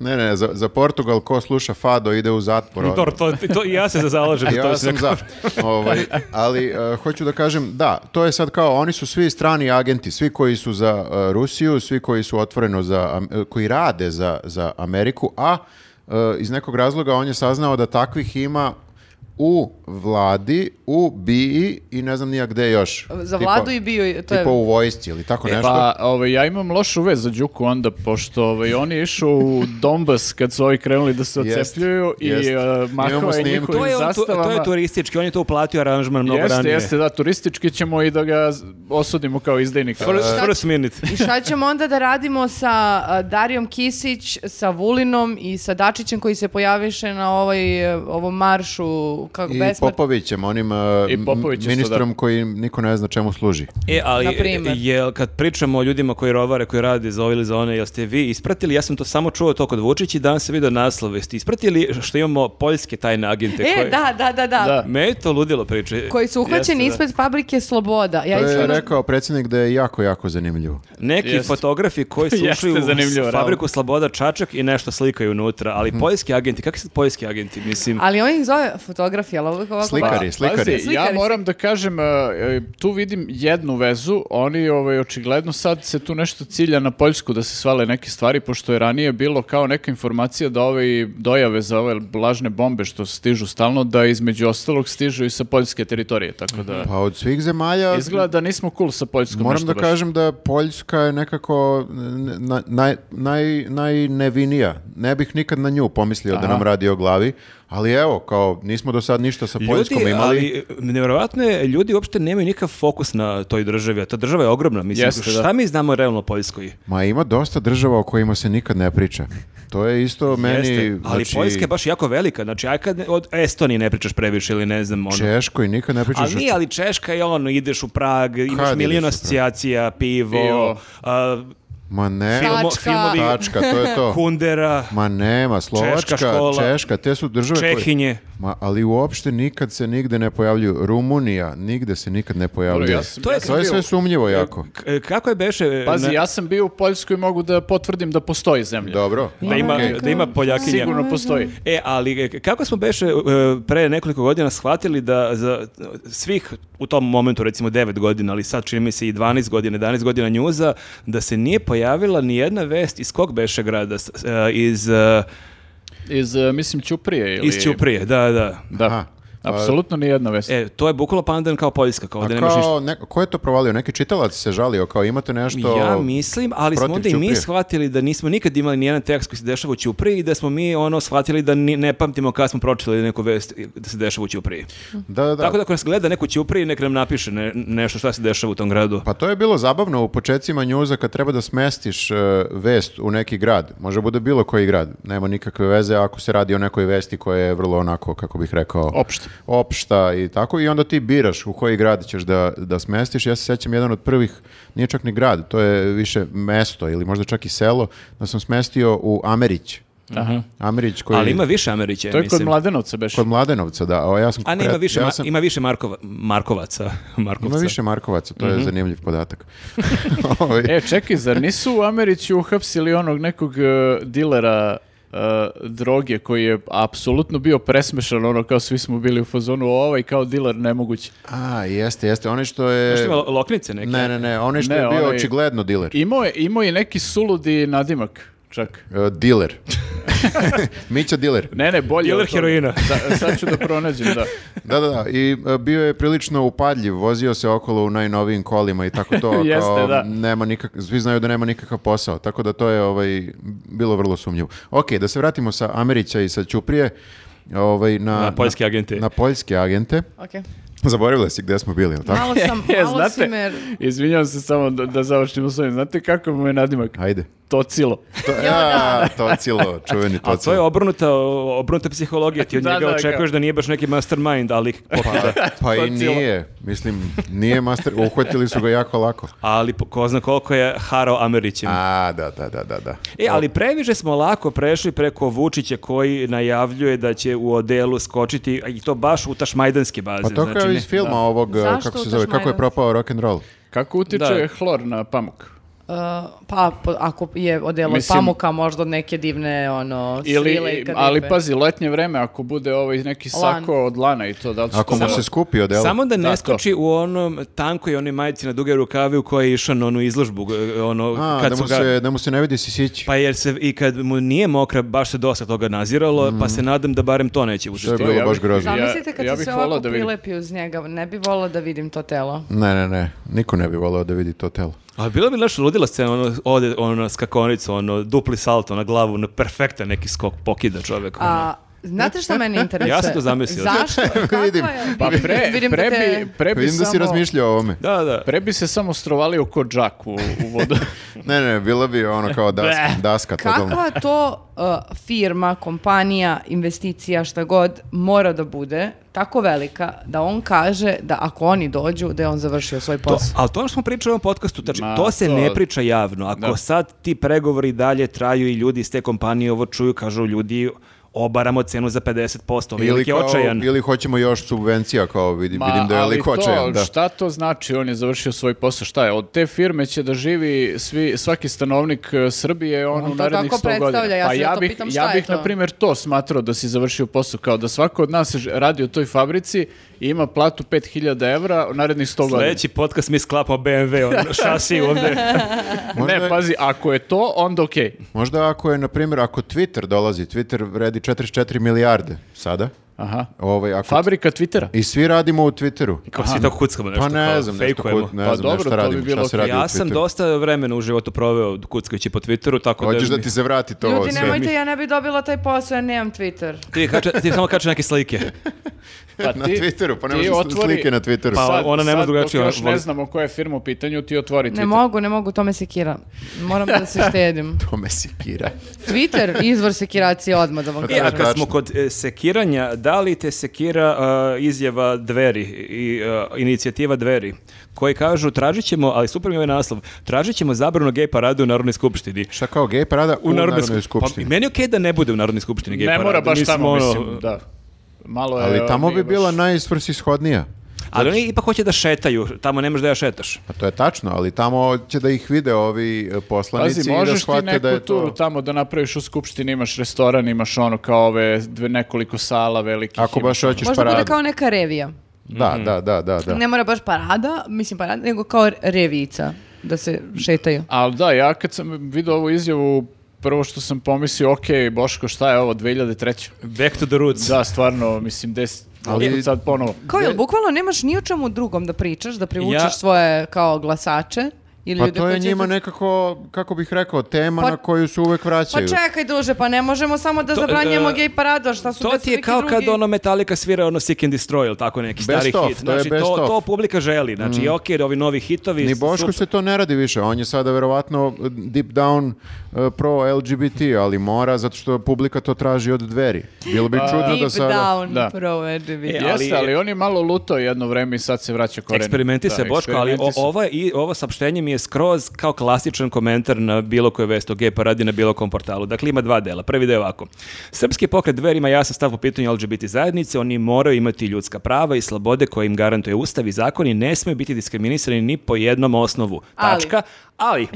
[SPEAKER 2] Ne, ne, za, za Portugal ko sluša Fado ide u zatvor.
[SPEAKER 3] Dobro, to, to, i ja se zalažem. za
[SPEAKER 2] <laughs>
[SPEAKER 3] to,
[SPEAKER 2] Ja sam
[SPEAKER 3] mislim,
[SPEAKER 2] za. <laughs> Ovaj, ali e, hoću da kažem, da, to je sad kao, oni su svi strani agenti, svi koji su za e, Rusiju, svi koji su otvoreno za, Am- e, koji rade za, za Ameriku, a e, iz nekog razloga on je saznao da takvih ima u vladi, u BI i ne znam nija gde još.
[SPEAKER 1] Za vladu i bio, je- to je...
[SPEAKER 2] Tipa u vojsci ili tako nešto.
[SPEAKER 4] Pa, ovaj, ja imam lošu vez za Đuku onda, pošto ovaj, on je išao u Donbas kad su ovi krenuli da se
[SPEAKER 2] Jest,
[SPEAKER 4] ocepljuju i
[SPEAKER 2] jest.
[SPEAKER 4] uh,
[SPEAKER 2] Imamo
[SPEAKER 4] mahao je
[SPEAKER 2] snimku.
[SPEAKER 4] njihovim
[SPEAKER 3] To je, on tu-
[SPEAKER 4] zastavama.
[SPEAKER 3] to je turistički, on je to uplatio aranžman mnogo
[SPEAKER 4] Jeste,
[SPEAKER 3] ranije.
[SPEAKER 4] jeste, da, turistički ćemo i da ga z- osudimo kao izdajnika.
[SPEAKER 3] First, first minute.
[SPEAKER 1] I šta ćemo onda da radimo sa a, Darijom Kisić, sa Vulinom i sa Dačićem koji se pojaviše na ovoj, e, ovom maršu kako
[SPEAKER 2] I
[SPEAKER 1] besplat-
[SPEAKER 2] Popovićem, onim e,
[SPEAKER 4] I Popović isto,
[SPEAKER 2] ministrom koji niko ne zna čemu služi.
[SPEAKER 3] E, ali
[SPEAKER 1] Na primer.
[SPEAKER 3] jel kad pričamo o ljudima koji rovare, koji rade za ove ili za one, jel ste vi ispratili, ja sam to samo čuo to kod Vučića i danas sam vidio naslov, jeste ispratili što imamo poljske tajne agente
[SPEAKER 1] E,
[SPEAKER 3] koje...
[SPEAKER 1] da, da, da, da.
[SPEAKER 4] Da.
[SPEAKER 3] Me je to ludilo priče.
[SPEAKER 1] Koji su uhvaćeni
[SPEAKER 3] Jeste, da.
[SPEAKER 1] ispred fabrike Sloboda. Ja
[SPEAKER 2] To je
[SPEAKER 1] iskreno-
[SPEAKER 2] rekao predsjednik da je jako, jako zanimljivo.
[SPEAKER 3] Neki
[SPEAKER 4] Jeste.
[SPEAKER 3] fotografi
[SPEAKER 4] <laughs>
[SPEAKER 3] koji su
[SPEAKER 4] Jeste
[SPEAKER 3] ušli u
[SPEAKER 4] zanimljivo,
[SPEAKER 3] fabriku
[SPEAKER 4] realno.
[SPEAKER 2] Mhm.
[SPEAKER 3] Sloboda Čačak i nešto slikaju unutra, ali poljski agenti, kakvi su poljski agenti, mislim...
[SPEAKER 1] Ali on ih zove fotografija, ali ovako pa- ovako.
[SPEAKER 2] Slika. Slikari, slikari.
[SPEAKER 4] Pa, pazi, ja
[SPEAKER 1] Slikari,
[SPEAKER 4] moram da kažem, e, e, tu vidim jednu vezu, oni ovaj, očigledno sad se tu nešto cilja na Poljsku da se svale neke stvari, pošto je ranije bilo kao neka informacija da ove dojave za ove blažne bombe što stižu stalno, da između ostalog stižu i sa poljske teritorije, tako da...
[SPEAKER 2] Pa od svih zemalja...
[SPEAKER 4] Izgleda da nismo cool sa Poljskom.
[SPEAKER 2] Moram
[SPEAKER 4] nešto
[SPEAKER 2] da
[SPEAKER 4] baš.
[SPEAKER 2] kažem da Poljska je nekako n- na- naj, naj, najnevinija. Ne bih nikad na nju pomislio da nam radi o glavi, ali evo, kao nismo do sad ništa sa Poljskom
[SPEAKER 3] Ljudi,
[SPEAKER 2] imali.
[SPEAKER 3] ali nevjerovatno je, ljudi uopšte nemaju nikakav fokus na toj državi, a ta država je ogromna. Mislim,
[SPEAKER 4] Jeste, da.
[SPEAKER 3] šta mi znamo realno o Poljskoj?
[SPEAKER 2] Ma ima dosta država o kojima se nikad ne priča. To je isto meni...
[SPEAKER 3] Jeste, ali
[SPEAKER 2] znači,
[SPEAKER 3] Poljska je baš jako velika, znači aj kad ne- od Estonije ne pričaš previše ili ne znam ono.
[SPEAKER 2] Češkoj nikad ne pričaš.
[SPEAKER 3] Ali
[SPEAKER 2] o
[SPEAKER 3] nije, ali Češka je ono, ideš u Prag, imaš
[SPEAKER 2] ideš
[SPEAKER 3] milion
[SPEAKER 2] u Prag?
[SPEAKER 3] asocijacija, pivo,
[SPEAKER 4] Pivo.
[SPEAKER 3] a,
[SPEAKER 2] Ma ne,
[SPEAKER 1] Filmo-
[SPEAKER 3] filmo-
[SPEAKER 1] Tačka.
[SPEAKER 3] filmovi,
[SPEAKER 2] tačka, to je to.
[SPEAKER 3] kundera,
[SPEAKER 2] Ma nema, Slovačka,
[SPEAKER 3] škola.
[SPEAKER 2] Češka, te su države koje-
[SPEAKER 3] Čehinje.
[SPEAKER 2] Ma, ali uopšte nikad se nigde ne pojavljuju. Rumunija, nigde se nikad ne
[SPEAKER 4] Dobro,
[SPEAKER 2] pojavljuje.
[SPEAKER 4] ja sam-
[SPEAKER 3] To je-
[SPEAKER 4] ja sam
[SPEAKER 2] To je
[SPEAKER 4] bio-
[SPEAKER 2] sve sumnjivo jako.
[SPEAKER 3] K- Kako je beše? e,
[SPEAKER 4] Pazi,
[SPEAKER 3] na-
[SPEAKER 4] ja sam bio u Poljskoj i mogu da potvrdim da postoji zemlja.
[SPEAKER 2] Dobro.
[SPEAKER 3] Da ima,
[SPEAKER 2] okej.
[SPEAKER 3] da ima Poljakinja.
[SPEAKER 4] Sigurno postoji.
[SPEAKER 3] E, ali e, kako smo beše e, pre nekoliko godina shvatili da za svih u tom momentu recimo 9 godina, ali sad čini mi se i 12 godina, 11 godina njuza, da se nije pojavila ni jedna vest iz kog beše grada, S- e, iz, e,
[SPEAKER 4] Iz, e, mislim, Ćuprije ili...
[SPEAKER 3] iz Ćuprije, da, da.
[SPEAKER 4] Da,
[SPEAKER 2] Aha.
[SPEAKER 4] apsolutno ni jedna vest.
[SPEAKER 3] E, to je bukvalo pandan kao Poljska, kao
[SPEAKER 2] A
[SPEAKER 3] da nemaš ništa.
[SPEAKER 2] kao, neko- ko je to provalio? Neki čitalac se žalio, kao imate nešto...
[SPEAKER 3] Ja mislim, ali smo
[SPEAKER 2] protiv
[SPEAKER 3] onda i mi
[SPEAKER 2] Ćuprije.
[SPEAKER 3] shvatili da nismo nikad imali nijedan tekst koji se dešava u Ćupriji i da smo mi ono shvatili da ni- ne pamtimo kada smo pročitali neku vest da se dešava u Ćupriji.
[SPEAKER 2] Da, da, da.
[SPEAKER 3] Tako da ako nas gleda neko Ćupriji, nek nam napiše ne- nešto šta se dešava u tom gradu.
[SPEAKER 2] Pa to je bilo zabavno u početcima njuza kad treba da smestiš e, vest u neki grad. Može bude bilo koji grad. Nema nikakve veze ako se radi o nekoj vesti koja je vrlo onako, kako bih rekao...
[SPEAKER 4] Opšte.
[SPEAKER 2] Opšta i tako. I onda ti biraš u koji grad ćeš da, da smestiš. Ja se sećam jedan od prvih, nije čak ni grad, to je više mesto ili možda čak i selo, da sam smestio u Amerić.
[SPEAKER 4] Aha.
[SPEAKER 2] Amerić koji...
[SPEAKER 3] Ali ima više Amerića,
[SPEAKER 4] To je kod
[SPEAKER 3] E, mislim.
[SPEAKER 4] Mladenovca beš.
[SPEAKER 2] Kod Mladenovca, da. O, ja sam
[SPEAKER 3] A ne, ima
[SPEAKER 2] konkret-
[SPEAKER 3] više,
[SPEAKER 2] ja
[SPEAKER 3] ma-
[SPEAKER 2] sam-
[SPEAKER 3] ima više Markova, Markovaca. <laughs> Markovca. Mhm.
[SPEAKER 2] Ima više Markovaca, to je zanimljiv podatak. <laughs> Ovaj,
[SPEAKER 4] E, čekaj, zar nisu u Americi uhapsili onog nekog e, dilera e, droge koji je apsolutno bio presmešan, ono kao svi smo bili u fazonu, ovaj kao diler nemoguć.
[SPEAKER 2] A, jeste, jeste. Onaj što je...
[SPEAKER 3] Znaš, ima lo- loknice neke.
[SPEAKER 2] Ne, ne, ne, onaj što
[SPEAKER 4] Ne,
[SPEAKER 2] je bio
[SPEAKER 4] onaj-
[SPEAKER 2] očigledno diler.
[SPEAKER 4] Imao je, imao je neki suludi nadimak, čak.
[SPEAKER 2] E, diler. <laughs> Mića diler.
[SPEAKER 4] Ne, ne, bolje.
[SPEAKER 3] Diler
[SPEAKER 4] od toga.
[SPEAKER 3] heroina.
[SPEAKER 4] <laughs> Da, sad ću da pronađem, da.
[SPEAKER 2] Da, da, da. I e, bio je prilično upadljiv, vozio se okolo u najnovijim kolima i tako
[SPEAKER 3] <laughs>
[SPEAKER 2] to.
[SPEAKER 4] Jeste,
[SPEAKER 2] kao,
[SPEAKER 4] da.
[SPEAKER 2] Nema nikak, svi znaju da nema nikakav posao, tako da to je ovaj, bilo vrlo sumnjivo. Ok, da se vratimo sa Amerića i sa Ćuprije. Ovaj, na,
[SPEAKER 3] Na poljske agente.
[SPEAKER 2] Na poljske agente.
[SPEAKER 1] Okej.
[SPEAKER 2] Zaboravila si gde smo bili, jel tako?
[SPEAKER 1] Malo sam,
[SPEAKER 4] <laughs> E,
[SPEAKER 1] malo si me... uh,
[SPEAKER 4] izvinjavam se samo da, da završimo s ovim. Znate kako mu je nadimak?
[SPEAKER 2] Ajde.
[SPEAKER 4] Tocilo.
[SPEAKER 2] To, a, tocilo, čuveni
[SPEAKER 3] A to je
[SPEAKER 2] tocilo.
[SPEAKER 3] obrnuta, obrnuta
[SPEAKER 2] <laughs>
[SPEAKER 3] psihologija. Ti od
[SPEAKER 4] Da,
[SPEAKER 3] njega
[SPEAKER 4] da,
[SPEAKER 3] očekuješ da nije baš neki mastermind, ali
[SPEAKER 2] Pa, pa i
[SPEAKER 4] Tocilo.
[SPEAKER 2] nije, mislim, nije master, uhvatili su ga jako lako.
[SPEAKER 3] ali po- ko zna koliko je harao Amerićem.
[SPEAKER 2] A, da, da, da, da, Pa da.
[SPEAKER 3] E, ali previše smo lako prešli preko Vučića koji najavljuje da će u odelu skočiti, a i to baš u tašmajdanske baze.
[SPEAKER 2] Pa to
[SPEAKER 3] znači,
[SPEAKER 2] kao
[SPEAKER 3] ne-
[SPEAKER 2] iz filma ovog, eh,
[SPEAKER 1] Zašto
[SPEAKER 2] kako se
[SPEAKER 1] utaš
[SPEAKER 2] zove, kako je
[SPEAKER 1] majonez?
[SPEAKER 2] propao rock and roll.
[SPEAKER 4] Kako utiče
[SPEAKER 3] Da.
[SPEAKER 4] hlor na pamuk?
[SPEAKER 1] Uh, pa, po- ako je odelo od
[SPEAKER 4] Mislim-
[SPEAKER 1] pamuka, možda od neke divne, ono, svile i
[SPEAKER 4] Ili,
[SPEAKER 1] kadife.
[SPEAKER 4] ali
[SPEAKER 3] pa
[SPEAKER 4] pazi, letnje vreme, ako bude ovaj neki
[SPEAKER 1] Lan.
[SPEAKER 4] sako od lana i to, da li će
[SPEAKER 2] Ako
[SPEAKER 4] to
[SPEAKER 2] mu
[SPEAKER 4] da-
[SPEAKER 2] se skupi odelo.
[SPEAKER 3] Samo da ne
[SPEAKER 4] Da, to.
[SPEAKER 3] skoči u onom tankoj onoj majici na duge rukave u kojoj je išao na onu izložbu, g- ono,
[SPEAKER 2] A,
[SPEAKER 3] kad
[SPEAKER 2] da
[SPEAKER 3] su
[SPEAKER 2] mu,
[SPEAKER 3] ga-
[SPEAKER 2] se, da mu se ne vidi sisić.
[SPEAKER 3] Pa jer se i kad mu nije mokra, baš se dosta toga naziralo, pa se nadam da barem to neće
[SPEAKER 2] to Mm. je
[SPEAKER 3] učestvovati.
[SPEAKER 2] bilo
[SPEAKER 4] ja
[SPEAKER 2] baš
[SPEAKER 4] bih-
[SPEAKER 2] grozno.
[SPEAKER 4] Ja-
[SPEAKER 1] Zamislite kad
[SPEAKER 4] ja
[SPEAKER 1] se
[SPEAKER 4] bih
[SPEAKER 1] sve
[SPEAKER 4] volao
[SPEAKER 1] ovako
[SPEAKER 4] da vidim.
[SPEAKER 1] prilepi uz njega, ne bi volila da vidim to telo.
[SPEAKER 2] Ne, ne, ne, niko ne bi voleo da vidi to telo.
[SPEAKER 3] Ali bila bi naša ludila scena, ono, ode ono, na skakonicu, ono, dupli salto na glavu, na perfektan neki skok pokida čovek. ono.
[SPEAKER 1] A, znate šta mene interesuje?
[SPEAKER 3] Ja sam to zamislio.
[SPEAKER 2] <laughs>
[SPEAKER 1] Zašto? Kako
[SPEAKER 2] Vidim.
[SPEAKER 1] je?
[SPEAKER 4] Pa pre,
[SPEAKER 1] <laughs> Vidim da
[SPEAKER 4] pre
[SPEAKER 1] te-
[SPEAKER 4] bi, pre bi
[SPEAKER 2] Pa Vidim da si
[SPEAKER 4] samo-
[SPEAKER 2] razmišljao o ovome.
[SPEAKER 3] Da, da.
[SPEAKER 4] Pre bi se samo strovalio ko džak u, u vodu.
[SPEAKER 2] Ne, ne, bila bi ono kao daska, daska totalno.
[SPEAKER 1] Kakva to uh, firma, kompanija, investicija, šta god, mora da bude tako velika da on kaže da ako oni dođu, da je on završio svoj
[SPEAKER 3] To,
[SPEAKER 1] posao.
[SPEAKER 3] ali to ono što smo pričali u ovom podcastu, znači,
[SPEAKER 4] Ma,
[SPEAKER 3] to se
[SPEAKER 4] to-
[SPEAKER 3] ne priča javno. Ako
[SPEAKER 4] Da.
[SPEAKER 3] sad ti pregovori dalje traju i ljudi iz te kompanije ovo čuju, kažu ljudi, obaramo cenu za 50%. Ovaj
[SPEAKER 2] Ili,
[SPEAKER 3] lik je
[SPEAKER 2] kao,
[SPEAKER 3] očajan.
[SPEAKER 2] ili hoćemo još subvencija, kao vidim, vidim da je
[SPEAKER 4] ali
[SPEAKER 2] lik
[SPEAKER 4] to,
[SPEAKER 2] očajan. Da.
[SPEAKER 4] Šta to znači? On je završio svoj posao. Šta je? Od te firme će da živi svi, svaki stanovnik e, Srbije on,
[SPEAKER 1] On to
[SPEAKER 4] u narednih
[SPEAKER 1] tako
[SPEAKER 4] 100 godina.
[SPEAKER 1] predstavlja, ja
[SPEAKER 4] Pa
[SPEAKER 1] se
[SPEAKER 4] ja
[SPEAKER 1] zato
[SPEAKER 4] bih,
[SPEAKER 1] pitam šta
[SPEAKER 4] ja
[SPEAKER 1] je
[SPEAKER 4] bih
[SPEAKER 1] to?
[SPEAKER 4] na primjer to smatrao da si završio posao. Kao da svako od nas ž- radi u toj fabrici i ima platu 5000 evra u narednih 100 godina.
[SPEAKER 3] Sljedeći podcast mi sklapamo BMW,
[SPEAKER 2] <laughs>
[SPEAKER 3] on ono, šasi ovde.
[SPEAKER 2] Možda-
[SPEAKER 4] Ne, pazi, ako je to, onda okej.
[SPEAKER 2] Možda ako je, na primjer, ako Twitter dolazi, Twitter vredi 44 milijarde sada.
[SPEAKER 4] Aha.
[SPEAKER 2] Ovaj, ako
[SPEAKER 4] Fabrika Twittera.
[SPEAKER 2] I svi radimo u Twitteru.
[SPEAKER 3] Kao svi tako kuckamo nešto.
[SPEAKER 2] Pa ne
[SPEAKER 3] kao
[SPEAKER 2] znam, nešto, ko,
[SPEAKER 3] fejkujemo.
[SPEAKER 2] ne
[SPEAKER 4] Pa
[SPEAKER 2] znam
[SPEAKER 4] dobro,
[SPEAKER 2] nešto
[SPEAKER 4] to bi
[SPEAKER 2] radimo,
[SPEAKER 4] bilo
[SPEAKER 2] šta se radi u
[SPEAKER 3] Ja sam
[SPEAKER 2] Twitteru.
[SPEAKER 3] dosta vremena u životu proveo kuckajući po Twitteru, tako
[SPEAKER 2] Hoćeš
[SPEAKER 3] da...
[SPEAKER 2] da ti se vrati to
[SPEAKER 1] Ljudi,
[SPEAKER 2] sve.
[SPEAKER 1] nemojte, ja ne bi dobila taj posao, ja nemam Twitter.
[SPEAKER 3] Ti, kače, ti samo kače neke
[SPEAKER 2] <laughs>
[SPEAKER 3] slike.
[SPEAKER 4] Pa
[SPEAKER 2] <laughs> Na
[SPEAKER 4] ti-
[SPEAKER 2] Twitteru, pa ne
[SPEAKER 4] ti
[SPEAKER 2] možeš
[SPEAKER 4] otvori-
[SPEAKER 2] slike na Twitteru.
[SPEAKER 3] Pa,
[SPEAKER 4] Sad-
[SPEAKER 3] ona nema
[SPEAKER 4] sad,
[SPEAKER 3] drugačije,
[SPEAKER 4] dok još
[SPEAKER 3] voli-
[SPEAKER 4] ne znamo koja je firma u pitanju, ti otvori
[SPEAKER 1] Ne
[SPEAKER 4] Twitter.
[SPEAKER 1] mogu, ne mogu, to me sekira. Moram da se
[SPEAKER 4] <laughs>
[SPEAKER 1] štedim.
[SPEAKER 2] <laughs> To me sikira.
[SPEAKER 1] Twitter, izvor sekiracije odmah da vam
[SPEAKER 2] Pa
[SPEAKER 3] I, a
[SPEAKER 1] kažem.
[SPEAKER 2] tako.
[SPEAKER 3] kad smo kod e, sekiranja, da li te sekira e, izjava Dveri i e, inicijativa Dveri, koji kažu tražit ćemo, ali super mi je ovaj naslov, tražit ćemo zabranu gej parade u Narodnoj skupštini.
[SPEAKER 2] Šta kao gej parada u, Narodnoj,
[SPEAKER 3] Pa,
[SPEAKER 2] skupštini.
[SPEAKER 3] meni je okej da ne bude u Narodnoj skupštini gej
[SPEAKER 4] Ne
[SPEAKER 3] parada,
[SPEAKER 4] mora baš
[SPEAKER 3] nismo
[SPEAKER 4] tamo,
[SPEAKER 3] ono-
[SPEAKER 4] mislim, da. Malo je,
[SPEAKER 2] Pa Ali tamo
[SPEAKER 4] ono,
[SPEAKER 2] bi
[SPEAKER 4] baš-
[SPEAKER 2] bila najsvrsishodnija.
[SPEAKER 3] Ali oni ipak hoće da šetaju, tamo ne možeš da ja šetaš.
[SPEAKER 2] Pa to je tačno, ali tamo će da ih vide ovi e, poslanici
[SPEAKER 4] Pazi,
[SPEAKER 2] i da
[SPEAKER 4] možeš ti
[SPEAKER 2] shvate
[SPEAKER 4] neku
[SPEAKER 2] da je
[SPEAKER 4] turu
[SPEAKER 2] to...
[SPEAKER 4] tamo da napraviš u skupštini, imaš restoran, imaš ono kao ove dve, nekoliko sala velikih. ono.
[SPEAKER 2] Ako baš hoćeš
[SPEAKER 1] Možda bude
[SPEAKER 2] paradu.
[SPEAKER 1] kao neka revija.
[SPEAKER 2] Da, da, da, da. da.
[SPEAKER 1] Ne mora baš parada, mislim parada, nego kao revijica da se šetaju.
[SPEAKER 4] Ali da, ja kad sam vidio ovu izjavu, prvo što sam pomislio, ok, Boško, šta je ovo, 2003.
[SPEAKER 3] Back to the roots.
[SPEAKER 4] Da, stvarno, mislim, deset,
[SPEAKER 2] Ali-
[SPEAKER 4] ali sad ponovo.
[SPEAKER 1] Kao jel, bukvalno nemaš ni o čemu drugom da pričaš, da privučeš
[SPEAKER 3] Ja-
[SPEAKER 1] svoje kao glasače ili
[SPEAKER 2] Pa
[SPEAKER 1] ljude
[SPEAKER 2] to je
[SPEAKER 1] koji će-
[SPEAKER 2] njima nekako, kako bih rekao, tema
[SPEAKER 1] Pa-
[SPEAKER 2] na koju se uvek
[SPEAKER 1] Pa
[SPEAKER 2] vraćaju.
[SPEAKER 1] čekaj duže, pa ne možemo samo da
[SPEAKER 3] To,
[SPEAKER 1] zabranjamo
[SPEAKER 3] e,
[SPEAKER 1] gej parada, šta Pa su
[SPEAKER 3] To
[SPEAKER 1] već
[SPEAKER 3] ti je
[SPEAKER 1] neki
[SPEAKER 3] kao
[SPEAKER 1] drugi-
[SPEAKER 3] kad
[SPEAKER 1] <laughs>
[SPEAKER 3] ono Metallica svira ono Sick and Destroy ili tako neki stari
[SPEAKER 2] of,
[SPEAKER 3] hit.
[SPEAKER 2] to je
[SPEAKER 3] Znači,
[SPEAKER 2] best
[SPEAKER 3] to,
[SPEAKER 2] of. Mm.
[SPEAKER 3] to publika želi. Znači, i okej, ovi novi hitovi.
[SPEAKER 2] Ni
[SPEAKER 3] su-
[SPEAKER 2] Boško se to ne radi više, on je sada verovatno uh, deep down e, pro LGBT, ali mora zato što publika to traži od dveri. Bilo bi čudno da
[SPEAKER 1] Deep
[SPEAKER 2] sada...
[SPEAKER 1] down
[SPEAKER 4] Da.
[SPEAKER 1] provedi.
[SPEAKER 3] E, ali-
[SPEAKER 4] Jeste, ali on je malo lutao jedno vreme i sad se vraća korenu.
[SPEAKER 3] Eksperimenti
[SPEAKER 4] Da,
[SPEAKER 3] se, Boško, ali o,
[SPEAKER 4] eksperimenti se.
[SPEAKER 3] ovo, je i, ovo saopštenje mi je skroz kao klasičan komentar na bilo koje vest o gej paradi na bilo kom portalu. Dakle, ima dva dela. Prvi deo je ovako. Srpski pokret dver ima jasan stav po pitanju LGBT zajednice. Oni moraju imati ljudska prava i slobode koje im garantuje Ustav i zakon i ne smiju biti diskriminisani ni po jednom osnovu.
[SPEAKER 1] Ali.
[SPEAKER 3] Tačka. Ali,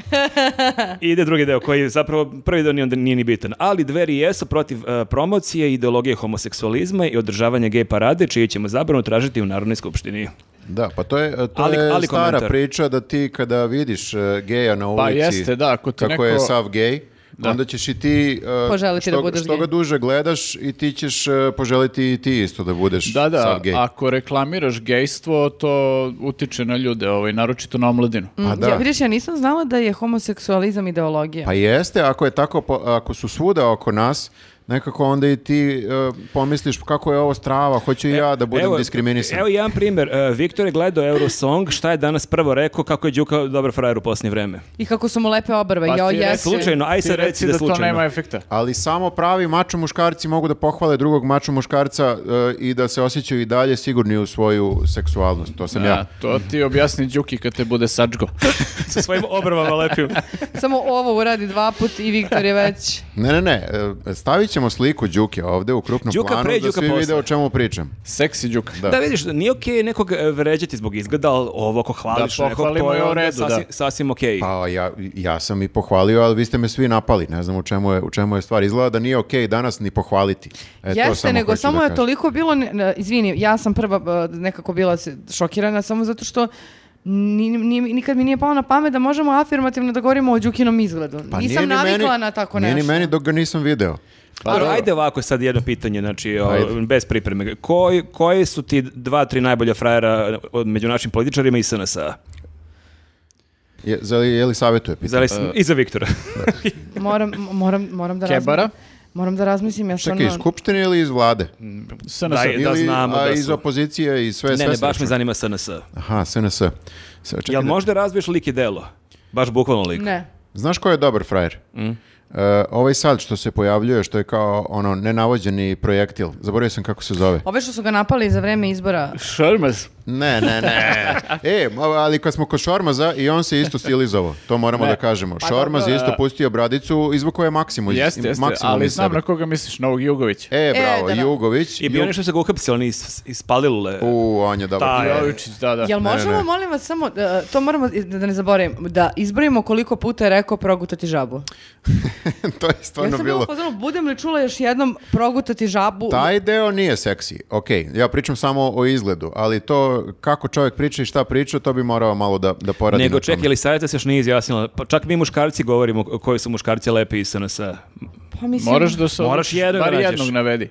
[SPEAKER 3] ide drugi deo koji je zapravo prvi deo nije, onda nije ni bitan. Ali dveri jesu protiv e, promocije ideologije homoseksualizma i održavanja gej parade, čiji ćemo zabranu tražiti u Narodnoj skupštini.
[SPEAKER 2] Da, pa to je, e, to
[SPEAKER 3] Ali-
[SPEAKER 2] je
[SPEAKER 3] ali
[SPEAKER 2] stara
[SPEAKER 3] komentar.
[SPEAKER 2] priča da ti kada vidiš e, geja na ulici,
[SPEAKER 4] jeste, da, ako ti
[SPEAKER 2] kako
[SPEAKER 4] neko-
[SPEAKER 2] je sav gej, onda ćeš i ti, e,
[SPEAKER 1] Poželiti
[SPEAKER 2] što,
[SPEAKER 1] da budeš
[SPEAKER 2] što ga
[SPEAKER 1] gej.
[SPEAKER 2] duže gledaš i ti ćeš e, poželiti i ti isto da budeš
[SPEAKER 4] Da, da,
[SPEAKER 2] sav gej.
[SPEAKER 4] ako reklamiraš gejstvo, to utiče na ljude, ovaj, naročito na omladinu.
[SPEAKER 3] Mm.
[SPEAKER 2] Pa da.
[SPEAKER 1] Mm. Ja, vidiš, ja nisam znala da je homoseksualizam ideologija.
[SPEAKER 2] Pa jeste, ako je tako, po- ako su svuda oko nas, nekako onda i ti e, pomisliš kako je ovo strava, hoću i ja da budem diskriminisan.
[SPEAKER 3] E, Evo jedan primjer. E, Viktor je gledao Eurosong, šta je danas prvo rekao, kako je Đuka dobar frajer u posljednje vreme.
[SPEAKER 1] I kako su mu lepe obrve,
[SPEAKER 4] Pa
[SPEAKER 1] jo,
[SPEAKER 4] ti reci-
[SPEAKER 1] jesi.
[SPEAKER 3] Slučajno, aj
[SPEAKER 4] Ti
[SPEAKER 3] sad reci da
[SPEAKER 4] to
[SPEAKER 3] slučajno. <laughs>
[SPEAKER 4] nema efekta.
[SPEAKER 2] Ali samo pravi mačo muškarci mogu da pohvale drugog mačo muškarca e, i da se osjećaju i dalje sigurni u svoju seksualnost. To sam
[SPEAKER 4] Da,
[SPEAKER 2] ja.
[SPEAKER 4] to ti objasni Đuki kad te bude
[SPEAKER 3] <laughs>
[SPEAKER 4] sačgo.
[SPEAKER 3] Sa svojim obrvama lepim.
[SPEAKER 1] Samo ovo uradi dva put i Viktor je već...
[SPEAKER 2] Ne, ne, ne, e, stavit ćemo sliku Đuke ovde u krupnom
[SPEAKER 3] Đuka
[SPEAKER 2] planu
[SPEAKER 3] pre,
[SPEAKER 2] da
[SPEAKER 3] Đuka
[SPEAKER 2] svi vide
[SPEAKER 3] posle.
[SPEAKER 2] o čemu pričam.
[SPEAKER 4] Seksi Đuka.
[SPEAKER 2] Da.
[SPEAKER 3] Da. vidiš, nije okej nekog e, vređati zbog izgleda, ali ovo ako hvališ
[SPEAKER 4] Da,
[SPEAKER 3] nekog,
[SPEAKER 4] pohvalimo
[SPEAKER 3] to je
[SPEAKER 4] je u
[SPEAKER 3] onda
[SPEAKER 4] redu, da.
[SPEAKER 3] sasvim, sasvim okej.
[SPEAKER 2] Pa ja, ja sam i pohvalio, ali vi ste me svi napali. Ne znam u čemu je, u čemu je stvar. Izgleda da nije okej danas ni pohvaliti. E, to
[SPEAKER 1] Jeste,
[SPEAKER 2] samo
[SPEAKER 1] nego
[SPEAKER 2] hoću
[SPEAKER 1] samo
[SPEAKER 2] da
[SPEAKER 1] je
[SPEAKER 2] kažem.
[SPEAKER 1] toliko bilo, ne- ne, izvini, ja sam prva e, nekako bila se- šokirana samo zato što ni, ni- nikad mi nije palo na pamet da možemo afirmativno da govorimo o Đukinom izgledu.
[SPEAKER 2] Pa
[SPEAKER 1] Nisam
[SPEAKER 2] nije ni
[SPEAKER 1] navikla
[SPEAKER 2] meni-
[SPEAKER 1] na tako
[SPEAKER 2] Nije
[SPEAKER 1] nešto.
[SPEAKER 2] ni meni dok ga nisam video.
[SPEAKER 4] Pa
[SPEAKER 3] Ali
[SPEAKER 4] dobro.
[SPEAKER 3] ajde ovako sad jedno pitanje, znači o,
[SPEAKER 2] Ajde.
[SPEAKER 3] bez pripreme. Koji, koji su ti dva, tri najbolja frajera od- među našim političarima i SNS-a?
[SPEAKER 2] Je, za, je li savjetuje pitanje?
[SPEAKER 3] Za- I za Viktora.
[SPEAKER 1] Moram, m- moram, moram da
[SPEAKER 4] Kebara?
[SPEAKER 1] razmislim. Moram da razmislim, ja
[SPEAKER 2] Čekaj, iz
[SPEAKER 1] stvarno-
[SPEAKER 2] Skupštine ili iz vlade?
[SPEAKER 4] SNS.
[SPEAKER 3] E, Da,
[SPEAKER 2] Ili,
[SPEAKER 3] je- znamo
[SPEAKER 2] a
[SPEAKER 3] da
[SPEAKER 2] iz
[SPEAKER 3] su.
[SPEAKER 2] opozicije i sve,
[SPEAKER 3] ne,
[SPEAKER 2] sve
[SPEAKER 3] ne,
[SPEAKER 2] se
[SPEAKER 3] baš me
[SPEAKER 2] računa.
[SPEAKER 3] zanima SNS.
[SPEAKER 2] Aha, SNS. Sve, čekaj
[SPEAKER 3] Jel
[SPEAKER 2] da-
[SPEAKER 3] možda razviješ lik i delo? Baš bukvalno lik.
[SPEAKER 1] Ne.
[SPEAKER 2] Znaš ko je dobar frajer?
[SPEAKER 3] Mm.
[SPEAKER 2] E, ovaj sad što se pojavljuje, što je kao ono nenavođeni projektil. Zaboravio sam kako se zove.
[SPEAKER 1] Ove što su ga napali za vreme izbora.
[SPEAKER 4] Šrmez.
[SPEAKER 2] Ne, ne, ne.
[SPEAKER 3] <laughs>
[SPEAKER 2] e, ali kad smo kod Šormaza i on se isto stilizovao, to moramo
[SPEAKER 4] Ne.
[SPEAKER 2] da kažemo.
[SPEAKER 1] Pa
[SPEAKER 2] Šormaz
[SPEAKER 4] dobro,
[SPEAKER 2] je isto
[SPEAKER 4] a-
[SPEAKER 2] pustio bradicu, izvukao je Maksimu. iz-
[SPEAKER 4] Jeste, jeste,
[SPEAKER 2] Maksimu
[SPEAKER 4] ali
[SPEAKER 2] iz
[SPEAKER 4] znam
[SPEAKER 2] sebe.
[SPEAKER 4] na koga misliš, na ovog Jugovića.
[SPEAKER 2] E, bravo,
[SPEAKER 1] da, da.
[SPEAKER 2] Jugović.
[SPEAKER 3] I bio
[SPEAKER 2] Ju-
[SPEAKER 3] nešto se ga uhapsio, oni is, ispalilule.
[SPEAKER 2] U, on je dobar.
[SPEAKER 3] Taj.
[SPEAKER 2] frajer.
[SPEAKER 4] Jovičić, da, da.
[SPEAKER 1] Jel
[SPEAKER 2] Ne,
[SPEAKER 1] možemo,
[SPEAKER 2] ne.
[SPEAKER 1] molim vas, samo, e, to moramo i- da ne zaboravim, da izbrojimo koliko puta je rekao progutati žabu.
[SPEAKER 2] <laughs> to je
[SPEAKER 1] Ja
[SPEAKER 2] stvarno
[SPEAKER 1] sam
[SPEAKER 2] bilo.
[SPEAKER 1] bilo pozvano, budem li čula još jednom progutati žabu?
[SPEAKER 2] Taj deo nije seksi. Ok, ja pričam samo o izgledu, ali to kako čovjek priča i šta priča, to bi morao malo da, da poradi.
[SPEAKER 3] Nego
[SPEAKER 2] na tome.
[SPEAKER 3] čekaj, ili savjeta se još nije izjasnila. Pa čak mi muškarci govorimo koji su muškarci lepi iz SNS-a.
[SPEAKER 1] Pa mislim,
[SPEAKER 4] Moraš da se
[SPEAKER 3] Moraš jednog da
[SPEAKER 4] bar
[SPEAKER 3] nađeš.
[SPEAKER 4] jednog navedi.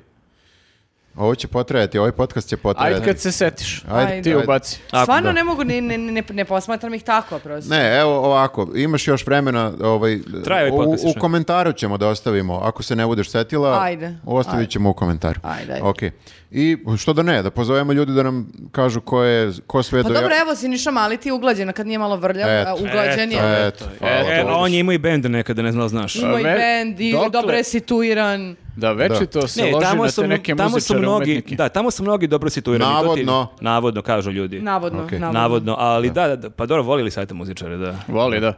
[SPEAKER 2] Ovo će potrajati, ovaj podcast će potrajati.
[SPEAKER 4] Ajde kad se setiš.
[SPEAKER 1] Ajde.
[SPEAKER 4] Ti ubaci.
[SPEAKER 3] Ako
[SPEAKER 1] stvarno
[SPEAKER 3] da.
[SPEAKER 1] ne mogu, ne, ne, ne, ne posmatram ih tako prosto.
[SPEAKER 2] Ne, evo ovako, imaš još vremena, ovaj,
[SPEAKER 3] Traje
[SPEAKER 2] u,
[SPEAKER 3] ovaj podcast još.
[SPEAKER 2] u komentaru ćemo da ostavimo, ako se ne budeš setila,
[SPEAKER 1] Ajde.
[SPEAKER 2] ostavit
[SPEAKER 1] Ajde.
[SPEAKER 2] ćemo u komentaru.
[SPEAKER 1] Ajde, ajde.
[SPEAKER 2] Ok. I što da ne, da pozovemo ljudi da nam kažu ko, je, ko sve
[SPEAKER 1] Pa
[SPEAKER 2] do-
[SPEAKER 1] dobro, evo Siniša Mali ti je uglađena, kad nije malo vrljav,
[SPEAKER 2] Eto.
[SPEAKER 1] a uglađen
[SPEAKER 3] Eto,
[SPEAKER 1] je.
[SPEAKER 2] Eto,
[SPEAKER 4] eto,
[SPEAKER 2] hvala.
[SPEAKER 3] E,
[SPEAKER 4] to
[SPEAKER 3] a on je imao i bend nekada, ne znam da li znaš.
[SPEAKER 1] Imao i
[SPEAKER 4] Ve-
[SPEAKER 1] bend i
[SPEAKER 4] dokle-
[SPEAKER 1] dobro je situiran.
[SPEAKER 4] Da, večito se
[SPEAKER 3] Ne,
[SPEAKER 4] loži
[SPEAKER 3] tamo
[SPEAKER 4] na
[SPEAKER 3] su,
[SPEAKER 4] te neke
[SPEAKER 3] tamo su
[SPEAKER 4] muzičare,
[SPEAKER 3] mnogi,
[SPEAKER 4] umetnike.
[SPEAKER 3] da, tamo su mnogi dobro situirani. to ti-
[SPEAKER 2] Navodno.
[SPEAKER 3] navodno, kažu ljudi.
[SPEAKER 1] Navodno,
[SPEAKER 2] Ok.
[SPEAKER 1] navodno.
[SPEAKER 3] Navodno, ali da, da, da, pa dobro, volili sajte muzičare, da.
[SPEAKER 4] Voli, da.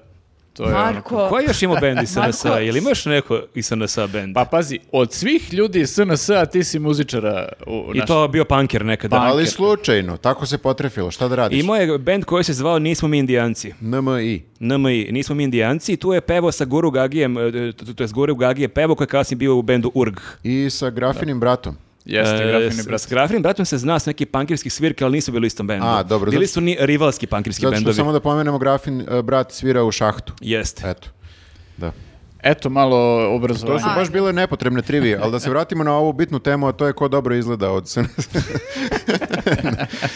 [SPEAKER 4] To je ono.
[SPEAKER 1] Marko,
[SPEAKER 3] Ko je još imao bend iz
[SPEAKER 1] <laughs>
[SPEAKER 3] SNS-a?
[SPEAKER 1] Marko-
[SPEAKER 3] Jel ima još neko iz SNS-a bend?
[SPEAKER 4] Pa pazi, od svih ljudi iz SNS-a ti si muzičara u
[SPEAKER 3] I to bio punker nekada.
[SPEAKER 2] Pa, Ali slučajno, tako se potrefilo, šta da radiš?
[SPEAKER 3] Pa, Imao je bend koji se zvao Nismo mi indijanci.
[SPEAKER 2] NMI.
[SPEAKER 3] NMI, nismo mi indijanci, tu je pevo sa Guru Gagijem, e, to, to je Guru Gagije pevo koji je kasnije bio u bendu Urg.
[SPEAKER 2] I sa grafinim bratom.
[SPEAKER 4] Jeste,
[SPEAKER 3] E,
[SPEAKER 4] grafini
[SPEAKER 3] s-
[SPEAKER 4] brat.
[SPEAKER 3] S Grafini bratom se zna s neki pankirskih svirke, ali nisu bili u istom bendu.
[SPEAKER 2] A, dobro,
[SPEAKER 3] Bili
[SPEAKER 2] zato-
[SPEAKER 3] su ni rivalski pankirski
[SPEAKER 2] Zato što
[SPEAKER 3] bendovi.
[SPEAKER 2] samo E, da pomenemo, grafin e, brat svira u šahtu.
[SPEAKER 3] Jeste.
[SPEAKER 2] Eto. Da.
[SPEAKER 4] Eto malo
[SPEAKER 2] To
[SPEAKER 4] obrazovanja.
[SPEAKER 2] su baš bile nepotrebne trivije, ali da se vratimo na ovu bitnu temu, a to je ko dobro izgleda od
[SPEAKER 3] <laughs>
[SPEAKER 2] SNS.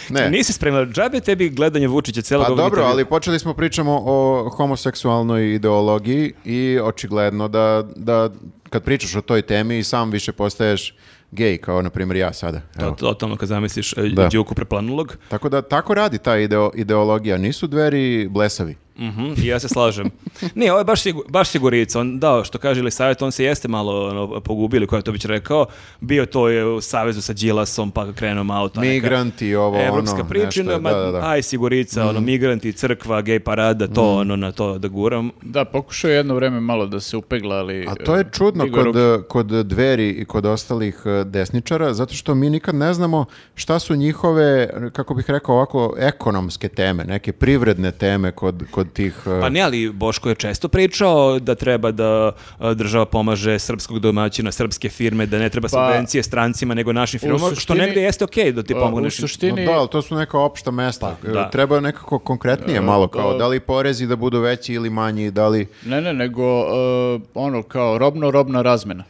[SPEAKER 2] ne.
[SPEAKER 3] Nisi spremila, džabe tebi gledanje Vučića celog
[SPEAKER 2] Pa
[SPEAKER 3] ovog
[SPEAKER 2] dobro,
[SPEAKER 3] intervjua.
[SPEAKER 2] ali počeli smo pričamo o homoseksualnoj ideologiji i očigledno da, da kad pričaš o toj temi i sam više postaješ gej, kao na primjer ja sada.
[SPEAKER 3] To,
[SPEAKER 2] Evo.
[SPEAKER 3] totalno kad zamisliš e,
[SPEAKER 2] Da.
[SPEAKER 3] Đuku preplanulog.
[SPEAKER 2] Tako da, tako radi ta ideo- ideologija. Nisu dveri blesavi.
[SPEAKER 3] Mhm, i ja se slažem. Nije, ovo je baš, sigu- baš sigurica. On, da, što kaže ili savjet, on se jeste malo ono, pogubili, koja je to bić rekao. Bio to je u savezu sa Đilasom, pa krenuo malo ta neka
[SPEAKER 2] Migranti, ovo, ono.
[SPEAKER 3] Evropska
[SPEAKER 2] nešto
[SPEAKER 3] pričina,
[SPEAKER 2] je,
[SPEAKER 3] ma,
[SPEAKER 2] da, da, da. Mhm.
[SPEAKER 3] aj sigurica, ono, migranti, crkva, gej parada, to, ono, na to da guram.
[SPEAKER 4] Da, pokušao je jedno vreme malo da se upegla, ali...
[SPEAKER 2] A to je
[SPEAKER 4] e,
[SPEAKER 2] čudno
[SPEAKER 4] digao
[SPEAKER 2] kod,
[SPEAKER 4] ruke.
[SPEAKER 2] kod dveri i kod ostalih eh, desničara, zato što mi nikad ne znamo šta su njihove, kako bih rekao ovako, ekonomske teme, neke privredne teme kod, kod tih... eh,
[SPEAKER 3] Pa ne, ali Boško je često pričao da treba da e, država pomaže srpskog domaćina, srpske firme, da ne
[SPEAKER 2] Pa,
[SPEAKER 3] treba subvencije strancima, nego našim firmama, što
[SPEAKER 4] suštini-
[SPEAKER 3] negdje jeste okej da ti
[SPEAKER 4] Pa,
[SPEAKER 3] pomogne.
[SPEAKER 4] U
[SPEAKER 3] našim-
[SPEAKER 2] No
[SPEAKER 4] suštini...
[SPEAKER 2] da, ali to su neka opšta mesta.
[SPEAKER 3] Pa, da. E,
[SPEAKER 2] Treba nekako konkretnije malo, kao
[SPEAKER 4] da.
[SPEAKER 2] da li porezi da budu veći ili manji, da li... <laughs>
[SPEAKER 4] Ne, ne, nego e, ono kao robno-robna razmena.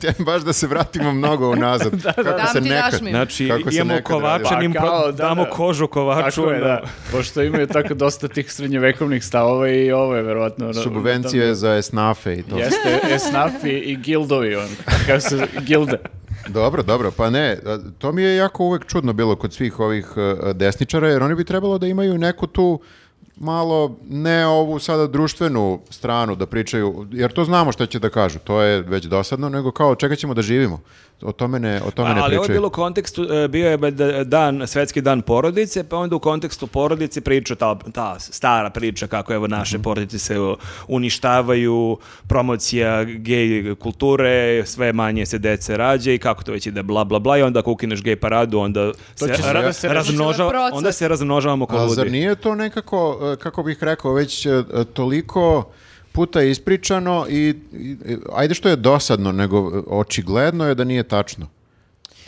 [SPEAKER 2] Tem baš da se vratimo mnogo
[SPEAKER 1] <laughs>
[SPEAKER 2] unazad. kako
[SPEAKER 1] Dam
[SPEAKER 2] se
[SPEAKER 1] ti,
[SPEAKER 2] nekad...
[SPEAKER 1] daš
[SPEAKER 2] <laughs>
[SPEAKER 1] mi.
[SPEAKER 3] Znači,
[SPEAKER 2] Kako se
[SPEAKER 3] imamo
[SPEAKER 2] nekad
[SPEAKER 3] kovača,
[SPEAKER 4] radi.
[SPEAKER 3] im
[SPEAKER 4] Pa
[SPEAKER 3] pro-
[SPEAKER 4] kao, da,
[SPEAKER 3] damo
[SPEAKER 4] da.
[SPEAKER 3] kožu kovaču.
[SPEAKER 4] Tako je,
[SPEAKER 3] ono.
[SPEAKER 4] da. Pošto imaju tako dosta tih srednjevekovnih stavova i ovo je verovatno... ono,
[SPEAKER 2] Subvencije za esnafe i to.
[SPEAKER 4] tamo- Jeste, esnafi i gildovi, on, kako se gilde.
[SPEAKER 2] Dobro, dobro, pa ne, a, to mi je jako uvek čudno bilo kod svih ovih e, desničara, jer oni bi trebalo da imaju neku tu malo, ne ovu sada društvenu stranu da pričaju, jer to znamo što će da kažu, to je već dosadno, nego kao čekat ćemo da živimo. O tome ne, o tome
[SPEAKER 3] Pa,
[SPEAKER 2] ne
[SPEAKER 3] ali ovo je
[SPEAKER 2] pričaju.
[SPEAKER 3] bilo u kontekstu, e, bio je da- dan, svetski dan porodice, pa onda u kontekstu porodice priča ta, ta stara priča kako evo naše
[SPEAKER 2] Mhm.
[SPEAKER 3] porodice se o, uništavaju, promocija gej kulture, sve manje se dece rađe i kako to već ide bla bla bla i onda ako ukineš gej paradu onda se,
[SPEAKER 4] će se-
[SPEAKER 3] ra-
[SPEAKER 4] da se
[SPEAKER 3] razmnožava-
[SPEAKER 1] reši proces.
[SPEAKER 3] onda se razmnožavamo ko
[SPEAKER 2] A
[SPEAKER 3] ludi.
[SPEAKER 2] zar nije to nekako, e, kako bih rekao, već e, toliko puta ispričano i, i- i- ajde što je dosadno, nego e, očigledno je da nije tačno.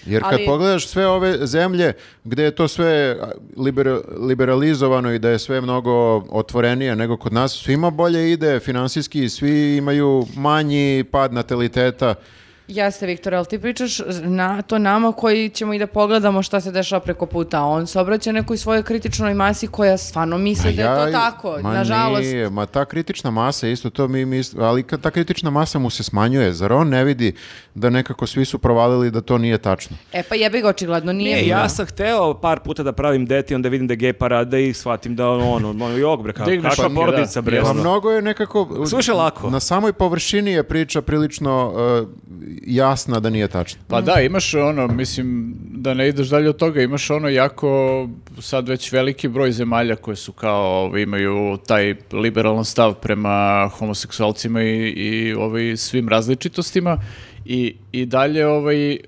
[SPEAKER 2] Jer kad
[SPEAKER 1] Ali-
[SPEAKER 2] pogledaš sve ove zemlje gdje je to sve a, liber- liberalizovano i da je sve mnogo otvorenije nego kod nas, svima bolje ide finansijski, svi imaju manji pad nataliteta.
[SPEAKER 1] Jeste, Viktor, ali ti pričaš na to nama koji ćemo i da pogledamo šta se dešava preko puta. a On se obraća nekoj svojoj kritičnoj masi koja stvarno misli da je to
[SPEAKER 2] Ja-
[SPEAKER 1] tako.
[SPEAKER 2] Pa ma
[SPEAKER 1] Nažalost,
[SPEAKER 2] nije, ma ta kritična masa isto to mi mis- ali kad ta kritična masa mu se smanjuje, zar on ne vidi da nekako svi su provalili da to nije tačno?
[SPEAKER 1] e pa jebi ga očigledno, nije.
[SPEAKER 3] Nije, E, ja sam hteo par puta da pravim deti, onda vidim da je gej parada i shvatim da ono, ono, ono, jok bre, ka-
[SPEAKER 4] Digneš
[SPEAKER 3] kakva
[SPEAKER 4] ruke,
[SPEAKER 3] porodica
[SPEAKER 4] da.
[SPEAKER 3] bre.
[SPEAKER 2] Pa
[SPEAKER 3] ono.
[SPEAKER 2] mnogo je nekako
[SPEAKER 3] Suviše lako.
[SPEAKER 2] Na samoj površini je priča prilično uh, jasna da nije tačna.
[SPEAKER 4] Pa da, imaš ono, mislim, da ne ideš dalje od toga, imaš ono jako, sad već veliki broj zemalja koje su kao, ovaj, imaju taj liberalan stav prema homoseksualcima i, i ovaj, svim različitostima i, i dalje ovaj e,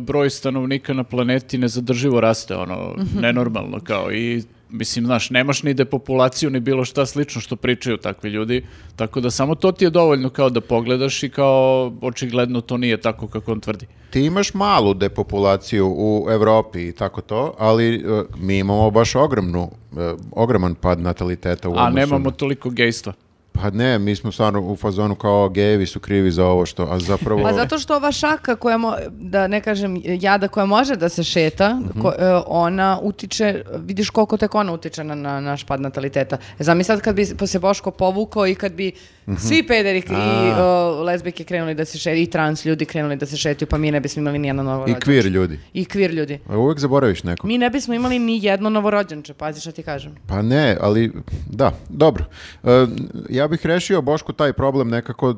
[SPEAKER 4] broj stanovnika na planeti nezadrživo raste, ono, nenormalno kao i Mislim, znaš, nemaš ni depopulaciju, ni bilo šta slično što pričaju takvi ljudi, tako da samo to ti je dovoljno kao da pogledaš i kao očigledno to nije tako kako on tvrdi.
[SPEAKER 2] Ti imaš malu depopulaciju u Evropi i tako to, ali e, mi imamo baš ogromnu, e, ogroman pad nataliteta u
[SPEAKER 4] A
[SPEAKER 2] odnosu
[SPEAKER 4] nemamo
[SPEAKER 2] na-
[SPEAKER 4] toliko gejstva.
[SPEAKER 2] Pa ne, mi smo stvarno u fazonu kao gejevi su krivi za ovo što, a zapravo...
[SPEAKER 1] Pa zato što ova šaka koja, mo- da ne kažem jada koja može da se šeta,
[SPEAKER 2] Mhm.
[SPEAKER 1] ko- e, ona utiče, vidiš koliko tek ona utiče na, na naš pad nataliteta. E, Zamisli sad kad bi se Boško povukao i kad bi
[SPEAKER 2] Mhm.
[SPEAKER 1] svi pederi i e, lezbijke krenuli da se šetaju i trans ljudi krenuli da se šetaju, pa mi ne bismo imali nijedno novo
[SPEAKER 2] I kvir ljudi.
[SPEAKER 1] I kvir ljudi.
[SPEAKER 2] A Uvek E, zaboraviš nekog.
[SPEAKER 1] Mi ne bismo imali ni jedno novorođenče, pazi šta ti kažem.
[SPEAKER 2] Pa ne, ali da, dobro. E, ja bih rešio Bošku taj problem nekako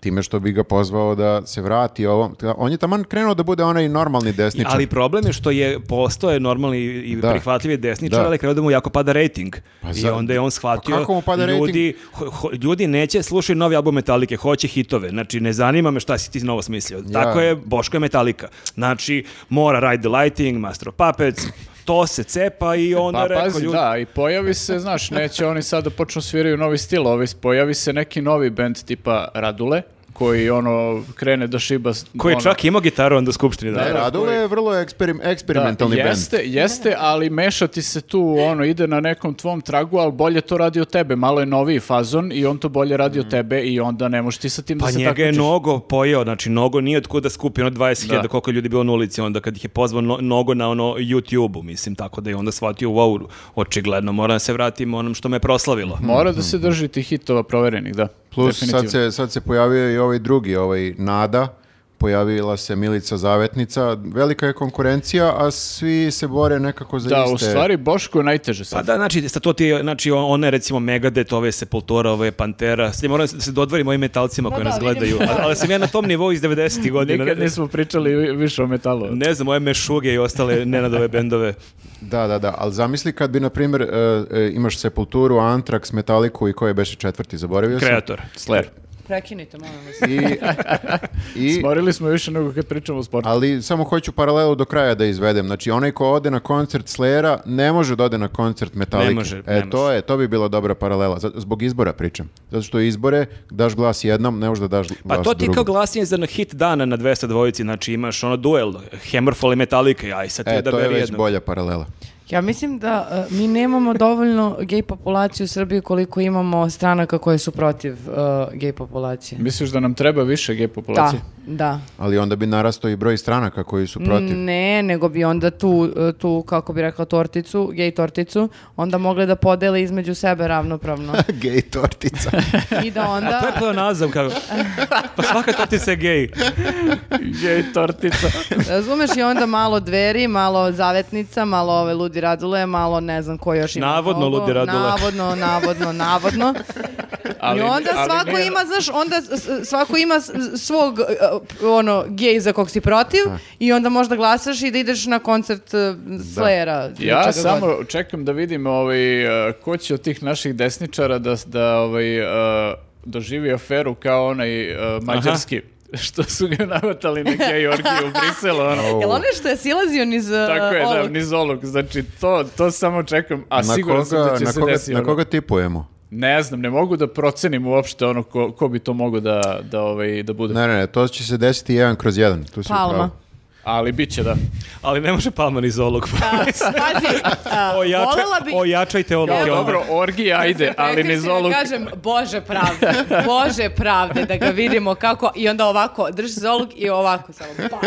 [SPEAKER 2] time što bi ga pozvao da se vrati ovom. On je taman krenuo da bude onaj normalni desničar.
[SPEAKER 3] Ali problem je što je postoje normalni i
[SPEAKER 2] Da.
[SPEAKER 3] prihvatljivi desničar,
[SPEAKER 2] Da.
[SPEAKER 3] ali krenuo da mu jako pada rating.
[SPEAKER 2] Pa
[SPEAKER 3] I
[SPEAKER 2] za-
[SPEAKER 3] onda je on shvatio,
[SPEAKER 2] Pa kako mu pada
[SPEAKER 3] ljudi, ho- ho- ljudi neće slušati novi album Metallike, hoće hitove. Znači, ne zanima me šta si ti novo smislio. Tako je, Boško je Metallica. Znači, mora Ride the Lighting, Master of Puppets, to se cepa i onda
[SPEAKER 4] Pa
[SPEAKER 3] je rekao
[SPEAKER 4] pazi,
[SPEAKER 3] ljudi-
[SPEAKER 4] da, i pojavi se, znaš, neće oni sad da počnu sviraju novi stil, ovi, pojavi se neki novi band tipa Radule, koji ono krene da šiba... s-
[SPEAKER 3] Koji je
[SPEAKER 4] ono-
[SPEAKER 3] čak imao gitaru onda u skupštini. Da.
[SPEAKER 2] Ne, Radule E, je vrlo eksperim, eksperimentalni
[SPEAKER 4] da,
[SPEAKER 2] bend.
[SPEAKER 4] jeste, Jeste, ali mešati se tu, ono, ide na nekom tvom tragu, ali bolje to radi od tebe, malo je noviji fazon i on to bolje radi od tebe i onda ne možeš ti sa tim
[SPEAKER 3] Mm. Pa
[SPEAKER 4] da se
[SPEAKER 3] njega je
[SPEAKER 4] takmičiš.
[SPEAKER 3] Nogo pojeo, znači Nogo nije od kuda skupi ono 20.000
[SPEAKER 4] Da.
[SPEAKER 3] koliko je ljudi bilo na ulici onda kad ih je pozvao no, Nogo na ono YouTube-u, mislim, tako da je onda shvatio wow, očigledno, moram da se vratim onom što me proslavilo.
[SPEAKER 4] Mora da se drži tih hitova proverenih, da.
[SPEAKER 2] Plus sad
[SPEAKER 4] definitivno.
[SPEAKER 2] se, sad se pojavio i ovaj drugi, ovaj Nada, pojavila se Milica Zavetnica, velika je konkurencija, a svi se bore nekako za
[SPEAKER 4] Da,
[SPEAKER 2] iste...
[SPEAKER 4] u stvari Boško je najteže sad.
[SPEAKER 3] Pa da, znači, sa to ti, je, znači, on- one recimo Megadeth, ove Sepultura, ove Pantera, sad moram da se dodvorim ovim metalcima
[SPEAKER 1] Da,
[SPEAKER 3] koji
[SPEAKER 1] Pa da,
[SPEAKER 3] nas
[SPEAKER 1] vidim.
[SPEAKER 3] gledaju, ali, ali sam ja na tom nivou iz 90. godina. <laughs>
[SPEAKER 4] Nikad
[SPEAKER 3] Ne,
[SPEAKER 4] nismo pričali vi- više o metalu.
[SPEAKER 3] ne znam, ove Mešuge i ostale nenadove bendove.
[SPEAKER 2] Da, da, da, ali zamisli kad bi, na primjer, e, e, imaš Sepulturu, Antrax, Metaliku i koji je beše četvrti, zaboravio sam.
[SPEAKER 3] Kreator.
[SPEAKER 4] Slayer.
[SPEAKER 1] Prekinite, molim vas.
[SPEAKER 2] I, i,
[SPEAKER 4] Smorili smo više nego kad pričamo o sportu.
[SPEAKER 2] ali samo hoću paralelu do kraja da izvedem. Znači, onaj ko ode na koncert Slayera ne može da ode na koncert Metallica.
[SPEAKER 3] Ne može,
[SPEAKER 2] e,
[SPEAKER 3] ne
[SPEAKER 2] to
[SPEAKER 3] može.
[SPEAKER 2] je, to bi bila dobra paralela. Za- Zbog izbora pričam. Zato što izbore daš glas jednom, ne možeš da daš glas
[SPEAKER 3] Pa to ti je
[SPEAKER 2] drugom.
[SPEAKER 3] kao glasnije za na hit dana na 200 dvojici, znači imaš ono duel, Hammerfall i Metallica, aj sad ti
[SPEAKER 2] E, to je
[SPEAKER 3] odaberi
[SPEAKER 2] već
[SPEAKER 3] jednog.
[SPEAKER 2] bolja paralela.
[SPEAKER 1] Ja mislim da e, mi nemamo dovoljno gej populaciju u Srbiji koliko imamo stranaka koje su protiv e, gej populacije.
[SPEAKER 4] Misliš da nam treba više gej
[SPEAKER 1] Da,
[SPEAKER 4] populacije?
[SPEAKER 1] da.
[SPEAKER 2] Ali onda bi narastao i broj stranaka koji su protiv.
[SPEAKER 3] Mm.
[SPEAKER 1] Ne, nego bi onda tu, e, tu kako bi rekla, torticu, gej torticu, onda mogle da podele između sebe ravnopravno.
[SPEAKER 2] <laughs> Gej tortica.
[SPEAKER 1] I
[SPEAKER 3] <laughs>
[SPEAKER 1] da
[SPEAKER 3] A to je
[SPEAKER 1] onda...
[SPEAKER 3] pleonazam,
[SPEAKER 1] <laughs>
[SPEAKER 3] kao. Pa svaka tortica je gej.
[SPEAKER 4] <laughs> Gej
[SPEAKER 2] <laughs>
[SPEAKER 4] tortica.
[SPEAKER 1] Razumeš i onda malo dveri, malo zavetnica, malo ove ludi radule, malo ne znam ko još ima.
[SPEAKER 3] Navodno
[SPEAKER 1] mnogo.
[SPEAKER 3] ludi radule.
[SPEAKER 1] Navodno, navodno, navodno.
[SPEAKER 4] Ali-
[SPEAKER 1] I onda
[SPEAKER 4] ali
[SPEAKER 1] svako
[SPEAKER 4] nije-
[SPEAKER 1] ima, znaš, onda s- s- svako ima s- svog e, ono, gej za kog si protiv i onda možda glasaš i da ideš na koncert e, Slayera. ili čega
[SPEAKER 4] Ja
[SPEAKER 1] god.
[SPEAKER 4] samo čekam da vidim ovaj, eh, ko će od tih naših desničara da, da ovaj, eh, doživi aferu kao onaj eh, mađarski. <laughs> Što su ga navatali na gej orgiju u Briselu. Ono.
[SPEAKER 1] Jel ono što je silazio niz e,
[SPEAKER 4] Tako je, da,
[SPEAKER 1] ovog?
[SPEAKER 4] niz olog. Znači, to, to samo čekam, a siguran sam da će
[SPEAKER 2] na
[SPEAKER 4] se
[SPEAKER 2] koga,
[SPEAKER 4] desiti.
[SPEAKER 2] na
[SPEAKER 4] ono.
[SPEAKER 2] koga tipujemo?
[SPEAKER 4] Ne znam, ne mogu da procenim uopšte ono ko, ko bi to mogao da, da, ovaj, da bude.
[SPEAKER 2] Ne, ne, ne, to će se desiti jedan kroz jedan. Tu si u pravu.
[SPEAKER 1] Dakle- Palma.
[SPEAKER 4] Ali bit će da.
[SPEAKER 3] Ali ne može palma ni zoolog.
[SPEAKER 4] <laughs>
[SPEAKER 1] Pazi, e, a, volela bi...
[SPEAKER 3] Ojačajte olog.
[SPEAKER 1] Ja,
[SPEAKER 3] onda.
[SPEAKER 4] Pa Dobro, orgija, ajde, ali
[SPEAKER 1] Rekli
[SPEAKER 4] ne
[SPEAKER 1] ste da
[SPEAKER 4] zoluk.
[SPEAKER 1] Kažem, Bože pravde, Bože pravde, da ga vidimo kako, i onda ovako, drži zoluk i ovako samo. pa.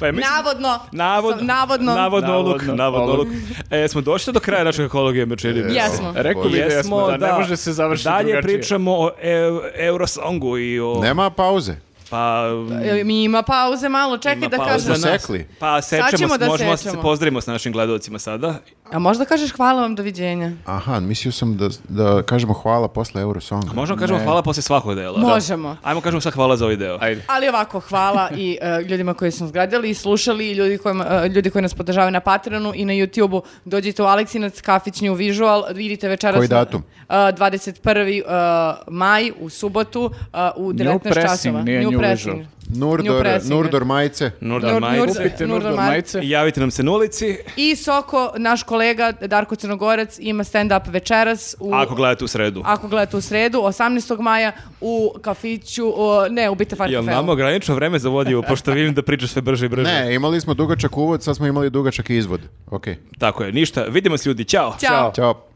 [SPEAKER 3] Pa ja mislim-
[SPEAKER 1] Navodno,
[SPEAKER 3] Navodno,
[SPEAKER 1] sam- navodno,
[SPEAKER 3] navodno oluk,
[SPEAKER 4] Navodno,
[SPEAKER 3] navodno
[SPEAKER 4] oluk.
[SPEAKER 3] oluk. E, smo došli do kraja našeg ekologije večeri.
[SPEAKER 1] jesmo.
[SPEAKER 4] Rekao bi da jesmo, da, ne može se završiti
[SPEAKER 3] Dalje
[SPEAKER 4] drugačije.
[SPEAKER 3] pričamo o e, Eurosongu i o...
[SPEAKER 2] Nema pauze.
[SPEAKER 3] Pa...
[SPEAKER 1] E, Mi ima pauze malo, čekaj
[SPEAKER 3] ima
[SPEAKER 1] da
[SPEAKER 3] pauza
[SPEAKER 1] kažem.
[SPEAKER 2] Smo
[SPEAKER 3] za nas.
[SPEAKER 2] sekli.
[SPEAKER 3] Pa sečemo,
[SPEAKER 1] ćemo
[SPEAKER 3] se,
[SPEAKER 1] da
[SPEAKER 3] možemo da se
[SPEAKER 1] sečemo.
[SPEAKER 3] pozdravimo sa našim gledalcima sada.
[SPEAKER 1] A možda kažeš hvala vam, doviđenja.
[SPEAKER 2] Aha, mislio sam da, da kažemo hvala posle Eurosonga.
[SPEAKER 3] Možemo kažemo hvala posle svakog dela.
[SPEAKER 1] Možemo.
[SPEAKER 3] Ajmo kažemo sad hvala za ovaj deo.
[SPEAKER 4] Ajde.
[SPEAKER 1] Ali ovako, hvala i e, ljudima koji su nas gledali i slušali i ljudi, kojima, e, ljudi koji nas podržavaju na Patreonu i na YouTubeu. Dođite u Aleksinac, kafić New Visual, vidite večeras...
[SPEAKER 2] Koji datum?
[SPEAKER 1] E, 21. e, maj u subotu e, u 19
[SPEAKER 4] pressing,
[SPEAKER 1] časova.
[SPEAKER 4] nije New
[SPEAKER 1] pressing.
[SPEAKER 4] Visual.
[SPEAKER 1] New
[SPEAKER 2] Nurdor,
[SPEAKER 1] pressing.
[SPEAKER 2] Nurdor majice.
[SPEAKER 3] Nurdan
[SPEAKER 1] Nur-
[SPEAKER 3] Majić.
[SPEAKER 1] Nurdan-
[SPEAKER 4] Kupite
[SPEAKER 1] Nurdor
[SPEAKER 4] Nurdor
[SPEAKER 1] Mar-
[SPEAKER 4] majice.
[SPEAKER 3] I Javite nam se na ulici.
[SPEAKER 1] I Soko, naš kolega Darko Crnogorac, ima stand-up večeras u...
[SPEAKER 3] Ako gledate u sredu.
[SPEAKER 1] Ako gledate u sredu, 18. maja u kafiću, o, ne, u Bite Farka
[SPEAKER 3] Jel nam ograničeno vreme za vodiju, pošto vidim da pričaš sve brže i brže.
[SPEAKER 2] Ne, imali smo dugačak uvod, sad smo imali dugačak izvod. Ok.
[SPEAKER 3] Tako je, ništa. Vidimo se ljudi, ćao.
[SPEAKER 1] Ćao.
[SPEAKER 2] Ćao.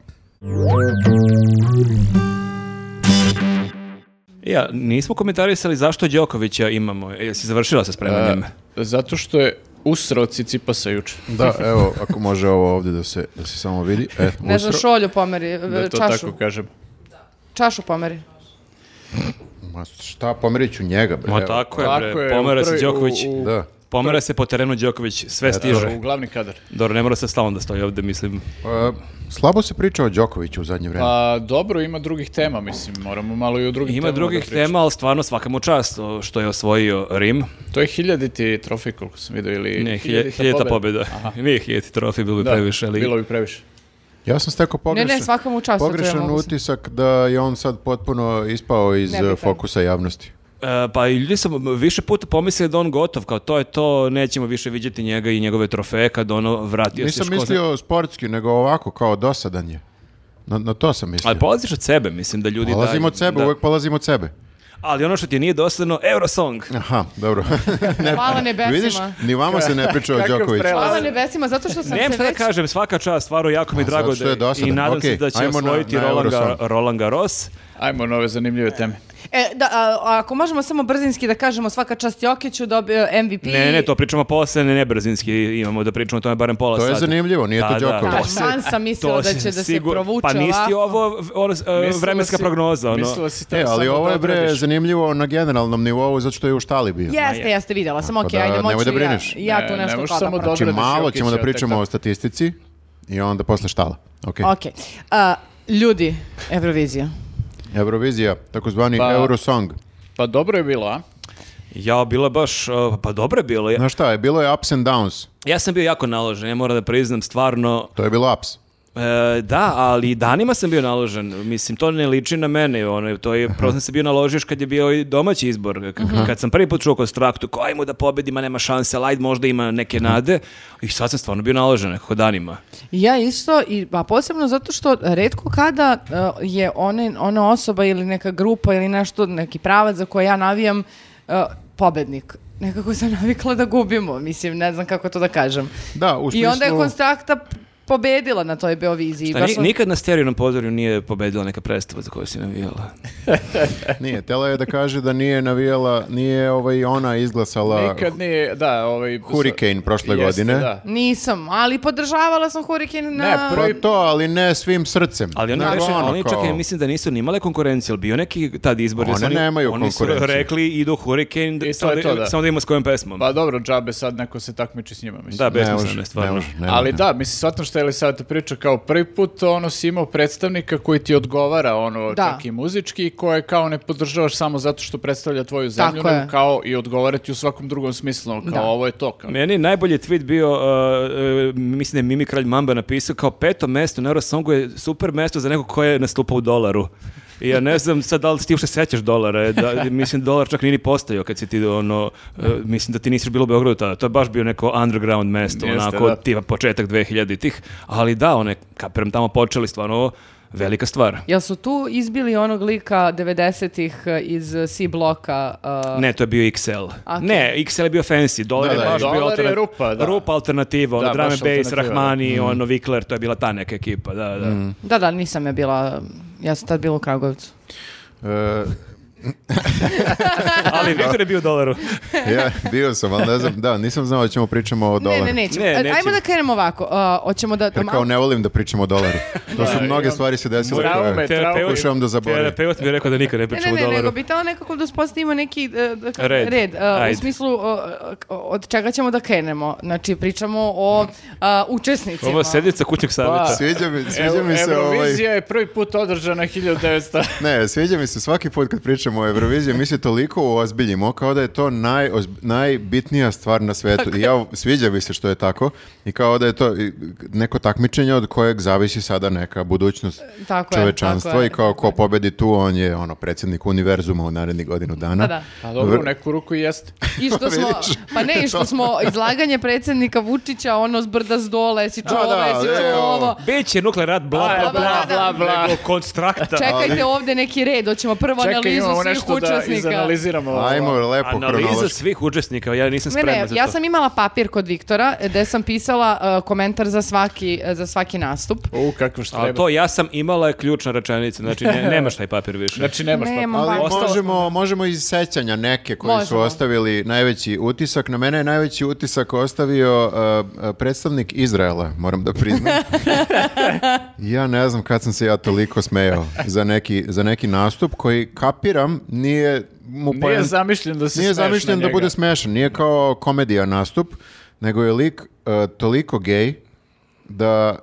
[SPEAKER 3] Ja, nismo komentarisali zašto Đokovića imamo. Jesi završila sa spremanjem?
[SPEAKER 4] Zato što je usrao Cicipasa juče.
[SPEAKER 2] Da, evo, ako može ovo ovdje da se, da se samo vidi. E,
[SPEAKER 1] Ne znam,
[SPEAKER 2] usro-
[SPEAKER 1] šolju pomeri, e,
[SPEAKER 4] Da to
[SPEAKER 1] čašu.
[SPEAKER 4] tako kažem.
[SPEAKER 1] Čašu pomeri.
[SPEAKER 2] Ma šta, pomerit ću njega, bre.
[SPEAKER 3] Ma
[SPEAKER 2] evo.
[SPEAKER 3] tako je,
[SPEAKER 4] Tako
[SPEAKER 3] bre.
[SPEAKER 4] je,
[SPEAKER 3] pomera
[SPEAKER 4] u
[SPEAKER 3] se
[SPEAKER 4] prvi-
[SPEAKER 3] Đoković.
[SPEAKER 4] u- u-
[SPEAKER 2] Da.
[SPEAKER 3] Pomera se po terenu Đoković, sve stiže.
[SPEAKER 4] U glavni kadar.
[SPEAKER 3] Dobro, ne mora se stalno da stoji ovde, mislim.
[SPEAKER 2] E, slabo se priča o Đokoviću u zadnje vrijeme.
[SPEAKER 4] Pa dobro, ima drugih tema, mislim, moramo malo i o drugim
[SPEAKER 3] Ima
[SPEAKER 4] temama
[SPEAKER 3] drugih
[SPEAKER 4] da pričamo.
[SPEAKER 3] tema, ali stvarno svaka mu čast o, što je osvojio Rim.
[SPEAKER 4] To je hiljaditi trofej, koliko sam vidio, ili
[SPEAKER 3] Ne, hilja- hiljata pobjeda. Nije hiljati trofej, bilo bi
[SPEAKER 4] Da,
[SPEAKER 3] previše. Ali...
[SPEAKER 4] bilo bi previše.
[SPEAKER 2] Ja sam stekao pogrešan,
[SPEAKER 1] Ne, ne, svaka mu čast, to ja
[SPEAKER 2] pogrešan
[SPEAKER 1] mogu sam-
[SPEAKER 2] utisak da je on sad potpuno ispao iz
[SPEAKER 1] Nebitan.
[SPEAKER 2] e, fokusa javnosti.
[SPEAKER 3] E, pa i ljudi sam više puta pomislili da on gotov, kao to je to, nećemo više vidjeti njega i njegove trofeje kad ono vratio se
[SPEAKER 2] Nisam
[SPEAKER 3] ško zna-
[SPEAKER 2] mislio sportski, nego ovako, kao dosadan je. Na, na to sam mislio.
[SPEAKER 3] Ali polaziš od sebe, mislim da ljudi
[SPEAKER 2] Polazim
[SPEAKER 3] daju-
[SPEAKER 2] od sebe,
[SPEAKER 3] da.
[SPEAKER 2] uvek polazim od sebe.
[SPEAKER 3] Ali ono što ti nije dosadno, Eurosong.
[SPEAKER 2] Aha, dobro. ne,
[SPEAKER 1] Hvala nebesima.
[SPEAKER 2] <laughs> Vidiš, ni vama se ne priča o
[SPEAKER 4] Kakav
[SPEAKER 2] Đokoviću.
[SPEAKER 4] prelaz.
[SPEAKER 1] Hvala nebesima, zato što sam
[SPEAKER 3] Nemam
[SPEAKER 1] se
[SPEAKER 3] šta da
[SPEAKER 1] već...
[SPEAKER 3] kažem, svaka čast, stvarno jako mi je
[SPEAKER 2] zato
[SPEAKER 3] drago
[SPEAKER 2] što
[SPEAKER 3] da
[SPEAKER 2] je dosadan.
[SPEAKER 3] i nadam se
[SPEAKER 2] Okej,
[SPEAKER 3] da će
[SPEAKER 2] ajmo na-
[SPEAKER 3] osvojiti
[SPEAKER 2] na
[SPEAKER 3] Roland, Ga-
[SPEAKER 2] Eurosong.
[SPEAKER 3] Roland Garros.
[SPEAKER 4] Ajmo nove zanimljive teme.
[SPEAKER 1] E, da, a, a ako možemo samo brzinski da kažemo svaka čast Jokiću dobio MVP.
[SPEAKER 3] Ne, ne, to pričamo posle, ne, ne brzinski imamo da pričamo o tome barem pola
[SPEAKER 2] To je
[SPEAKER 3] sata.
[SPEAKER 2] zanimljivo, nije to
[SPEAKER 3] Da, da.
[SPEAKER 2] Đoković.
[SPEAKER 1] Da,
[SPEAKER 3] to se-
[SPEAKER 1] man sam mislila
[SPEAKER 3] to
[SPEAKER 1] da
[SPEAKER 3] se
[SPEAKER 1] će da se
[SPEAKER 3] sigur-
[SPEAKER 1] provuče
[SPEAKER 3] Pa nisi ti
[SPEAKER 1] ovako.
[SPEAKER 3] ovo ono, e,
[SPEAKER 4] Mislila
[SPEAKER 3] vremenska
[SPEAKER 4] si-
[SPEAKER 3] prognoza. Ono.
[SPEAKER 4] Mislila si
[SPEAKER 2] E,
[SPEAKER 4] te
[SPEAKER 2] ali
[SPEAKER 4] samo
[SPEAKER 2] ovo
[SPEAKER 4] da
[SPEAKER 2] je bre
[SPEAKER 4] odradiš.
[SPEAKER 2] zanimljivo na generalnom nivou zato što je u štali bio. Znači,
[SPEAKER 1] Jeste, jeste, vidjela sam, okej,
[SPEAKER 2] da,
[SPEAKER 1] ajde, moću
[SPEAKER 2] nemoj da
[SPEAKER 1] i ja,
[SPEAKER 2] brineš.
[SPEAKER 1] ja
[SPEAKER 4] Ne,
[SPEAKER 1] tu
[SPEAKER 4] ne
[SPEAKER 1] nešto
[SPEAKER 4] možeš
[SPEAKER 1] klapam.
[SPEAKER 4] samo dobro
[SPEAKER 2] Znači
[SPEAKER 4] Odradiš
[SPEAKER 2] malo
[SPEAKER 4] Jokića,
[SPEAKER 2] ćemo da
[SPEAKER 4] tek
[SPEAKER 2] pričamo
[SPEAKER 4] tako.
[SPEAKER 2] o statistici i onda posle štala. Ok.
[SPEAKER 1] Ok. A, ljudi, Eurovizija.
[SPEAKER 2] Eurovizija, takozvani
[SPEAKER 4] Pa-
[SPEAKER 2] Eurosong.
[SPEAKER 4] Pa dobro je bilo, a?
[SPEAKER 3] Ja, bilo je baš, e, pa dobro je bilo. Ja,
[SPEAKER 2] Znaš šta, je bilo je ups and downs.
[SPEAKER 3] ja sam bio jako naložen, ja moram da priznam, stvarno,
[SPEAKER 2] To je bilo ups.
[SPEAKER 3] E, da, ali danima sam bio naložen. Mislim, to ne liči na mene. Ono, to je, prvo sam se bio naložio još kad je bio i domaći izbor. K- Kad sam prvi put čuo konstraktu, ko ajmo da pobedi, ma nema šanse, lajd možda ima neke nade. I sad sam stvarno bio naložen nekako danima.
[SPEAKER 1] Ja isto, i, pa posebno zato što redko kada uh, je one, ona osoba ili neka grupa ili nešto, neki pravac za koje ja navijam, uh, pobednik. Nekako sam <laughs> navikla da gubimo, mislim, ne znam kako to da kažem.
[SPEAKER 2] Da, u
[SPEAKER 1] I onda je
[SPEAKER 2] smislu-
[SPEAKER 1] konstrakta p- pobedila na toj Beoviziji.
[SPEAKER 3] Šta,
[SPEAKER 1] Baš
[SPEAKER 3] ni-
[SPEAKER 1] sam-
[SPEAKER 3] nikad na sterijenom pozorju nije pobedila neka predstava za koju si navijala.
[SPEAKER 2] Nije, tela je da kaže da nije navijala, nije ovaj ona izglasala
[SPEAKER 4] Nikad nije, da, ovaj...
[SPEAKER 2] Pa, Hurricane prošle
[SPEAKER 4] Jeste,
[SPEAKER 2] godine.
[SPEAKER 4] da.
[SPEAKER 1] Nisam, ali podržavala sam Hurricane na...
[SPEAKER 4] Ne,
[SPEAKER 2] Pa to, ali ne svim srcem.
[SPEAKER 3] Ali oni,
[SPEAKER 2] Nego
[SPEAKER 3] beše-
[SPEAKER 2] ono
[SPEAKER 3] oni čak
[SPEAKER 2] kao-
[SPEAKER 3] i mislim da nisu ni imale konkurenciju, ali bio neki tad izbor. jer su
[SPEAKER 2] One nemaju
[SPEAKER 3] oni su
[SPEAKER 2] konkurenciju.
[SPEAKER 3] rekli idu Hurricane,
[SPEAKER 4] to je
[SPEAKER 3] samo da-
[SPEAKER 4] to, da.
[SPEAKER 3] samo da ima s kojom pesmom.
[SPEAKER 4] Pa dobro, džabe sad neko se takmiči s njima, mislim.
[SPEAKER 3] da,
[SPEAKER 2] Ne
[SPEAKER 3] besmisleno
[SPEAKER 2] može,
[SPEAKER 3] je
[SPEAKER 2] ne
[SPEAKER 3] stvarno.
[SPEAKER 2] može. ne
[SPEAKER 4] Ali
[SPEAKER 2] može.
[SPEAKER 4] da, mislim, shvatam šta je li sad priča, kao prvi put ono si imao predstavnika koji ti odgovara ono
[SPEAKER 1] Da.
[SPEAKER 4] čak i muzički, koje kao ne podržavaš samo zato što predstavlja tvoju
[SPEAKER 1] Tako
[SPEAKER 4] zemlju,
[SPEAKER 1] je.
[SPEAKER 4] nego kao i odgovarati u svakom drugom smislu, ono, kao
[SPEAKER 1] Da.
[SPEAKER 4] ovo je to. Kao.
[SPEAKER 3] Meni je najbolji tweet bio, uh, uh, mislim da je Mimi Kralj Mamba napisao, kao peto mesto na Eurosongu je super mesto za nekog ko je nastupao u dolaru. I ja
[SPEAKER 4] <laughs>
[SPEAKER 3] ne znam sad da li ti uopšte sećaš dolara, e, da, mislim dolar čak nije ni postojao kad si ti ono, uh, mislim da ti nisi bilo u Beogradu tada, to je baš bio neko underground mesto,
[SPEAKER 4] Jeste,
[SPEAKER 3] onako
[SPEAKER 4] da.
[SPEAKER 3] tipa početak 2000-ih, ali da, one kapiram tamo počeli stvarno velika stvar.
[SPEAKER 1] Jel su tu izbili onog lika 90-ih iz C bloka? uh,
[SPEAKER 3] Ne, to je bio XL.
[SPEAKER 1] Ok.
[SPEAKER 3] Ne, XL je bio fancy, dolar
[SPEAKER 2] Da,
[SPEAKER 3] je
[SPEAKER 2] da,
[SPEAKER 3] baš
[SPEAKER 2] da.
[SPEAKER 3] bio
[SPEAKER 4] Dolar je
[SPEAKER 3] alternat-
[SPEAKER 4] rupa, da.
[SPEAKER 3] rupa alternativa, ono
[SPEAKER 4] Da,
[SPEAKER 3] Drum
[SPEAKER 4] baš
[SPEAKER 3] and Bass,
[SPEAKER 4] alternativa, da. Mm.
[SPEAKER 3] Rahmani, ono Vikler, to je bila ta neka ekipa, da, da.
[SPEAKER 1] Da, da, nisam ja bila, ja sam tad bila u Kragovicu.
[SPEAKER 2] E,
[SPEAKER 3] <laughs> Ali Viktor je bio u dolaru.
[SPEAKER 2] Ja, bio sam, ali ne znam, da, nisam znao da ćemo pričamo o dolaru.
[SPEAKER 1] Ne, ne, nećemo.
[SPEAKER 3] Ne,
[SPEAKER 1] E, Ajmo
[SPEAKER 3] nećemo.
[SPEAKER 1] da krenemo ovako. A, hoćemo da...
[SPEAKER 2] Jer kao ne volim da pričamo o dolaru. To su mnoge stvari se desile
[SPEAKER 4] Traume,
[SPEAKER 2] koje
[SPEAKER 4] traume.
[SPEAKER 3] Terapeut-
[SPEAKER 2] pokušavam da zaboravim.
[SPEAKER 3] Terapeut mi je rekao da nikad ne
[SPEAKER 1] Ne, ne,
[SPEAKER 3] pričamo o
[SPEAKER 1] ne,
[SPEAKER 3] dolaru.
[SPEAKER 1] nego bi tao nekako da uspostavimo neki e, da kažem,
[SPEAKER 3] Red.
[SPEAKER 1] red e,
[SPEAKER 3] Ajde.
[SPEAKER 1] u smislu e, k- od čega ćemo da krenemo. Znači, pričamo o a, učesnicima.
[SPEAKER 3] Ovo je sednica kućnog savjeta.
[SPEAKER 4] Pa,
[SPEAKER 2] Sviđa mi, sviđa
[SPEAKER 4] Evo,
[SPEAKER 2] mi se ovaj...
[SPEAKER 4] Eurovizija je prvi put održana
[SPEAKER 2] <laughs>
[SPEAKER 4] 1900.
[SPEAKER 2] Ne, sviđa mi se svaki put kad pričamo o Euroviziji, mi se toliko uozbiljimo kao da je to najozb- najbitnija stvar na svetu. I ja, sviđa mi se što je tako i kao da je to i, neko takmičenje od kojeg zavisi sada neka budućnost
[SPEAKER 1] Tako je,
[SPEAKER 2] čovečanstva
[SPEAKER 1] tako je,
[SPEAKER 2] i kao
[SPEAKER 1] tako
[SPEAKER 2] ko
[SPEAKER 1] je.
[SPEAKER 2] pobedi tu, on je ono predsjednik univerzuma u narednih godinu dana.
[SPEAKER 1] Pa da.
[SPEAKER 4] Pa dobro,
[SPEAKER 2] Vr-
[SPEAKER 4] u neku ruku i jeste.
[SPEAKER 1] I
[SPEAKER 2] <laughs>
[SPEAKER 1] što smo,
[SPEAKER 2] Vidiš?
[SPEAKER 1] pa ne, i što smo izlaganje predsjednika Vučića, ono s brda s dole, si čuo
[SPEAKER 2] Da, da,
[SPEAKER 1] ovo, si
[SPEAKER 2] evo.
[SPEAKER 1] čuo ovo.
[SPEAKER 3] Beć je nuklear rat, bla,
[SPEAKER 4] A,
[SPEAKER 3] bla,
[SPEAKER 1] da,
[SPEAKER 3] bla,
[SPEAKER 1] pa, da,
[SPEAKER 3] bla,
[SPEAKER 4] da.
[SPEAKER 3] bla, nego konstrakta.
[SPEAKER 1] Čekajte ovdje neki red, hoćemo prvo
[SPEAKER 4] Čekaj,
[SPEAKER 1] analizu
[SPEAKER 4] imamo
[SPEAKER 1] svih
[SPEAKER 4] nešto da
[SPEAKER 1] učesnika.
[SPEAKER 4] izanaliziramo. ovo.
[SPEAKER 2] Ajmo lepo
[SPEAKER 3] Analiza
[SPEAKER 2] kronološki.
[SPEAKER 3] svih učesnika, ja nisam
[SPEAKER 1] Ne,
[SPEAKER 3] spreman
[SPEAKER 1] ne,
[SPEAKER 3] za to.
[SPEAKER 1] ja sam imala papir kod Viktora eh, gde sam pisala e, komentar za svaki, e, za svaki nastup.
[SPEAKER 4] U, kako što
[SPEAKER 3] A to ja sam imala je ključna rečenica, znači ne, nemaš taj papir više.
[SPEAKER 4] Znači, nemaš
[SPEAKER 1] Nemam
[SPEAKER 4] papira.
[SPEAKER 2] Ali
[SPEAKER 1] papir.
[SPEAKER 2] možemo, možemo iz sećanja neke koji su
[SPEAKER 1] Možemo.
[SPEAKER 2] ostavili najveći utisak. Na mene je najveći utisak ostavio uh, uh, predstavnik Izraela, moram da priznam. ja ne znam kad sam se ja toliko smejao za neki, za neki nastup koji kapiram nije mu
[SPEAKER 4] Nije
[SPEAKER 2] poen-
[SPEAKER 4] zamišljen da se
[SPEAKER 2] nije
[SPEAKER 4] smeješ na
[SPEAKER 2] zamišljen da
[SPEAKER 4] njega.
[SPEAKER 2] bude smešan, nije kao komedija nastup, nego je lik e, toliko gej da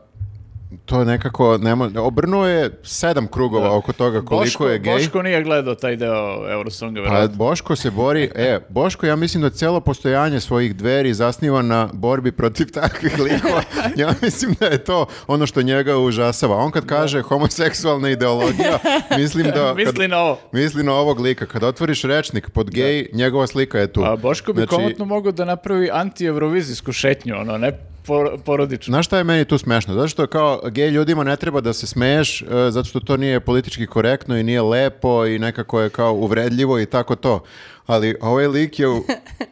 [SPEAKER 2] to nekako ne mo- obrnuo je sedam krugova oko toga koliko
[SPEAKER 4] Boško,
[SPEAKER 2] je gej.
[SPEAKER 4] Boško nije gledao taj deo Eurosonga,
[SPEAKER 2] Pa
[SPEAKER 4] verovatno.
[SPEAKER 2] Boško se bori, e, Boško ja mislim da cijelo postojanje svojih dveri zasniva na borbi protiv takvih
[SPEAKER 4] <laughs>
[SPEAKER 2] likova. Ja mislim da je to ono što njega užasava. On kad kaže homoseksualna
[SPEAKER 4] <laughs>
[SPEAKER 2] ideologija, mislim da...
[SPEAKER 4] Misli na ovo.
[SPEAKER 2] Misli na ovog lika. Kad otvoriš rečnik pod gej, njegova slika je tu.
[SPEAKER 4] A Boško bi
[SPEAKER 2] Znači,
[SPEAKER 4] komotno mogao da napravi anti-evrovizijsku šetnju, ono, ne por- porodičnu.
[SPEAKER 2] Znaš šta je meni tu smešno? Zato što kao gej ljudima ne treba da se smeješ, e, zato što to nije politički korektno i nije lepo i nekako je kao uvredljivo i tako to. Ali ovaj lik je u-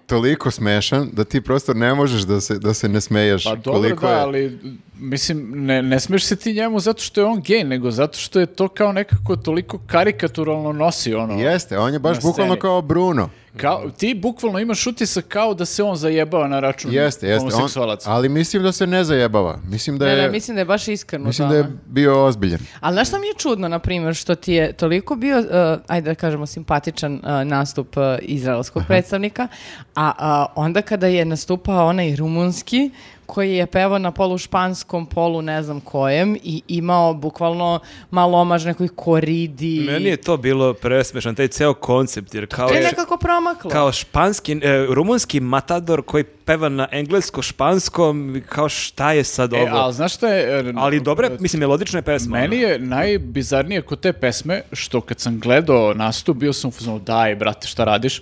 [SPEAKER 2] toliko smešan da ti prosto ne možeš da se, da se ne smeješ.
[SPEAKER 4] Pa dobro,
[SPEAKER 2] Znači, koliko
[SPEAKER 4] da,
[SPEAKER 2] je.
[SPEAKER 4] ali mislim, ne, ne smiješ se ti njemu zato što je on gej, nego zato što je to kao nekako toliko karikaturalno nosi, ono.
[SPEAKER 2] Jeste, on je baš
[SPEAKER 4] Na
[SPEAKER 2] bukvalno
[SPEAKER 4] sceni.
[SPEAKER 2] kao Bruno.
[SPEAKER 4] Kao, ti bukvalno imaš utisak kao da se on zajebava na račun
[SPEAKER 2] Jeste, jeste. On,
[SPEAKER 4] homoseksualaca.
[SPEAKER 2] ali mislim da se ne zajebava. Mislim da
[SPEAKER 1] Ne, ne,
[SPEAKER 2] je,
[SPEAKER 1] mislim da je baš iskreno.
[SPEAKER 2] mislim
[SPEAKER 1] to,
[SPEAKER 2] da je
[SPEAKER 1] ono.
[SPEAKER 2] bio ozbiljen.
[SPEAKER 1] Ali znaš što mi je čudno, na primjer, što ti je toliko bio, uh, ajde da kažemo, simpatičan uh, nastup uh, izraelskog predstavnika, a uh, onda kada je nastupao onaj rumunski, koji je pevao na polu španskom, polu ne znam kojem i imao bukvalno malo omaž nekoj koridi.
[SPEAKER 3] Meni je to bilo presmešan, taj ceo koncept, jer kao
[SPEAKER 1] To je
[SPEAKER 3] je...
[SPEAKER 1] nekako promaklo.
[SPEAKER 3] Kao španski, e, rumunski matador koji peva na englesko-španskom, kao šta je sad ovo?
[SPEAKER 4] E, ali znaš šta je... e,
[SPEAKER 3] ali dobra, mislim, ono. melodična je pesma.
[SPEAKER 4] Meni je najbizarnije kod te pesme što kad sam gledao nastup bio sam u fazonu daj brate šta
[SPEAKER 3] <laughs>
[SPEAKER 4] radiš,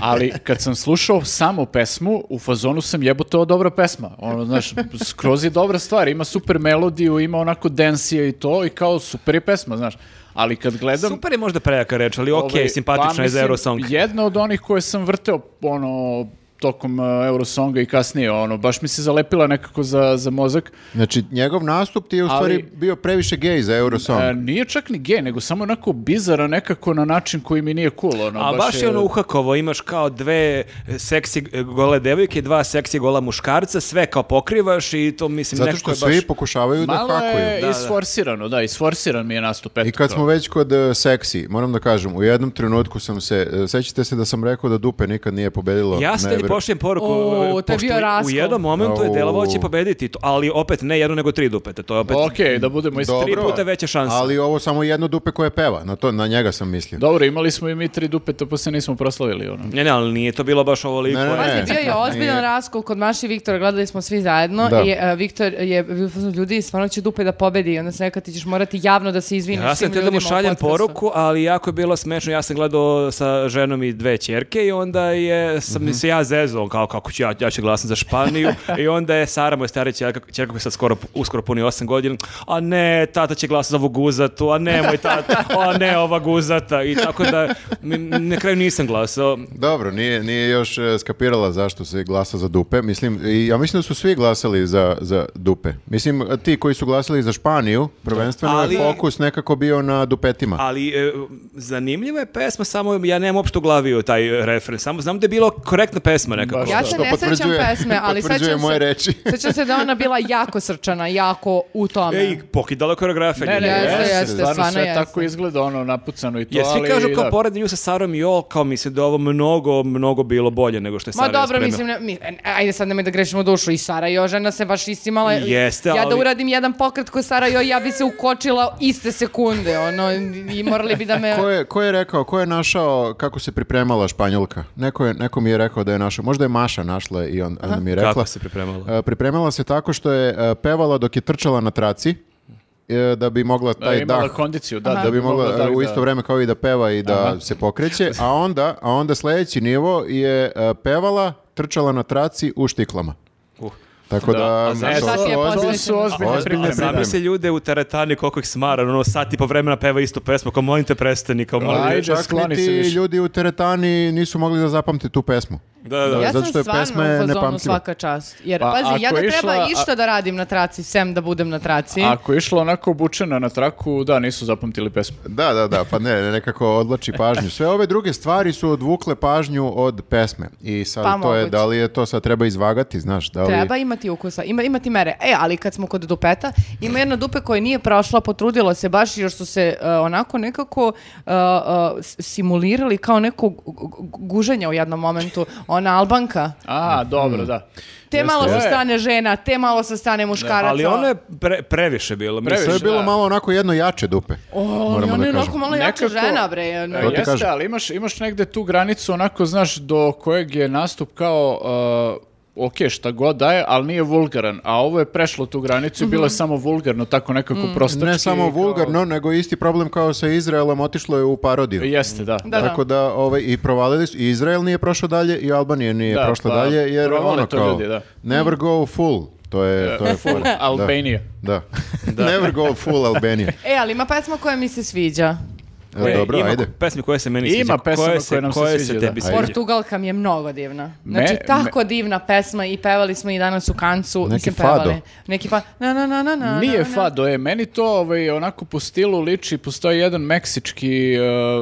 [SPEAKER 4] ali kad sam slušao samo pesmu u fazonu sam jebote ovo je dobra pesma. Ono, znaš, skroz je dobra stvar, ima super melodiju, ima onako densije i to i kao super je pesma, znaš. Ali kad gledam...
[SPEAKER 3] Super je možda prejaka reč, ali okej,
[SPEAKER 4] ovaj,
[SPEAKER 3] simpatična
[SPEAKER 4] pa,
[SPEAKER 3] je za
[SPEAKER 4] mislim,
[SPEAKER 3] Eurosong.
[SPEAKER 4] Jedna od onih koje sam vrteo ono tokom uh, Eurosonga i kasnije, ono, baš mi se zalepila nekako za, za mozak.
[SPEAKER 2] Znači, njegov nastup ti je u
[SPEAKER 4] Ali-
[SPEAKER 2] stvari bio previše gej za Eurosong.
[SPEAKER 4] E, nije čak ni gej, nego samo onako bizara nekako na način koji mi nije cool. Ono,
[SPEAKER 3] A baš je ono uhakovo, imaš kao dve seksi e, gole devojke, dva seksi gola muškarca, sve kao pokrivaš i to mislim
[SPEAKER 2] Zato
[SPEAKER 3] neko
[SPEAKER 2] što
[SPEAKER 3] je
[SPEAKER 2] svi
[SPEAKER 3] baš...
[SPEAKER 2] pokušavaju da
[SPEAKER 4] Malo
[SPEAKER 2] hakuju.
[SPEAKER 3] Da,
[SPEAKER 4] je
[SPEAKER 3] da.
[SPEAKER 4] isforsirano, da, isforsiran mi je nastup. eto
[SPEAKER 2] I kad
[SPEAKER 4] to.
[SPEAKER 2] smo već kod e, seksi, moram da kažem, u jednom trenutku sam se, e, sećate se da sam rekao da dupe nikad nije pobedilo
[SPEAKER 3] Ja
[SPEAKER 2] na
[SPEAKER 3] ste
[SPEAKER 2] Evro-
[SPEAKER 3] pošljem poruku,
[SPEAKER 1] O,
[SPEAKER 3] e,
[SPEAKER 1] to je
[SPEAKER 3] pošto
[SPEAKER 1] bio raskol.
[SPEAKER 3] u jednom momentu je
[SPEAKER 2] Au.
[SPEAKER 3] delovao da će pobediti, to, ali opet ne jedno nego tri dupete, to je opet...
[SPEAKER 4] Ok, Pa da budemo isti.
[SPEAKER 2] Dobro,
[SPEAKER 3] Tri puta veće šanse.
[SPEAKER 2] Ali ovo samo jedno dupe koje peva, na, to, na njega sam mislio.
[SPEAKER 4] Dobro, imali smo i mi tri dupeta, pa se nismo proslavili. Ono.
[SPEAKER 3] Ne, ne, ali nije to bilo baš ovoliko.
[SPEAKER 2] Ne, ne,
[SPEAKER 1] Pazi,
[SPEAKER 2] ne.
[SPEAKER 1] bio je ozbiljan
[SPEAKER 2] Nije.
[SPEAKER 1] raskol kod Maše i Viktora, gledali smo svi zajedno
[SPEAKER 2] Da.
[SPEAKER 1] i e, Viktor je bio u fazonu, ljudi, stvarno će dupe da pobedi i onda se nekad ti ćeš morati javno da se izviniš
[SPEAKER 3] Ja sam
[SPEAKER 1] svim
[SPEAKER 3] htio da mu
[SPEAKER 1] ljudima u
[SPEAKER 3] šaljem
[SPEAKER 1] podcastu."
[SPEAKER 3] poruku, ali jako je bilo smešno. Ja sam gledao sa ženom i dve ćerke i onda je, sam se ja zezo, on kao kako ću ja, ja ću glasati za Španiju i onda je Sara, moja starija ćerka, ćerka koja sad skoro, uskoro puni 8 godina, a ne, tata će glasati za ovu guzatu, a ne moj tata, a ne ova guzata i tako da mi- na kraju nisam glasao.
[SPEAKER 2] Dobro, nije, nije još e, skapirala zašto se glasa za dupe. Mislim, i ja mislim da su svi glasali za, za dupe. Mislim, e, ti koji su glasali za Španiju, prvenstveno
[SPEAKER 3] Ali-
[SPEAKER 2] je fokus nekako bio na dupetima.
[SPEAKER 3] Ali e, zanimljiva je pesma, samo ja nemam uopšte u glavi o taj e, refren, samo znam da je bilo korektna pesma nekako.
[SPEAKER 4] Baš
[SPEAKER 1] Ja
[SPEAKER 4] da.
[SPEAKER 1] se
[SPEAKER 2] Što
[SPEAKER 1] ne sećam
[SPEAKER 2] potvrđuje-
[SPEAKER 1] pesme, ali
[SPEAKER 2] potvrđuje
[SPEAKER 1] sećam
[SPEAKER 2] moje
[SPEAKER 1] se,
[SPEAKER 2] reči.
[SPEAKER 1] sećam se da je ona bila jako srčana, jako u tome.
[SPEAKER 3] Ej, pokidala koreografija.
[SPEAKER 4] Ne, ne,
[SPEAKER 1] Jeste,
[SPEAKER 4] jeste,
[SPEAKER 1] jeste,
[SPEAKER 4] stvarno
[SPEAKER 1] stvarno
[SPEAKER 4] sve
[SPEAKER 1] jeste.
[SPEAKER 4] tako izgleda, ono, napucano i to,
[SPEAKER 3] Jer svi
[SPEAKER 4] ali...
[SPEAKER 3] kažu kao
[SPEAKER 4] da.
[SPEAKER 3] pored nju sa Sarom i Ol, kao mi se da je ovo mnogo, mnogo bilo bolje nego što je
[SPEAKER 1] Ma
[SPEAKER 3] Sara
[SPEAKER 1] dobro,
[SPEAKER 3] spremila.
[SPEAKER 1] mislim, ne, mi, e, ajde sad nemoj da grešimo dušu, i Sara Jožena se baš istimala.
[SPEAKER 3] Jeste,
[SPEAKER 1] ja da
[SPEAKER 3] ali-
[SPEAKER 1] uradim jedan pokret ko Sara Jo, ja bi se ukočila iste sekunde, ono, i morali bi da me...
[SPEAKER 2] Ko je, ko je rekao, ko je našao kako se pripremala Španjolka? Neko, je, neko mi je rekao da je našao, možda je Maša našla i on, ona mi je rekla.
[SPEAKER 3] Kako se
[SPEAKER 4] Uh.
[SPEAKER 3] pripremala?
[SPEAKER 2] E, pripremala se tako što je e, pevala dok je trčala na traci, e, da bi mogla
[SPEAKER 4] Da,
[SPEAKER 2] taj
[SPEAKER 4] imala
[SPEAKER 2] dah
[SPEAKER 4] kondiciju, da,
[SPEAKER 2] da bi mogla
[SPEAKER 4] dah
[SPEAKER 2] e, u
[SPEAKER 4] da-
[SPEAKER 2] isto vreme kao i da peva i da se pokreće, a onda, a onda sledeći nivo je e, pevala, trčala na traci u štiklama.
[SPEAKER 3] Uh.
[SPEAKER 2] Tako da,
[SPEAKER 4] Da,
[SPEAKER 2] da
[SPEAKER 3] a znaš
[SPEAKER 2] to
[SPEAKER 1] šta ti je
[SPEAKER 2] su ozbiljne-
[SPEAKER 1] posle-
[SPEAKER 4] E, To su ozbiljne
[SPEAKER 2] Ozbiljne
[SPEAKER 4] pripreme.
[SPEAKER 2] pripreme.
[SPEAKER 3] Znam se ljude u teretani koliko ih smara, ono sat i po vremena peva istu pesmu, kao molim te prestani, kao molim te.
[SPEAKER 4] Ajde,
[SPEAKER 2] Čak
[SPEAKER 4] skloni
[SPEAKER 2] ni
[SPEAKER 4] se
[SPEAKER 2] ti
[SPEAKER 4] više.
[SPEAKER 2] ljudi u teretani nisu mogli da zapamte tu pesmu.
[SPEAKER 3] Da, da.
[SPEAKER 1] Ja
[SPEAKER 2] zato
[SPEAKER 1] sam
[SPEAKER 2] što je
[SPEAKER 1] stvarno
[SPEAKER 2] pesma je
[SPEAKER 1] u fazonu
[SPEAKER 2] nepamtljiva.
[SPEAKER 1] svaka čast. Jer,
[SPEAKER 4] Pa,
[SPEAKER 1] pazi, ja
[SPEAKER 4] ako
[SPEAKER 1] da
[SPEAKER 4] je
[SPEAKER 1] treba
[SPEAKER 4] išla-
[SPEAKER 1] išta da radim na traci, sem da budem na traci.
[SPEAKER 4] Ako je išla onako obučena na traku, da, nisu zapamtili pesmu.
[SPEAKER 2] Da, da, da, pa ne, nekako odlači pažnju. Sve ove druge stvari su odvukle pažnju od pesme. I sad
[SPEAKER 1] Pa
[SPEAKER 2] to je,
[SPEAKER 1] moguće.
[SPEAKER 2] da li je to sad treba izvagati, znaš, da li...
[SPEAKER 1] Treba imati ukusa, ima, imati mere. E, ali kad smo kod dupeta, ima jedna dupe koja nije prošla, potrudilo se baš jer su se e, onako nekako e, e, s- simulirali kao neko gu- gu- guženje u jednom momentu. Ona Albanka,
[SPEAKER 4] A,
[SPEAKER 2] Mm.
[SPEAKER 4] dobro, da.
[SPEAKER 1] te malo sa
[SPEAKER 4] Jeste.
[SPEAKER 1] strane žena, te malo sa strane muškaraca.
[SPEAKER 3] Ali ono je pre- previše bilo. mislim.
[SPEAKER 4] Previše.
[SPEAKER 2] To je bilo
[SPEAKER 4] Da.
[SPEAKER 2] malo onako jedno jače dupe.
[SPEAKER 1] O, Pa, ali
[SPEAKER 2] moramo
[SPEAKER 1] ona
[SPEAKER 2] da
[SPEAKER 1] je onako
[SPEAKER 2] kažemo.
[SPEAKER 1] malo jača
[SPEAKER 4] Nekako-
[SPEAKER 1] žena, bre. ono.
[SPEAKER 4] E,
[SPEAKER 2] To ti
[SPEAKER 4] Jeste,
[SPEAKER 2] kažem.
[SPEAKER 4] ali imaš, imaš negde tu granicu onako, znaš, do kojeg je nastup kao... uh, ok, šta god daje, ali nije vulgaran. A ovo je prešlo tu granicu i bilo je samo vulgarno, tako nekako prostački.
[SPEAKER 2] Ne samo
[SPEAKER 4] kao-
[SPEAKER 2] vulgarno, nego isti problem kao sa Izraelom, otišlo je u parodiju.
[SPEAKER 4] Jeste, da.
[SPEAKER 1] Da, da.
[SPEAKER 2] Tako da ovaj, i provalili su, i Izrael nije prošao dalje, i Albanija nije
[SPEAKER 4] Da,
[SPEAKER 2] prošla
[SPEAKER 4] pa
[SPEAKER 2] dalje, jer
[SPEAKER 4] provale
[SPEAKER 2] ono
[SPEAKER 4] to
[SPEAKER 2] kao,
[SPEAKER 4] ljudi, da.
[SPEAKER 2] never go full, to je, to je
[SPEAKER 4] Full
[SPEAKER 2] fora.
[SPEAKER 4] Albanija.
[SPEAKER 2] Da. da. never go full Albanija.
[SPEAKER 1] E, ali ima pesma koja mi se sviđa.
[SPEAKER 2] E,
[SPEAKER 3] Koje-
[SPEAKER 2] dobro,
[SPEAKER 3] ima
[SPEAKER 2] ajde.
[SPEAKER 3] pesmi koje se meni
[SPEAKER 4] Ima
[SPEAKER 3] sviđa.
[SPEAKER 4] pesama
[SPEAKER 3] koje
[SPEAKER 4] koje
[SPEAKER 3] se,
[SPEAKER 4] nam se
[SPEAKER 3] koje
[SPEAKER 4] sviđa,
[SPEAKER 3] se
[SPEAKER 4] da.
[SPEAKER 2] Ajde.
[SPEAKER 3] tebi sviđa.
[SPEAKER 1] Portugalka mi je mnogo divna.
[SPEAKER 4] Me-
[SPEAKER 1] Znači, tako divna pesma i pevali smo i danas u kancu.
[SPEAKER 2] Neki
[SPEAKER 1] Mislim,
[SPEAKER 2] fado.
[SPEAKER 1] pevali. Neki fado. Na, na, na, na, na,
[SPEAKER 4] Nije
[SPEAKER 1] na, na.
[SPEAKER 4] fado, je. Meni to ovaj, onako po stilu liči. Postoji jedan meksički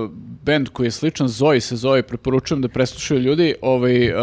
[SPEAKER 4] uh, band koji je sličan Zoji se zove, preporučujem da preslušaju ljudi. Ovaj, uh,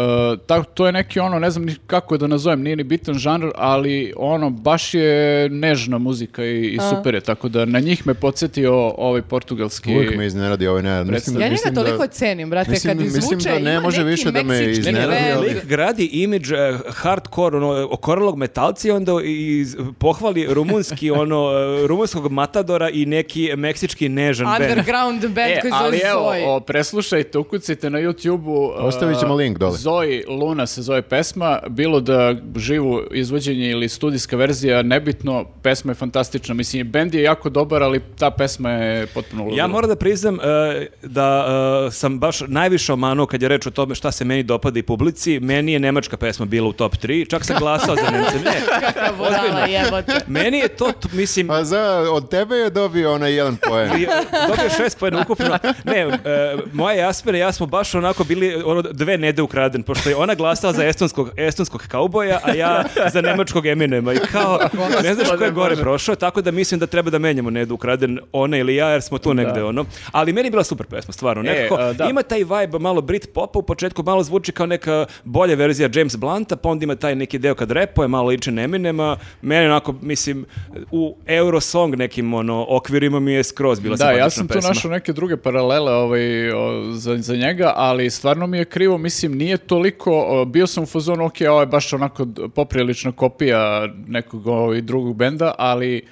[SPEAKER 4] ta- to je neki ono, ne znam ni kako da nazovem, nije ni bitan žanr, ali ono, baš je nežna muzika i, i super je. Tako da na njih me podsjetio ovaj portugalski...
[SPEAKER 2] Uvijek me iznenadi ovaj Nenad. Mislim,
[SPEAKER 1] Ja njega
[SPEAKER 2] mislim da-
[SPEAKER 1] toliko cenim, brate,
[SPEAKER 2] mislim-
[SPEAKER 1] kad izvuče,
[SPEAKER 2] mislim da ne
[SPEAKER 1] ima
[SPEAKER 2] može
[SPEAKER 1] neki
[SPEAKER 2] više da me
[SPEAKER 1] meksički
[SPEAKER 3] Ne, ne,
[SPEAKER 2] Ne, ne,
[SPEAKER 3] ne,
[SPEAKER 1] bend.
[SPEAKER 2] ali-
[SPEAKER 3] lik gradi imidž eh, hardcore, ono, okorelog metalci, onda iz, pohvali rumunski, ono, eh, rumunskog matadora i neki meksički nežan band.
[SPEAKER 1] Underground band
[SPEAKER 4] E,
[SPEAKER 1] koji
[SPEAKER 4] ali
[SPEAKER 1] zove
[SPEAKER 4] evo,
[SPEAKER 1] Zoj.
[SPEAKER 4] o, preslušajte, ukucajte na YouTube-u. uh,
[SPEAKER 2] Ostavit ćemo link dole.
[SPEAKER 4] Zoe Luna se zove pesma, bilo da živu izvođenje ili studijska verzija, nebitno, pesma je fantastična. Mislim, bend je jako dobar, ali ta pesma je potpuno ludila.
[SPEAKER 3] Ja moram da priznam eh, da eh, sam baš najviše omanuo kad je reč o tome šta se meni dopada i publici. Meni je nemačka pesma bila u top 3, čak sam glasao za Nemce. Ne,
[SPEAKER 1] Kakva budala jebote.
[SPEAKER 3] meni je to, t- mislim,
[SPEAKER 2] Pa za, od tebe je dobio onaj jedan poen.
[SPEAKER 1] <laughs>
[SPEAKER 3] I Dobio je šest pojena ukupno. Ne, e, moja Jasmina i ja smo baš onako bili ono, dve nede ukraden, pošto je ona glasala za estonskog, estonskog kauboja, a ja za nemačkog Eminema. I kao, ne znaš ko je gore prošao, tako da mislim da treba da menjamo nedu ukraden, ona ili ja, jer smo tu negde ono. Ali meni je bila super pesma, stvarno.
[SPEAKER 2] E,
[SPEAKER 3] Nekako,
[SPEAKER 4] a, da.
[SPEAKER 3] Ima taj vibe malo Brit popa, u početku malo zvuči kao neka bolja verzija James Blunta, pa onda ima taj neki deo kad repuje, malo liči na Eminema. Mene onako, mislim, u Eurosong nekim ono, okvirima mi je skroz bila
[SPEAKER 4] Da,
[SPEAKER 3] simpatična
[SPEAKER 4] ja sam tu
[SPEAKER 3] pesma.
[SPEAKER 4] našao neke druge paralele ovaj, o, za, za njega, ali stvarno mi je krivo, mislim, nije toliko, o, bio sam u fazonu, ok, ovo je baš onako d- poprilična kopija nekog ovaj, drugog benda, ali e,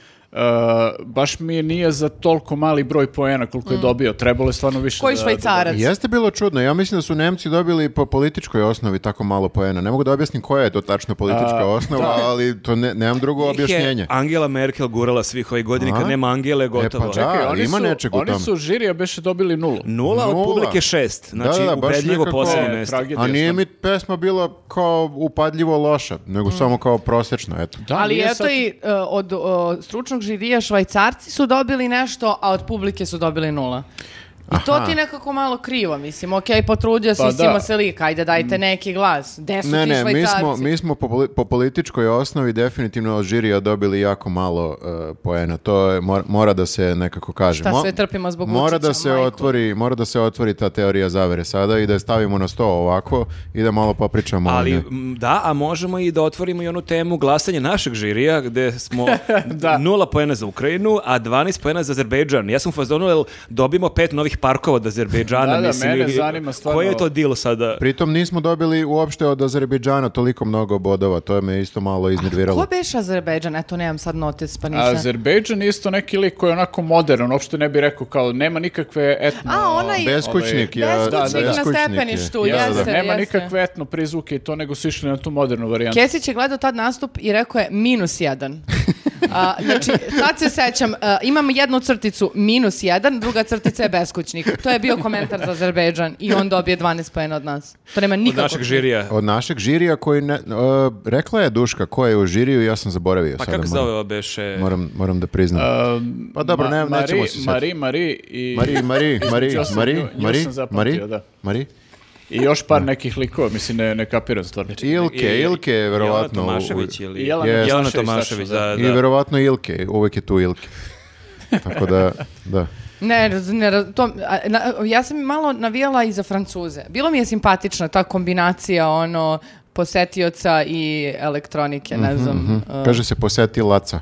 [SPEAKER 4] baš mi nije za toliko mali broj poena koliko je dobio. Trebalo je stvarno više
[SPEAKER 1] Mm. Koji
[SPEAKER 4] da- da
[SPEAKER 1] švajcarac?
[SPEAKER 2] Jeste bilo čudno, ja mislim da su Nemci dobili po političkoj osnovi tako malo poena. Ne mogu da objasnim koja je to tačno politička osnova, ali to ne, nemam drugo objašnjenje.
[SPEAKER 3] Angela Merkel gurala svih ovih godina,
[SPEAKER 2] A?
[SPEAKER 3] kad nema Angele, gotovo.
[SPEAKER 2] pa da.
[SPEAKER 4] Čekaj,
[SPEAKER 2] A,
[SPEAKER 4] oni
[SPEAKER 2] ima
[SPEAKER 4] su,
[SPEAKER 2] nečeg u
[SPEAKER 4] Oni
[SPEAKER 2] tome.
[SPEAKER 4] su žirija beše dobili nulu.
[SPEAKER 2] Nula.
[SPEAKER 3] Nula, od publike šest. Znači,
[SPEAKER 2] da, da, baš
[SPEAKER 3] ubedljivo
[SPEAKER 2] nekako-
[SPEAKER 3] poslednje
[SPEAKER 2] E,
[SPEAKER 3] mesto.
[SPEAKER 4] tragedija
[SPEAKER 2] A nije
[SPEAKER 4] stvarno.
[SPEAKER 2] mi pesma bila kao upadljivo loša, nego
[SPEAKER 1] Mm.
[SPEAKER 2] samo kao prosječno, eto.
[SPEAKER 4] Da,
[SPEAKER 1] Ali
[SPEAKER 4] nije
[SPEAKER 1] eto
[SPEAKER 4] sad-
[SPEAKER 1] i e, od o, stručnog žirija švajcarci su dobili nešto, a od publike su dobili nula. I to
[SPEAKER 2] Aha.
[SPEAKER 1] ti nekako malo krivo, mislim, ok, potrudio se,
[SPEAKER 4] Pa
[SPEAKER 1] pa,
[SPEAKER 4] da.
[SPEAKER 1] se lik, ajde dajte neki glas. Gde su
[SPEAKER 2] Mm. Ne,
[SPEAKER 1] ti
[SPEAKER 2] ne, mi
[SPEAKER 1] švajcarci?
[SPEAKER 2] smo, mi smo po, poli- po političkoj osnovi definitivno od žirija dobili jako malo e, poena. To je, mor- mora da se nekako kaže.
[SPEAKER 1] Šta
[SPEAKER 2] Mo-
[SPEAKER 1] sve trpimo zbog
[SPEAKER 2] mora da
[SPEAKER 1] Vučića,
[SPEAKER 2] se
[SPEAKER 1] majko.
[SPEAKER 2] otvori, Mora da se otvori ta teorija zavere sada i da je stavimo na sto ovako i da malo popričamo. o
[SPEAKER 3] Ali
[SPEAKER 2] njoj.
[SPEAKER 3] m, da, a možemo i da otvorimo i onu temu glasanje našeg žirija, gde smo nula poena za Ukrajinu, a 12 poena za Azerbejdžan. Ja sam u fazonu, jel dobimo pet novih parkova od Azerbejdžana.
[SPEAKER 4] Da, da,
[SPEAKER 3] mislim,
[SPEAKER 4] mene
[SPEAKER 3] i-
[SPEAKER 4] zanima stvarno-
[SPEAKER 3] Koji je to dil sada?
[SPEAKER 2] Pritom nismo dobili uopšte od Azerbejdžana toliko mnogo bodova, to je me isto malo iznerviralo.
[SPEAKER 1] Ko beše Azerbejdžan? Eto, nemam sad notes, pa nisam.
[SPEAKER 4] Azerbejdžan je isto neki lik koji je onako modern, uopšte ne bi rekao kao nema nikakve etno...
[SPEAKER 1] A, onaj
[SPEAKER 2] Beskućnik je.
[SPEAKER 1] beskućnik
[SPEAKER 4] da,
[SPEAKER 1] na
[SPEAKER 2] beskućnik je.
[SPEAKER 1] stepeništu,
[SPEAKER 2] Da, da, da.
[SPEAKER 1] jeste,
[SPEAKER 4] nema
[SPEAKER 1] jeste.
[SPEAKER 4] nikakve etno prizvuke i to nego su išli na tu modernu varijantu.
[SPEAKER 1] Kesić je gledao tad nastup i rekao je minus
[SPEAKER 2] <laughs>
[SPEAKER 1] jedan. A, znači, sad se sećam, a, imam jednu crticu minus jedan, druga crtica je beskućnik. To je bio komentar za Azerbejdžan i on dobije 12 pojena od nas. To nema
[SPEAKER 3] Od
[SPEAKER 1] nikakvog...
[SPEAKER 3] našeg žirija.
[SPEAKER 2] Od našeg žirija koji ne, e, rekla je Duška ko je u žiriju, ja sam zaboravio
[SPEAKER 3] Pa
[SPEAKER 2] sada.
[SPEAKER 3] kako se
[SPEAKER 2] moram-
[SPEAKER 3] zove ova beše?
[SPEAKER 2] Moram, moram da priznam.
[SPEAKER 4] Um,
[SPEAKER 2] Pa dobro, ne-
[SPEAKER 4] Mari-
[SPEAKER 2] nećemo se sjetiti.
[SPEAKER 4] Mari, Mari i...
[SPEAKER 2] Mari,
[SPEAKER 4] <laughs>
[SPEAKER 2] Mari, Mari,
[SPEAKER 4] Između ostalog,
[SPEAKER 2] Mari,
[SPEAKER 4] nju- nju
[SPEAKER 2] Mari,
[SPEAKER 4] sam
[SPEAKER 2] Mari,
[SPEAKER 4] zapamtio, da.
[SPEAKER 2] Mari.
[SPEAKER 4] I još par nekih likova, mislim, ne, ne kapiram stvarno.
[SPEAKER 2] Znači, Ilke, Ilke je
[SPEAKER 3] Jelena
[SPEAKER 2] verovatno... u-
[SPEAKER 3] Tomašević ili...
[SPEAKER 4] Jelena
[SPEAKER 2] Yes.
[SPEAKER 3] Jelena
[SPEAKER 4] Tomašević,
[SPEAKER 3] Tomašević,
[SPEAKER 4] tačno,
[SPEAKER 3] da,
[SPEAKER 2] I
[SPEAKER 3] da.
[SPEAKER 2] verovatno Ilke, uvek je tu Ilke. Tako da, da.
[SPEAKER 1] Ne, raz- ne, raz- to, a, na- ja sam malo navijala i za Francuze. Bilo mi je simpatična ta kombinacija, ono, posetioca i elektronike, ne znam. a,
[SPEAKER 2] Mhm, Kaže se poseti laca.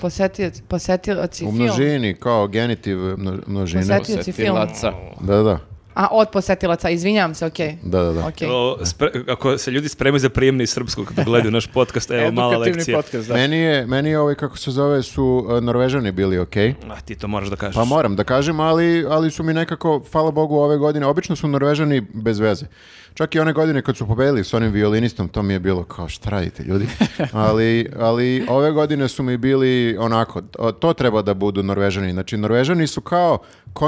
[SPEAKER 1] posetioc, posetioci
[SPEAKER 2] U
[SPEAKER 1] film.
[SPEAKER 2] množini, kao genitiv mno- množine.
[SPEAKER 1] Posetioci film.
[SPEAKER 4] Osjetilaca.
[SPEAKER 2] Da, da,
[SPEAKER 1] A, od posetilaca, izvinjam se, okej.
[SPEAKER 2] da, da. da.
[SPEAKER 1] Okej.
[SPEAKER 3] O, spre- ako se ljudi spremaju za prijemni srpskog kada gledaju naš podcast, evo mala
[SPEAKER 4] Edukativni
[SPEAKER 3] lekcija.
[SPEAKER 4] podcast, da.
[SPEAKER 2] Meni je, meni je ovaj, kako se zove, su e, Norvežani bili okej.
[SPEAKER 3] A, ti to moraš da kažeš.
[SPEAKER 2] Pa moram da kažem, ali, ali su mi nekako, hvala Bogu, ove godine, obično su Norvežani bez veze. Čak i one godine kad su pobedili s onim violinistom, to mi je bilo kao šta radite ljudi. Ali, ali ove godine su mi bili onako, o, to treba da budu Norvežani. Znači Norvežani su kao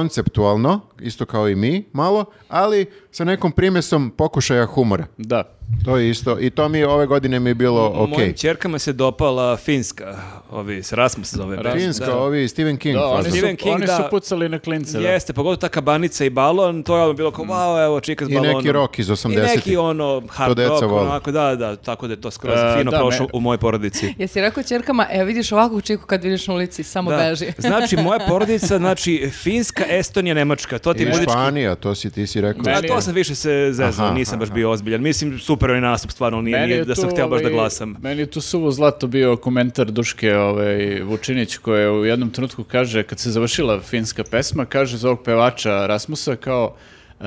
[SPEAKER 2] konceptualno, isto kao i mi, malo, ali sa nekom primesom pokušaja humora.
[SPEAKER 4] Da.
[SPEAKER 2] To je isto. I to mi je ove godine mi je bilo
[SPEAKER 3] M-
[SPEAKER 2] okej.
[SPEAKER 3] Mojim čerkama se dopala Finska, ovi, s Rasmus zove. band,
[SPEAKER 2] Finska,
[SPEAKER 3] da.
[SPEAKER 2] ovi Stephen King.
[SPEAKER 4] Da, oni
[SPEAKER 2] fazon.
[SPEAKER 4] su,
[SPEAKER 3] Stephen King,
[SPEAKER 4] oni su
[SPEAKER 3] da.
[SPEAKER 4] pucali na klince. da.
[SPEAKER 3] Jeste, pogotovo ta kabanica i balon, to je ono bilo kao, wow, evo, čika s
[SPEAKER 2] Mm. I neki
[SPEAKER 3] balonom.
[SPEAKER 2] rock iz
[SPEAKER 3] I
[SPEAKER 2] 80-ih.
[SPEAKER 3] neki ono hard
[SPEAKER 2] deca
[SPEAKER 3] rock,
[SPEAKER 2] vole.
[SPEAKER 3] onako, da, da, tako da je to skroz
[SPEAKER 4] E,
[SPEAKER 3] fino
[SPEAKER 4] da,
[SPEAKER 3] prošlo
[SPEAKER 4] me-
[SPEAKER 3] u mojoj porodici.
[SPEAKER 1] Jesi rekao čerkama, e vidiš ovakvu čiku kad vidiš na ulici, samo
[SPEAKER 3] Da.
[SPEAKER 1] beži.
[SPEAKER 3] <laughs> Znači, moja porodica, znači, Finska, Estonija, Nemačka, to ti
[SPEAKER 2] I
[SPEAKER 3] budi
[SPEAKER 2] Španija, to si ti si rekao.
[SPEAKER 3] A
[SPEAKER 4] Meni
[SPEAKER 3] to
[SPEAKER 4] je-
[SPEAKER 3] sam više se zezao,
[SPEAKER 2] Aha,
[SPEAKER 3] nisam baš bio ozbiljan. Mislim, super ovaj nastup, stvarno, nije,
[SPEAKER 4] Meni
[SPEAKER 3] nije
[SPEAKER 4] je
[SPEAKER 3] da sam
[SPEAKER 4] tu,
[SPEAKER 3] htio baš da
[SPEAKER 4] ovaj,
[SPEAKER 3] glasam.
[SPEAKER 4] Meni je tu suvo zlato bio komentar Duške ovaj, Vučinić koja u jednom trenutku kaže, kad se završila finska pesma, kaže za ovog pevača Rasmusa kao e,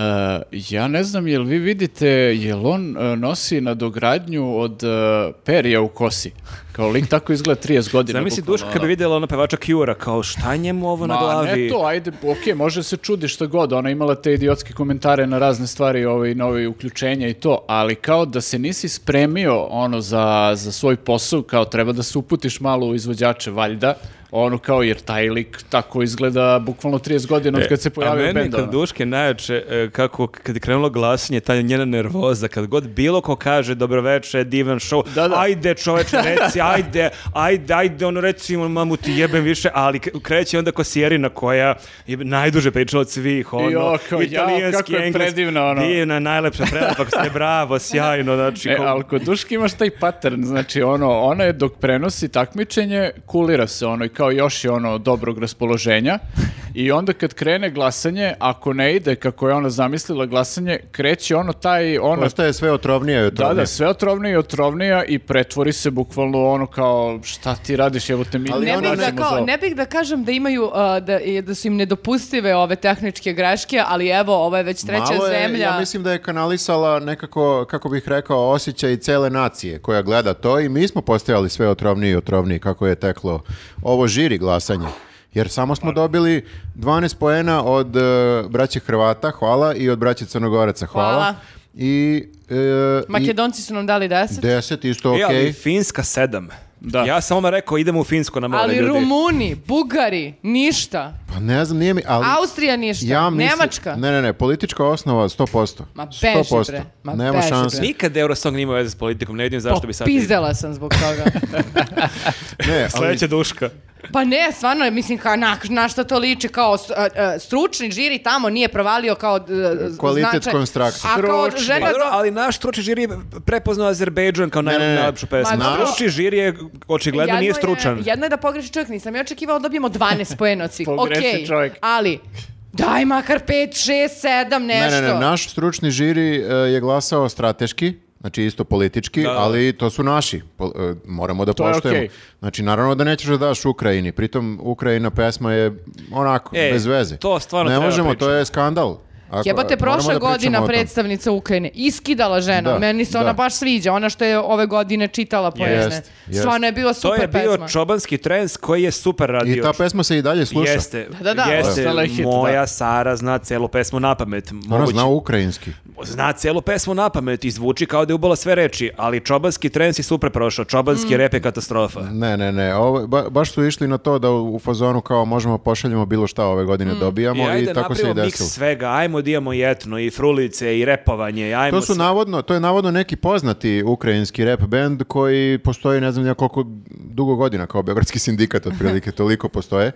[SPEAKER 4] ja ne znam jel vi vidite jel on e, nosi nadogradnju od e, perja u kosi. Kao lik tako izgleda 30 godina.
[SPEAKER 3] Zamisli
[SPEAKER 4] bukvalno,
[SPEAKER 3] Duška kad bi
[SPEAKER 4] ono.
[SPEAKER 3] vidjela ona pevača Cure-a, kao šta je njemu ovo na
[SPEAKER 4] Ma,
[SPEAKER 3] glavi?
[SPEAKER 4] ne to, ajde, okej, može se čudi šta god, ona je imala te idiotske komentare na razne stvari, ovaj, na ove uključenja i to, ali kao da se nisi spremio ono za, za svoj posao, kao treba da se uputiš malo u izvođače, valjda, ono kao, jer taj lik tako izgleda bukvalno 30 godina od kad se
[SPEAKER 3] E, A
[SPEAKER 4] pojavio bend.
[SPEAKER 3] meni je kod
[SPEAKER 4] ono.
[SPEAKER 3] Duške najjače, e, kako kad je krenulo glasanje, ta njena nervoza, kad god bilo ko kaže dobroveče, divan show,
[SPEAKER 4] Da, da.
[SPEAKER 3] ajde čoveče, reci, ajde, ajde, ajde, ono reci, ono, mamu ti jebem više, ali k- kreće onda Kosjerina koja je najduže pričala od svih, ono,
[SPEAKER 4] Jo, kao, jao, kako je predivna, ono.
[SPEAKER 3] divna, najlepša, prelepa, ste,
[SPEAKER 4] <laughs>
[SPEAKER 3] bravo, sjajno, znači,
[SPEAKER 4] E,
[SPEAKER 3] kao-
[SPEAKER 4] ali kod Duške imaš taj pattern, znači ono, ona je dok prenosi takmičenje, kulira se ono i kao još je ono dobrog raspoloženja I onda kad krene glasanje, ako ne ide kako je ona zamislila glasanje, kreće ono taj, ono,
[SPEAKER 2] Postaje sve otrovnije i
[SPEAKER 4] da,
[SPEAKER 2] otrovnije.
[SPEAKER 4] da, sve otrovnija i otrovnija i pretvori se bukvalno ono kao, šta ti radiš, evo te mi
[SPEAKER 2] Ali
[SPEAKER 1] Ne
[SPEAKER 2] ono
[SPEAKER 1] bih, da
[SPEAKER 4] nađemo za
[SPEAKER 1] kao,
[SPEAKER 4] ovo.
[SPEAKER 1] ne bih da kažem da imaju, a, da, i da su im nedopustive ove tehničke greške, ali evo, ovo je već treća
[SPEAKER 2] Malo je,
[SPEAKER 1] zemlja.
[SPEAKER 2] Ja mislim da je kanalisala nekako, kako bih rekao, osjećaj cele nacije koja gleda to i mi smo postajali sve otrovniji i otrovniji kako je teklo ovo žiri glasanje. Jer samo smo dobili 12 poena od e, braće Hrvata, hvala, i od braće Crnogoraca, hvala.
[SPEAKER 1] Hvala.
[SPEAKER 2] I, e,
[SPEAKER 1] Makedonci su nam dali
[SPEAKER 2] i
[SPEAKER 1] 10,
[SPEAKER 2] 10 isto
[SPEAKER 3] E, ali
[SPEAKER 2] okej.
[SPEAKER 3] Finska sedam.
[SPEAKER 4] Da.
[SPEAKER 3] Ja sam vam rekao, idemo u Finsko na mole,
[SPEAKER 1] ali
[SPEAKER 3] ljudi.
[SPEAKER 1] Rumuni, Bugari, ništa.
[SPEAKER 2] Pa ne znam, nije mi... Ali,
[SPEAKER 1] Austrija ništa,
[SPEAKER 2] ja mislim-
[SPEAKER 1] Nemačka.
[SPEAKER 2] Ne, ne, ne, politička osnova 100%.
[SPEAKER 1] Ma beži,
[SPEAKER 2] 100%.
[SPEAKER 1] bre, ma
[SPEAKER 2] Nema
[SPEAKER 1] beži,
[SPEAKER 2] šanse.
[SPEAKER 1] bre.
[SPEAKER 3] Nikad Eurosong nije imao veze s politikom, ne vidim
[SPEAKER 1] Pa,
[SPEAKER 3] zašto bi sad...
[SPEAKER 1] Popizdela sam zbog
[SPEAKER 2] <laughs>
[SPEAKER 1] toga.
[SPEAKER 2] Ne, ali,
[SPEAKER 3] Sledeća duška.
[SPEAKER 1] Pa ne, stvarno, je, mislim, kao, na, na šta to liči, kao s- a, a, stručni žiri tamo nije provalio kao d- z-
[SPEAKER 2] Kvalitet
[SPEAKER 1] značaj.
[SPEAKER 2] konstrukcije.
[SPEAKER 1] A kao
[SPEAKER 4] Stručni.
[SPEAKER 1] žena
[SPEAKER 3] Pa dobro,
[SPEAKER 1] do-
[SPEAKER 3] ali naš stručni žiri je prepoznao Azerbejdžan kao naj,
[SPEAKER 2] Ne, ne, ne.
[SPEAKER 3] najlepšu pesmu.
[SPEAKER 1] Ma dobro.
[SPEAKER 3] Stručni žiri je, očigledno, nije
[SPEAKER 1] jedno je-
[SPEAKER 3] stručan.
[SPEAKER 1] jedno je da pogreši čovjek, nisam ja očekivala da dobijemo 12 pojena od svih.
[SPEAKER 4] Pogreši
[SPEAKER 1] Okej,
[SPEAKER 4] čovjek.
[SPEAKER 1] ali daj makar 5, 6, 7,
[SPEAKER 2] Ne,
[SPEAKER 1] nešto.
[SPEAKER 2] ne, ne, naš stručni žiri e, je glasao strateški, znači isto politički,
[SPEAKER 3] da.
[SPEAKER 2] ali to su naši. Po- e, moramo da
[SPEAKER 4] To je
[SPEAKER 2] poštujemo.
[SPEAKER 4] okej.
[SPEAKER 2] Znači, naravno da nećeš da daš Ukrajini, pritom Ukrajina pesma je onako,
[SPEAKER 3] E,
[SPEAKER 2] bez veze.
[SPEAKER 3] to stvarno
[SPEAKER 2] Ne
[SPEAKER 3] treba
[SPEAKER 2] možemo, to
[SPEAKER 3] pričati.
[SPEAKER 2] je skandal. Ako,
[SPEAKER 1] Jebate,
[SPEAKER 2] moramo
[SPEAKER 1] prošla
[SPEAKER 2] da pričamo o
[SPEAKER 1] godina
[SPEAKER 2] tom.
[SPEAKER 1] predstavnica Ukrajine iskidala ženu.
[SPEAKER 2] Da,
[SPEAKER 1] Meni se ona
[SPEAKER 2] da.
[SPEAKER 1] baš sviđa. Ona što je ove godine čitala poene.
[SPEAKER 2] Jest, jest.
[SPEAKER 1] Stvarno je bila
[SPEAKER 3] To
[SPEAKER 1] super
[SPEAKER 3] je bio
[SPEAKER 1] pesma.
[SPEAKER 3] čobanski trends koji je super radio.
[SPEAKER 2] I ta pesma se i dalje sluša.
[SPEAKER 3] Jeste,
[SPEAKER 1] Da, da, da.
[SPEAKER 3] jeste.
[SPEAKER 4] Ostala je hit,
[SPEAKER 3] moja
[SPEAKER 4] da.
[SPEAKER 3] Sara zna celu pesmu na pamet.
[SPEAKER 2] Ona
[SPEAKER 3] Moguće-
[SPEAKER 2] zna ukrajinski.
[SPEAKER 3] zna celu pesmu na pamet i zvuči kao da je ubala sve reči, ali čobanski trends je super prošao,
[SPEAKER 1] Mm.
[SPEAKER 3] čobanski rep je katastrofa.
[SPEAKER 2] Ne, ne, ne, ovo, ba- baš su išli na to da u u fazonu kao možemo pošaljemo bilo šta ove godine dobijamo
[SPEAKER 3] I
[SPEAKER 2] i,
[SPEAKER 3] Mm. E, ajde
[SPEAKER 2] tako se i
[SPEAKER 3] napravimo miks
[SPEAKER 2] desilo.
[SPEAKER 3] svega, ajmo da imamo i etno, i frulice, i repovanje, i ajmo
[SPEAKER 2] To su
[SPEAKER 3] sve.
[SPEAKER 2] navodno, to je navodno neki poznati ukrajinski rap band koji postoji ne znam ja koliko dugo godina kao Beogradski <laughs> sindikat otprilike toliko postoje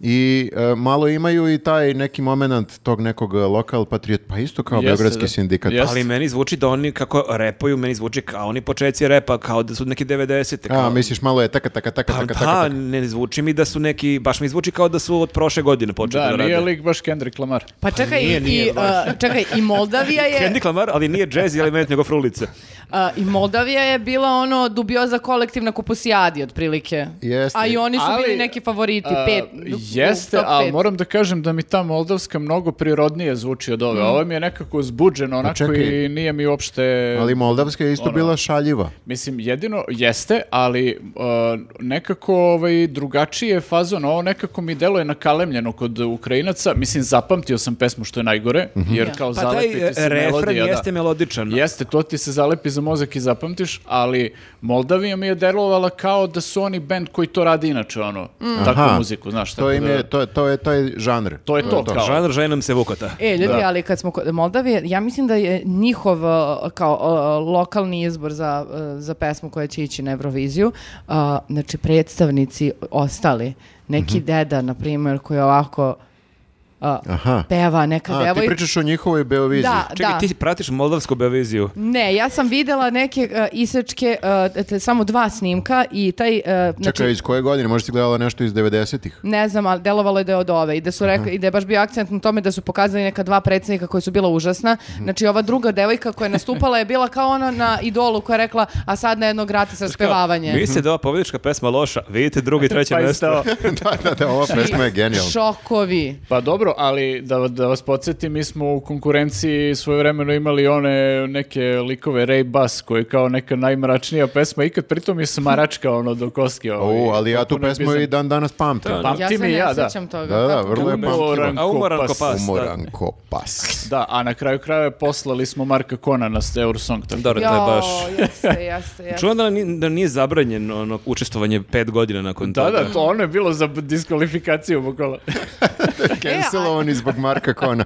[SPEAKER 2] i e, malo imaju i taj neki moment tog nekog e, lokal patriot pa isto kao
[SPEAKER 4] Jeste,
[SPEAKER 2] Beogradski
[SPEAKER 4] da.
[SPEAKER 2] sindikat.
[SPEAKER 4] Jeste.
[SPEAKER 3] Ali meni zvuči da oni kako repaju, meni zvuči kao oni početci repa, kao da su neki 90. Kao...
[SPEAKER 2] A misliš malo je taka taka taka
[SPEAKER 3] Pa
[SPEAKER 2] taka
[SPEAKER 3] da,
[SPEAKER 2] taka. taka.
[SPEAKER 3] ne zvuči mi da su neki, baš mi zvuči kao da su od prošle godine počeli da,
[SPEAKER 4] Da,
[SPEAKER 3] rade.
[SPEAKER 4] nije lik baš Kendrick Lamar.
[SPEAKER 1] Pa čekaj,
[SPEAKER 3] nije, nije,
[SPEAKER 1] i, uh, čekaj, i Moldavija
[SPEAKER 3] <laughs>
[SPEAKER 1] je...
[SPEAKER 3] Kendrick Lamar, ali nije jazz i element, nego frulice.
[SPEAKER 1] A, I Moldavija je bila ono dubioza kolektivna kupusijadi otprilike.
[SPEAKER 2] Jeste.
[SPEAKER 1] A i oni su
[SPEAKER 4] Ali,
[SPEAKER 1] bili neki favoriti.
[SPEAKER 4] A,
[SPEAKER 1] pet,
[SPEAKER 4] jeste,
[SPEAKER 1] top
[SPEAKER 4] ali
[SPEAKER 1] pet.
[SPEAKER 4] moram da kažem da mi ta moldavska mnogo prirodnije zvuči od
[SPEAKER 1] Mm.
[SPEAKER 4] ove. Ovo mi je nekako zbuđeno onako
[SPEAKER 2] Pa čekaj.
[SPEAKER 4] i nije mi uopšte...
[SPEAKER 2] Ali Moldavska je isto
[SPEAKER 4] Ono.
[SPEAKER 2] bila šaljiva.
[SPEAKER 4] Mislim, jedino jeste, ali uh, nekako ovaj, drugačiji je fazon. Ovo nekako mi deluje nakalemljeno kod Ukrajinaca. Mislim, zapamtio sam pesmu što je najgore,
[SPEAKER 2] Mhm.
[SPEAKER 4] jer kao
[SPEAKER 3] Pa taj
[SPEAKER 4] zalepiti
[SPEAKER 3] e,
[SPEAKER 4] se
[SPEAKER 3] refren
[SPEAKER 4] melodija. da.
[SPEAKER 3] jeste melodičan.
[SPEAKER 4] Jeste, to ti se zalepi za mozak i zapamtiš, ali Moldavija mi je delovala kao da su oni band koji to radi inače, ono, takvu
[SPEAKER 2] Mm. Aha.
[SPEAKER 4] muziku, znaš.
[SPEAKER 2] To
[SPEAKER 4] tako
[SPEAKER 2] im
[SPEAKER 4] da-
[SPEAKER 2] je to to je taj žanr.
[SPEAKER 4] To je to, kao.
[SPEAKER 3] Žanr žena nam se vukota.
[SPEAKER 1] E, ljudi,
[SPEAKER 4] Da.
[SPEAKER 1] ali kad smo kod Moldavije, ja mislim da je njihov uh, kao uh, lokalni izbor za, uh, za pesmu koja će ići na Euroviziju, uh, znači predstavnici ostali,
[SPEAKER 2] Mhm.
[SPEAKER 1] neki deda, na primjer, koji ovako uh,
[SPEAKER 2] Aha.
[SPEAKER 1] peva neka
[SPEAKER 2] A, ti
[SPEAKER 1] devoj-
[SPEAKER 2] pričaš o njihovoj Beoviziji.
[SPEAKER 1] Da,
[SPEAKER 3] Čekaj,
[SPEAKER 1] da.
[SPEAKER 3] ti pratiš moldavsku beviziju.
[SPEAKER 1] Ne, ja sam videla neke uh, isečke, uh, te- samo dva snimka i taj... uh, znači,
[SPEAKER 2] Čekaj, iz koje godine? Možda si gledala nešto iz 90-ih?
[SPEAKER 1] Ne znam, ali delovalo je da je od ove i da su rekli, i da je baš bio akcent na tome da su pokazali neka dva predsjednika koja su bila užasna.
[SPEAKER 2] Mhm.
[SPEAKER 1] Znači ova druga devojka koja je nastupala je bila kao ona na idolu koja je rekla, a sad na jedno grati sa spevavanje.
[SPEAKER 3] Mislite da je ova pobjedička pesma loša, vidite drugo i treće
[SPEAKER 4] Pa i
[SPEAKER 3] mjesto.
[SPEAKER 4] stao.
[SPEAKER 2] <laughs> da, da, da, ova
[SPEAKER 1] Znači-
[SPEAKER 2] pesma je genijalna.
[SPEAKER 1] Šokovi.
[SPEAKER 4] <laughs> Pa dobro, ali da, da vas podsjetim, mi smo u konkurenciji svojevremeno imali one neke likove Ray Bass, koji je kao neka najmračnija pesma, ikad pritom je smaračka ono do koske. Ovaj,
[SPEAKER 2] O, ali ja tu
[SPEAKER 4] potpuno je
[SPEAKER 2] pesmu
[SPEAKER 4] bizar-
[SPEAKER 2] i dan danas pamtim.
[SPEAKER 4] Pa,
[SPEAKER 1] Ja
[SPEAKER 4] ti
[SPEAKER 1] se
[SPEAKER 4] mi
[SPEAKER 1] ne
[SPEAKER 4] ja, da.
[SPEAKER 1] sjećam toga. Pa,
[SPEAKER 2] Da, da,
[SPEAKER 1] Kako-
[SPEAKER 2] vrlo je
[SPEAKER 4] Umoran
[SPEAKER 2] pamtljivo.
[SPEAKER 3] A umoran ko
[SPEAKER 4] pas.
[SPEAKER 3] pas.
[SPEAKER 2] Umoran ko
[SPEAKER 4] <laughs>
[SPEAKER 2] pas.
[SPEAKER 4] Da, a na kraju krajeva poslali smo Marka Kona na Eurosong. Tako.
[SPEAKER 3] Dobro, to je
[SPEAKER 1] Jao,
[SPEAKER 3] baš...
[SPEAKER 1] jeste, jeste, jeste.
[SPEAKER 3] Čujem da, ni- da nije zabranjeno ono, učestvovanje pet godina nakon
[SPEAKER 4] Da,
[SPEAKER 3] toga.
[SPEAKER 4] da, to ono je bilo za diskvalifikaciju bukvalno.
[SPEAKER 2] Cancelovan zbog Marka Kona.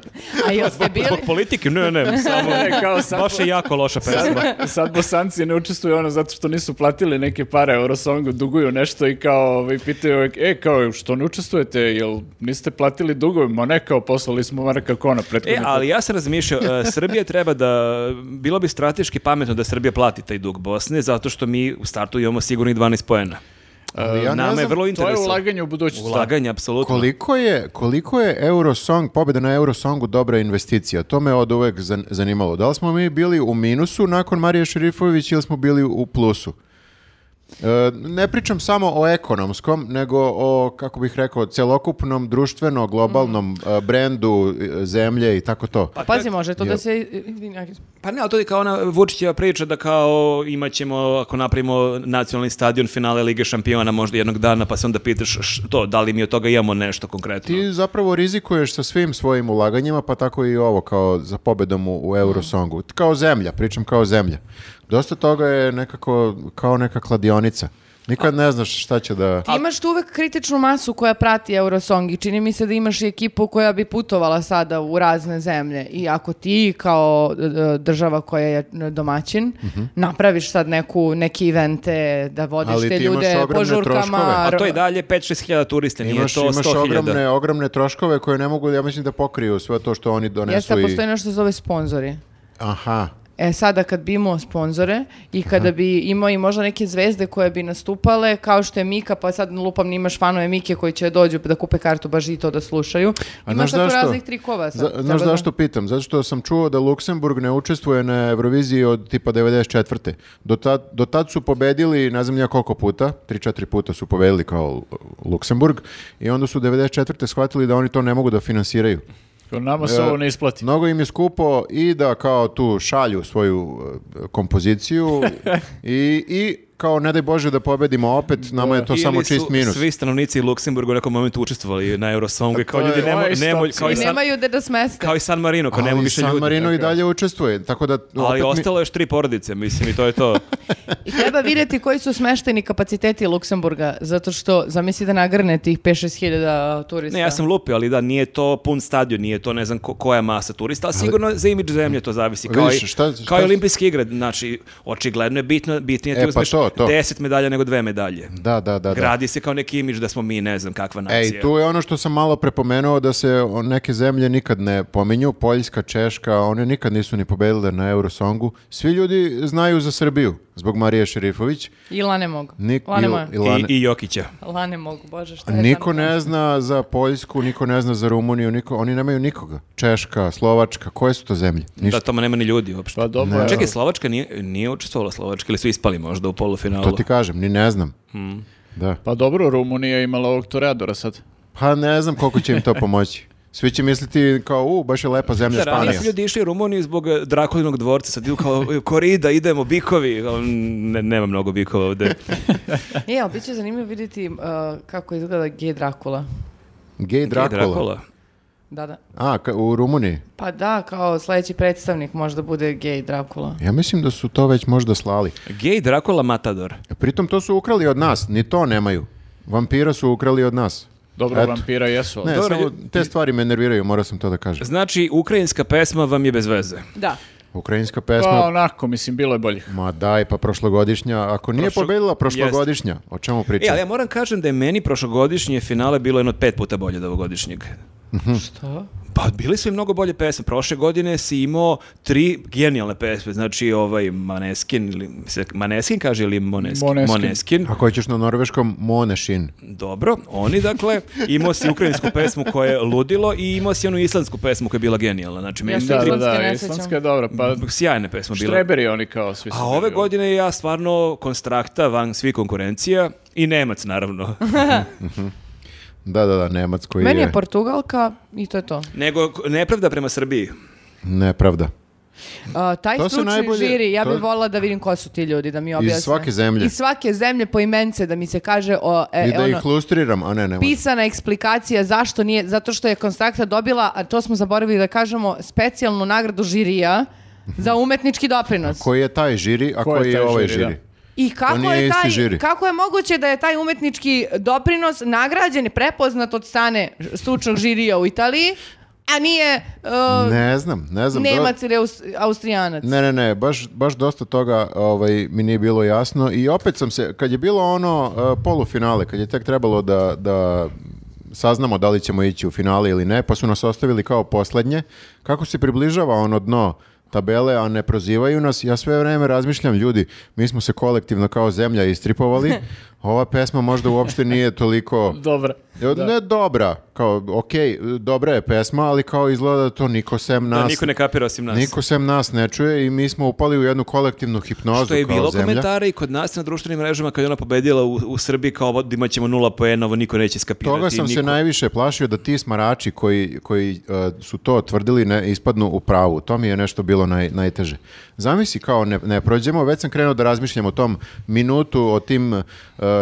[SPEAKER 1] A jeste
[SPEAKER 3] Zbog
[SPEAKER 1] bili...
[SPEAKER 3] politike? Ne, ne, samo...
[SPEAKER 4] Ne, kao sad-
[SPEAKER 3] Baš je jako loša pesma.
[SPEAKER 4] Sad bosanci ne učestvuju ono zato što nisu platili neke pare Eurosongu, duguju nešto i kao ovaj, pitaju uvek, e kao što ne učestvujete, jel niste platili dugove? Ma ne, kao poslali smo Marka Kona prethodno.
[SPEAKER 3] E, ali ja sam razmišljao, e, Srbija treba da, bilo bi strateški pametno da Srbija plati taj dug Bosne, zato što mi u startu imamo sigurnih 12 poena.
[SPEAKER 2] Ali ja ne
[SPEAKER 3] Nama je
[SPEAKER 2] znam,
[SPEAKER 3] vrlo
[SPEAKER 4] To je
[SPEAKER 3] interesantno.
[SPEAKER 4] ulaganje u budućnost. da.
[SPEAKER 3] Ulaganje,
[SPEAKER 2] <laughs>
[SPEAKER 3] apsolutno.
[SPEAKER 2] Koliko je, koliko je Eurosong, pobjeda na Eurosongu dobra investicija? To me od uvek zan- zanimalo. Da li smo mi bili u minusu nakon Marije Šerifović ili smo bili u plusu? E, ne pričam samo o ekonomskom, nego o, kako bih rekao, celokupnom, društveno, globalnom e, brendu e, zemlje i tako to.
[SPEAKER 1] Pa, Pazi, može to
[SPEAKER 2] Jel-
[SPEAKER 1] da se... izvini, ajde.
[SPEAKER 3] Pa ne, ali to je kao ona Vučićeva priča da kao imat ćemo, ako napravimo nacionalni stadion finale Lige šampiona možda jednog dana, pa se onda pitaš š- to, da li mi od toga imamo nešto konkretno.
[SPEAKER 2] Ti zapravo rizikuješ sa svim svojim ulaganjima, pa tako i ovo kao za pobedom u, u
[SPEAKER 3] Mm.
[SPEAKER 2] Eurosongu. Kao zemlja, pričam kao zemlja. Dosta toga je nekako kao neka kladionica. Nikad ne znaš šta će da...
[SPEAKER 1] Ti imaš tu uvek kritičnu masu koja prati Eurosong i čini mi se da imaš i ekipu koja bi putovala sada u razne zemlje i ako ti kao e, država koja je domaćin
[SPEAKER 2] Mhm.
[SPEAKER 1] napraviš sad neku, neke evente da vodiš
[SPEAKER 2] Ali
[SPEAKER 1] te
[SPEAKER 2] ti imaš
[SPEAKER 1] ljude po
[SPEAKER 2] ogromne
[SPEAKER 1] žurkama.
[SPEAKER 2] troškove.
[SPEAKER 3] A to je dalje 5-6 hiljada turista, nije
[SPEAKER 2] Imaš,
[SPEAKER 3] to 100
[SPEAKER 2] imaš
[SPEAKER 3] hiljada.
[SPEAKER 2] ogromne, ogromne troškove koje ne mogu, ja mislim, da pokriju sve to što oni donesu
[SPEAKER 1] Jeste,
[SPEAKER 2] i...
[SPEAKER 1] postoji nešto što se zove sponzori.
[SPEAKER 2] Aha.
[SPEAKER 1] E sada kad bi imao sponzore i kada bi imao i možda neke zvezde koje bi nastupale, kao što je Mika, pa sad lupam imaš fanove Mike koji će dođu da kupe kartu baš i to da slušaju.
[SPEAKER 2] A
[SPEAKER 1] Ima
[SPEAKER 2] znaš
[SPEAKER 1] sad tu
[SPEAKER 2] zašto?
[SPEAKER 1] raznih trikova. Sad,
[SPEAKER 2] Za-
[SPEAKER 1] treba
[SPEAKER 2] znaš
[SPEAKER 1] da-
[SPEAKER 2] zašto pitam? Zato što sam čuo da Luksemburg ne učestvuje na Euroviziji od tipa 94. Do tad, do tad su pobedili, ne znam ja koliko puta, 3-4 puta su pobedili kao Luksemburg i onda su 94. shvatili da oni to ne mogu da finansiraju.
[SPEAKER 4] Nama
[SPEAKER 2] E,
[SPEAKER 4] se ovo ne isplati.
[SPEAKER 2] Mnogo im je skupo i da kao tu šalju svoju e,
[SPEAKER 3] <laughs>
[SPEAKER 2] kompoziciju i, i kao ne daj Bože da pobedimo opet, nama je to
[SPEAKER 3] Ili
[SPEAKER 2] samo
[SPEAKER 3] su
[SPEAKER 2] čist minus.
[SPEAKER 3] Svi stanovnici Luksemburga u nekom momentu učestvovali na Eurosongu i kao
[SPEAKER 4] To je-
[SPEAKER 3] ljudi nemo,
[SPEAKER 4] to je isto
[SPEAKER 3] nemo,
[SPEAKER 4] opcija.
[SPEAKER 3] kao, i
[SPEAKER 1] I
[SPEAKER 3] San,
[SPEAKER 1] nemaju gde da smeste.
[SPEAKER 3] kao i San Marino, kao nema
[SPEAKER 2] Ali
[SPEAKER 3] više
[SPEAKER 2] San
[SPEAKER 3] ljudi.
[SPEAKER 2] Marino i dalje učestvuje, tako da... opet
[SPEAKER 3] Ali
[SPEAKER 2] mi-
[SPEAKER 3] ostalo je još tri porodice, mislim, i to je to.
[SPEAKER 1] I treba vidjeti koji su smešteni kapaciteti Luksemburga, zato što zamisli da nagrne tih 5-6 hiljada turista.
[SPEAKER 3] Ne, ja sam lupio, ali da, nije to pun stadion, nije to ne znam ko- koja masa turista, ali sigurno za imidž zemlje to zavisi. Kao,
[SPEAKER 2] Vidiš,
[SPEAKER 3] i,
[SPEAKER 2] šta-
[SPEAKER 3] kao i
[SPEAKER 2] šta-
[SPEAKER 3] olimpijske igre, znači, očigledno je bitno, bitnije ti
[SPEAKER 2] E, pa
[SPEAKER 3] uzmeš
[SPEAKER 2] to, to.
[SPEAKER 3] 10 medalja nego dve medalje.
[SPEAKER 2] Da, da, da. da.
[SPEAKER 3] Gradi se kao neki imidž da smo mi ne znam kakva nacija.
[SPEAKER 2] Ej, tu je ono što sam malo prepomenuo da se o- neke zemlje nikad ne pominju, Poljska, Češka, one nikad nisu ni pobedile na Eurosongu. Svi ljudi znaju za Srbiju zbog Marije Šerifović.
[SPEAKER 1] I lane mogu.
[SPEAKER 2] Nik,
[SPEAKER 1] lane
[SPEAKER 2] i-
[SPEAKER 1] moje.
[SPEAKER 2] i Lane-
[SPEAKER 3] I, I Jokića.
[SPEAKER 1] Lane mogu, bože, šta je
[SPEAKER 2] Niko
[SPEAKER 1] Lane mogu?
[SPEAKER 2] ne zna za Poljsku, niko ne zna za Rumuniju, niko, oni nemaju nikoga. Češka, Slovačka, koje su to zemlje? Ništa.
[SPEAKER 3] Da, tamo nema ni ljudi uopšte.
[SPEAKER 4] Pa dobro. evo.
[SPEAKER 3] Čekaj, Slovačka nije, nije učestvovala Slovačka ili su ispali možda u polufinalu?
[SPEAKER 2] To ti kažem, ni ne znam.
[SPEAKER 3] Mm.
[SPEAKER 2] Da.
[SPEAKER 4] Pa dobro, Rumunija je imala ovog Toreadora sad.
[SPEAKER 2] Pa ne znam koliko će im to pomoći. Svi će misliti kao, u, baš je lepa zemlja
[SPEAKER 3] Da, ranije
[SPEAKER 2] Španija.
[SPEAKER 3] su ljudi išli u Rumuniju zbog eh, Drakulinog dvorca, sad idu kao <laughs> eh, korida, idemo, bikovi, Kao, ne, nema mnogo bikova <laughs> ovde.
[SPEAKER 1] E, ali bit će zanimljivo vidjeti uh, kako izgleda gej Drakula.
[SPEAKER 2] Gej Dracula.
[SPEAKER 3] Drakula.
[SPEAKER 1] Da, da.
[SPEAKER 2] A, ka- u Rumuniji.
[SPEAKER 1] Pa da, kao sljedeći predstavnik možda bude gej Drakula.
[SPEAKER 2] Ja mislim da su to već možda slali.
[SPEAKER 3] Gej Drakula Matador.
[SPEAKER 2] Pritom to su ukrali od nas, ni to nemaju. Vampira su ukrali od nas.
[SPEAKER 4] Dobro,
[SPEAKER 2] Eto.
[SPEAKER 4] vampira jesu. ali-
[SPEAKER 2] Ne,
[SPEAKER 3] Dobro,
[SPEAKER 2] samo
[SPEAKER 3] lju-
[SPEAKER 2] te stvari me nerviraju, morao sam to da kažem.
[SPEAKER 3] Znači, ukrajinska pesma vam je bez veze.
[SPEAKER 1] Da.
[SPEAKER 2] Ukrajinska
[SPEAKER 4] Pa
[SPEAKER 2] pesma,
[SPEAKER 4] onako, mislim, bilo je boljih.
[SPEAKER 2] ma daj, pa prošlogodišnja, ako nije
[SPEAKER 3] Prošlo-
[SPEAKER 2] pobedila prošlogodišnja, o čemu
[SPEAKER 3] E,
[SPEAKER 2] pričam?
[SPEAKER 3] ali ja moram kažem da je meni prošlogodišnje finale bilo jedno od pet puta bolje od ovogodišnjeg.
[SPEAKER 2] Hm.
[SPEAKER 1] Što?
[SPEAKER 3] Pa bili su i mnogo bolje pesme. Prošle godine si imao tri genijalne pesme. Znači ovaj Maneskin, ili, se Maneskin kaže ili Moneskin?
[SPEAKER 4] Måneskin.
[SPEAKER 2] Ako hoćeš na norveškom, Monešin.
[SPEAKER 3] Dobro, oni dakle, imao si ukrajinsku pesmu koja je ludilo i imao si onu islandsku pesmu koja je bila genijalna. Znači, meni
[SPEAKER 1] Ja
[SPEAKER 3] su
[SPEAKER 1] se
[SPEAKER 4] Da,
[SPEAKER 3] tri
[SPEAKER 4] da,
[SPEAKER 1] islamske
[SPEAKER 4] da,
[SPEAKER 1] ne
[SPEAKER 4] islamska
[SPEAKER 1] sjećam.
[SPEAKER 4] je dobra, pa
[SPEAKER 3] sjajne pesme bile.
[SPEAKER 4] štreberi oni kao svi su.
[SPEAKER 3] A ove
[SPEAKER 4] bili, ono.
[SPEAKER 3] godine ja stvarno konstrakta van svih konkurencija i
[SPEAKER 2] <laughs>
[SPEAKER 3] Nemac naravno.
[SPEAKER 2] Da, da, da, Nemac koji
[SPEAKER 1] Meni
[SPEAKER 2] je,
[SPEAKER 1] je Portugalka i to je to.
[SPEAKER 3] Nego nepravda prema Srbiji.
[SPEAKER 2] nepravda.
[SPEAKER 1] A, Uh, taj
[SPEAKER 2] To se
[SPEAKER 1] stručni
[SPEAKER 2] najbolje-
[SPEAKER 1] žiri, ja
[SPEAKER 2] to-
[SPEAKER 1] bih volila da vidim ko su ti ljudi, da mi objasne.
[SPEAKER 2] svake zemlje.
[SPEAKER 1] Iz svake zemlje po imence, da mi se kaže o, e,
[SPEAKER 2] I da
[SPEAKER 1] ono,
[SPEAKER 2] ih lustriram, a ne, ne može.
[SPEAKER 1] pisana eksplikacija zašto nije, zato što je Konstrakta dobila, a to smo zaboravili da kažemo, specijalnu nagradu žirija za umetnički doprinos.
[SPEAKER 2] Koji Mhm. je taj žiri, a
[SPEAKER 4] Ko je
[SPEAKER 2] koji je,
[SPEAKER 4] taj
[SPEAKER 2] ovaj
[SPEAKER 4] žiri,
[SPEAKER 2] žiri?
[SPEAKER 1] I kako
[SPEAKER 2] nije
[SPEAKER 1] je,
[SPEAKER 2] isti
[SPEAKER 1] taj,
[SPEAKER 2] žiri.
[SPEAKER 1] kako je moguće da je taj umetnički doprinos nagrađen i prepoznat od strane stručnog žirija u Italiji, a nije uh,
[SPEAKER 2] Ne znam, ne znam. dobro-
[SPEAKER 1] Nemac ili Aus- Austrijanac?
[SPEAKER 2] Ne, ne, ne, baš, baš dosta toga ovaj, mi nije bilo jasno i opet sam se, kad je bilo ono e, polufinale, kad je tek trebalo da, da saznamo da li ćemo ići u finale ili ne, pa su nas ostavili kao poslednje, kako se približava ono dno tabele, a ne prozivaju nas, ja sve vreme razmišljam, ljudi, mi smo se kolektivno kao zemlja istripovali, ova pesma možda uopšte nije toliko...
[SPEAKER 4] Dobra.
[SPEAKER 2] E, Ne dobra, kao, okej, dobra je pesma, ali kao izgleda da to niko sem nas...
[SPEAKER 3] Da niko ne kapira osim nas.
[SPEAKER 2] Niko sem nas ne čuje i mi smo upali u jednu kolektivnu hipnozu
[SPEAKER 3] Što je
[SPEAKER 2] kao
[SPEAKER 3] bilo
[SPEAKER 2] zemlja.
[SPEAKER 3] komentara i kod nas na društvenim mrežama kad je ona pobedila u, u Srbiji kao ovo, imat ćemo nula poena, ovo niko neće skapirati.
[SPEAKER 2] Toga sam se
[SPEAKER 3] niko-
[SPEAKER 2] najviše plašio da ti smarači koji, koji uh, su to tvrdili ne ispadnu u pravu. To mi je nešto bilo naj, najteže. Zamisli kao ne, ne prođemo, već sam krenuo da razmišljam o tom minutu, o tim uh,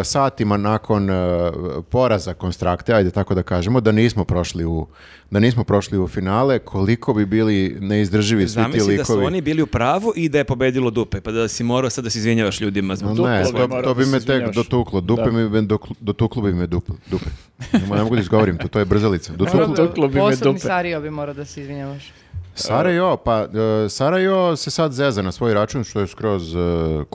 [SPEAKER 2] satima nakon uh, poraza konstrakte, ajde tako da kažemo, da nismo prošli u da nismo prošli u finale, koliko bi bili neizdrživi svi ti
[SPEAKER 3] Zamisli
[SPEAKER 2] likovi.
[SPEAKER 3] da su oni bili u pravu i da je pobedilo dupe, pa da si morao sad da se izvinjavaš ljudima zbog
[SPEAKER 2] No, Pa ne,
[SPEAKER 4] Duplo
[SPEAKER 2] to,
[SPEAKER 4] bi morao
[SPEAKER 2] to bi
[SPEAKER 4] da se
[SPEAKER 2] me tek
[SPEAKER 4] izvinjavaš.
[SPEAKER 2] dotuklo. Dupe
[SPEAKER 4] Da.
[SPEAKER 2] mi bi- dokl- dotuklo bi me dupe. dupe. Ne, ne mogu da izgovorim to, to je
[SPEAKER 4] <laughs>
[SPEAKER 2] brzalica. Dotuklo,
[SPEAKER 1] Morao bi-
[SPEAKER 4] Tuklo bi me
[SPEAKER 1] Posebni
[SPEAKER 4] dupe.
[SPEAKER 1] Sario bi morao da se izvinjavaš.
[SPEAKER 2] Sarajevo, pa e, Sarajevo se sad zeza na svoj račun, što je skroz e,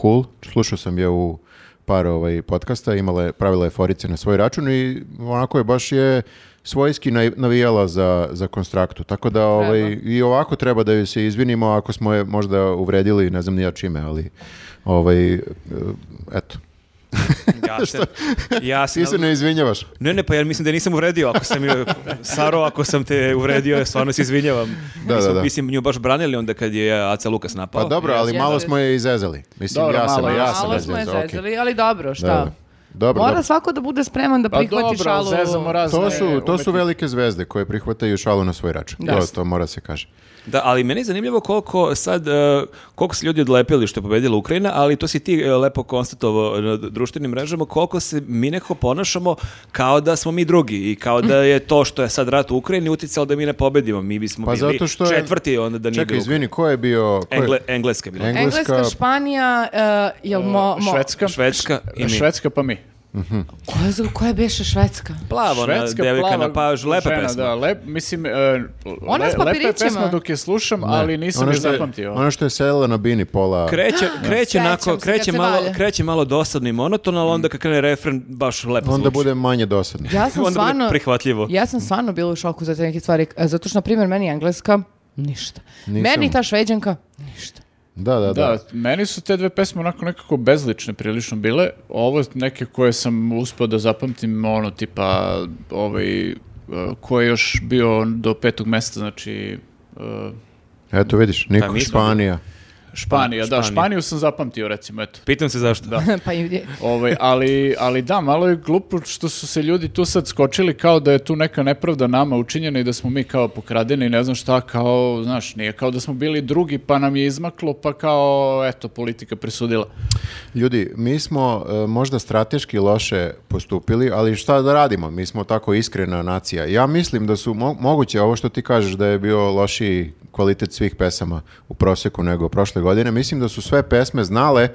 [SPEAKER 2] cool. Slušao sam je u par ovaj, podcasta, imala je, pravila je forice na svoj račun i onako je baš je svojski naj- navijala za, za konstraktu. Tako da ovaj, i ovako treba da joj se izvinimo ako smo je možda uvredili, ne znam ni ja čime, ali ovaj, e, eto. <laughs>
[SPEAKER 3] Ja se, ja se
[SPEAKER 2] Ti se ne izvinjavaš.
[SPEAKER 3] Ne, ne, pa ja mislim da je nisam uvredio. Ako sam ju, Saro, ako sam te uvredio, ja stvarno se izvinjavam.
[SPEAKER 2] Da,
[SPEAKER 3] Mi smo,
[SPEAKER 2] da, da.
[SPEAKER 3] Mislim, nju baš branili onda kad je Aca Lukas napao.
[SPEAKER 2] Pa dobro, ali
[SPEAKER 1] Jeste.
[SPEAKER 2] malo smo je izezali. Mislim,
[SPEAKER 4] Dobro,
[SPEAKER 2] ja sam,
[SPEAKER 4] malo,
[SPEAKER 2] ja sam
[SPEAKER 1] Malo
[SPEAKER 2] je
[SPEAKER 1] smo je
[SPEAKER 2] zezao, okej.
[SPEAKER 1] zezali, ali dobro, šta?
[SPEAKER 2] Da, da. Dobro,
[SPEAKER 1] Mora
[SPEAKER 2] dobro.
[SPEAKER 1] svako da bude spreman da
[SPEAKER 4] Pa
[SPEAKER 1] prihvati
[SPEAKER 4] dobro, ali
[SPEAKER 1] šalu.
[SPEAKER 4] zezamo razne
[SPEAKER 2] To su, to
[SPEAKER 4] umetnike.
[SPEAKER 2] su velike zvezde koje prihvataju šalu na svoj račun.
[SPEAKER 1] Da.
[SPEAKER 2] To, to mora se kaže.
[SPEAKER 3] Da, ali meni je zanimljivo koliko sad, e, koliko se ljudi odlepili što je pobedila Ukrajina, ali to si ti e, lepo konstatovao na d- društvenim mrežama, koliko se mi nekako ponašamo kao da smo mi drugi i kao da je to što je sad rat u Ukrajini uticalo da mi ne pobedimo. Mi bismo
[SPEAKER 2] Pa
[SPEAKER 3] bili
[SPEAKER 2] zato što je-
[SPEAKER 3] četvrti onda da nije
[SPEAKER 2] Čekaj,
[SPEAKER 3] bilo.
[SPEAKER 2] izvini, ko je bio... Ko je-
[SPEAKER 3] Engle, Engleska je bila.
[SPEAKER 2] Eng-
[SPEAKER 1] Engleska,
[SPEAKER 2] Engleska,
[SPEAKER 1] Španija, uh, jel mo, mo,
[SPEAKER 4] Švedska.
[SPEAKER 3] Švedska i mi.
[SPEAKER 4] Švedska pa mi.
[SPEAKER 1] Koja, je- koja je beše Švedska?
[SPEAKER 3] Plava ona devojka
[SPEAKER 4] plava
[SPEAKER 3] na pažu, lepa
[SPEAKER 4] žena,
[SPEAKER 3] pesma.
[SPEAKER 4] Da, lep, mislim, e,
[SPEAKER 1] Ona
[SPEAKER 4] le-
[SPEAKER 1] s
[SPEAKER 4] lepa je
[SPEAKER 1] papirićima.
[SPEAKER 4] pesma dok je slušam, ali nisam
[SPEAKER 2] ono
[SPEAKER 4] je
[SPEAKER 2] što je-
[SPEAKER 4] zapamtio.
[SPEAKER 2] Ono što je selila na bini pola...
[SPEAKER 3] Kreće, kreće,
[SPEAKER 1] Sećam se
[SPEAKER 3] nako,
[SPEAKER 1] kad
[SPEAKER 3] kreće,
[SPEAKER 1] se
[SPEAKER 3] malo,
[SPEAKER 1] valja.
[SPEAKER 3] kreće malo dosadno i monotono, ali onda kad krene refren baš lepo
[SPEAKER 2] onda
[SPEAKER 3] zvuči.
[SPEAKER 2] bude manje dosadno.
[SPEAKER 1] Ja sam
[SPEAKER 3] Onda bude
[SPEAKER 1] stvarno...
[SPEAKER 3] prihvatljivo.
[SPEAKER 1] Ja sam stvarno bila u šoku za te neke stvari, e, zato što, na primjer, meni engleska, ništa.
[SPEAKER 2] Nisam.
[SPEAKER 1] Meni ta šveđanka, ništa. <laughs>
[SPEAKER 2] Da, da, da.
[SPEAKER 4] Da, meni su te dve pesme onako nekako bezlične prilično bile. Ovo neke koje sam uspio da zapamtim, ono tipa ovaj, e, ko je još bio do petog mesta, znači e,
[SPEAKER 2] Eto, vidiš,
[SPEAKER 3] Pa
[SPEAKER 2] Niko
[SPEAKER 3] mi smo-
[SPEAKER 2] Španija.
[SPEAKER 4] Španija, da,
[SPEAKER 3] Španija.
[SPEAKER 4] Španiju sam zapamtio recimo, eto.
[SPEAKER 3] Pitam se zašto. Da.
[SPEAKER 1] pa i je-
[SPEAKER 4] Ovaj, ali, ali da, malo je glupo što su se ljudi tu sad skočili kao da je tu neka nepravda nama učinjena i da smo mi kao pokradeni, ne znam šta, kao, znaš, nije kao da smo bili drugi pa nam je izmaklo, pa kao, eto, politika presudila.
[SPEAKER 2] Ljudi, mi smo e, možda strateški loše postupili, ali šta da radimo? Mi smo tako iskrena nacija. Ja mislim da su mo- moguće ovo što ti kažeš da je bio lošiji kvalitet svih pesama u proseku nego prošle godine. Mislim da su sve pesme znale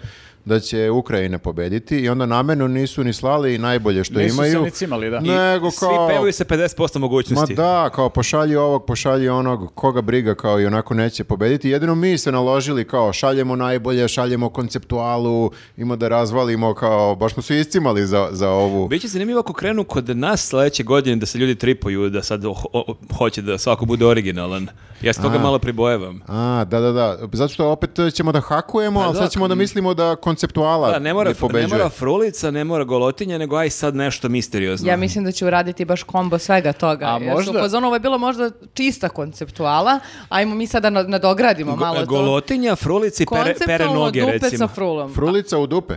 [SPEAKER 2] da će Ukrajina pobediti i onda namenu nisu ni slali najbolje što
[SPEAKER 4] Nisu se
[SPEAKER 2] imaju.
[SPEAKER 4] ni cimali, da.
[SPEAKER 2] Nego
[SPEAKER 3] Svi
[SPEAKER 2] kao...
[SPEAKER 3] pevaju se 50%
[SPEAKER 2] Ma
[SPEAKER 3] mogućnosti.
[SPEAKER 2] da, kao pošalji ovog, pošalji onog, koga briga kao i onako neće pobediti. Jedino mi se naložili kao šaljemo najbolje, šaljemo konceptualu, ima da razvalimo kao, baš smo se iscimali za, za ovu.
[SPEAKER 3] Biće zanimljivo ako krenu kod nas sledeće godine da se ljudi tripuju, da sad ho- ho- hoće da svako bude originalan. Ja se toga malo pribojevam.
[SPEAKER 2] A, da, da, da. Zato što opet ćemo da hakujemo,
[SPEAKER 3] Pa
[SPEAKER 2] ali
[SPEAKER 3] da,
[SPEAKER 2] sad ćemo da mislimo da konceptuala
[SPEAKER 3] Da, ne mora,
[SPEAKER 2] ne Pa, pobeđuje.
[SPEAKER 3] ne mora frulica, ne mora golotinja, nego aj sad nešto misteriozno.
[SPEAKER 1] ja mislim da će uraditi baš kombo svega toga.
[SPEAKER 4] A
[SPEAKER 1] jer su
[SPEAKER 4] možda-
[SPEAKER 1] u fazonu, ovo je bilo možda čista konceptuala, ajmo mi sada na- nadogradimo
[SPEAKER 3] Go-
[SPEAKER 1] malo to.
[SPEAKER 3] Golotinja, frulica i pere, pere
[SPEAKER 1] Konceptualno
[SPEAKER 3] noge,
[SPEAKER 1] dupe sa
[SPEAKER 3] recimo.
[SPEAKER 1] frulom.
[SPEAKER 2] Frulica u dupe.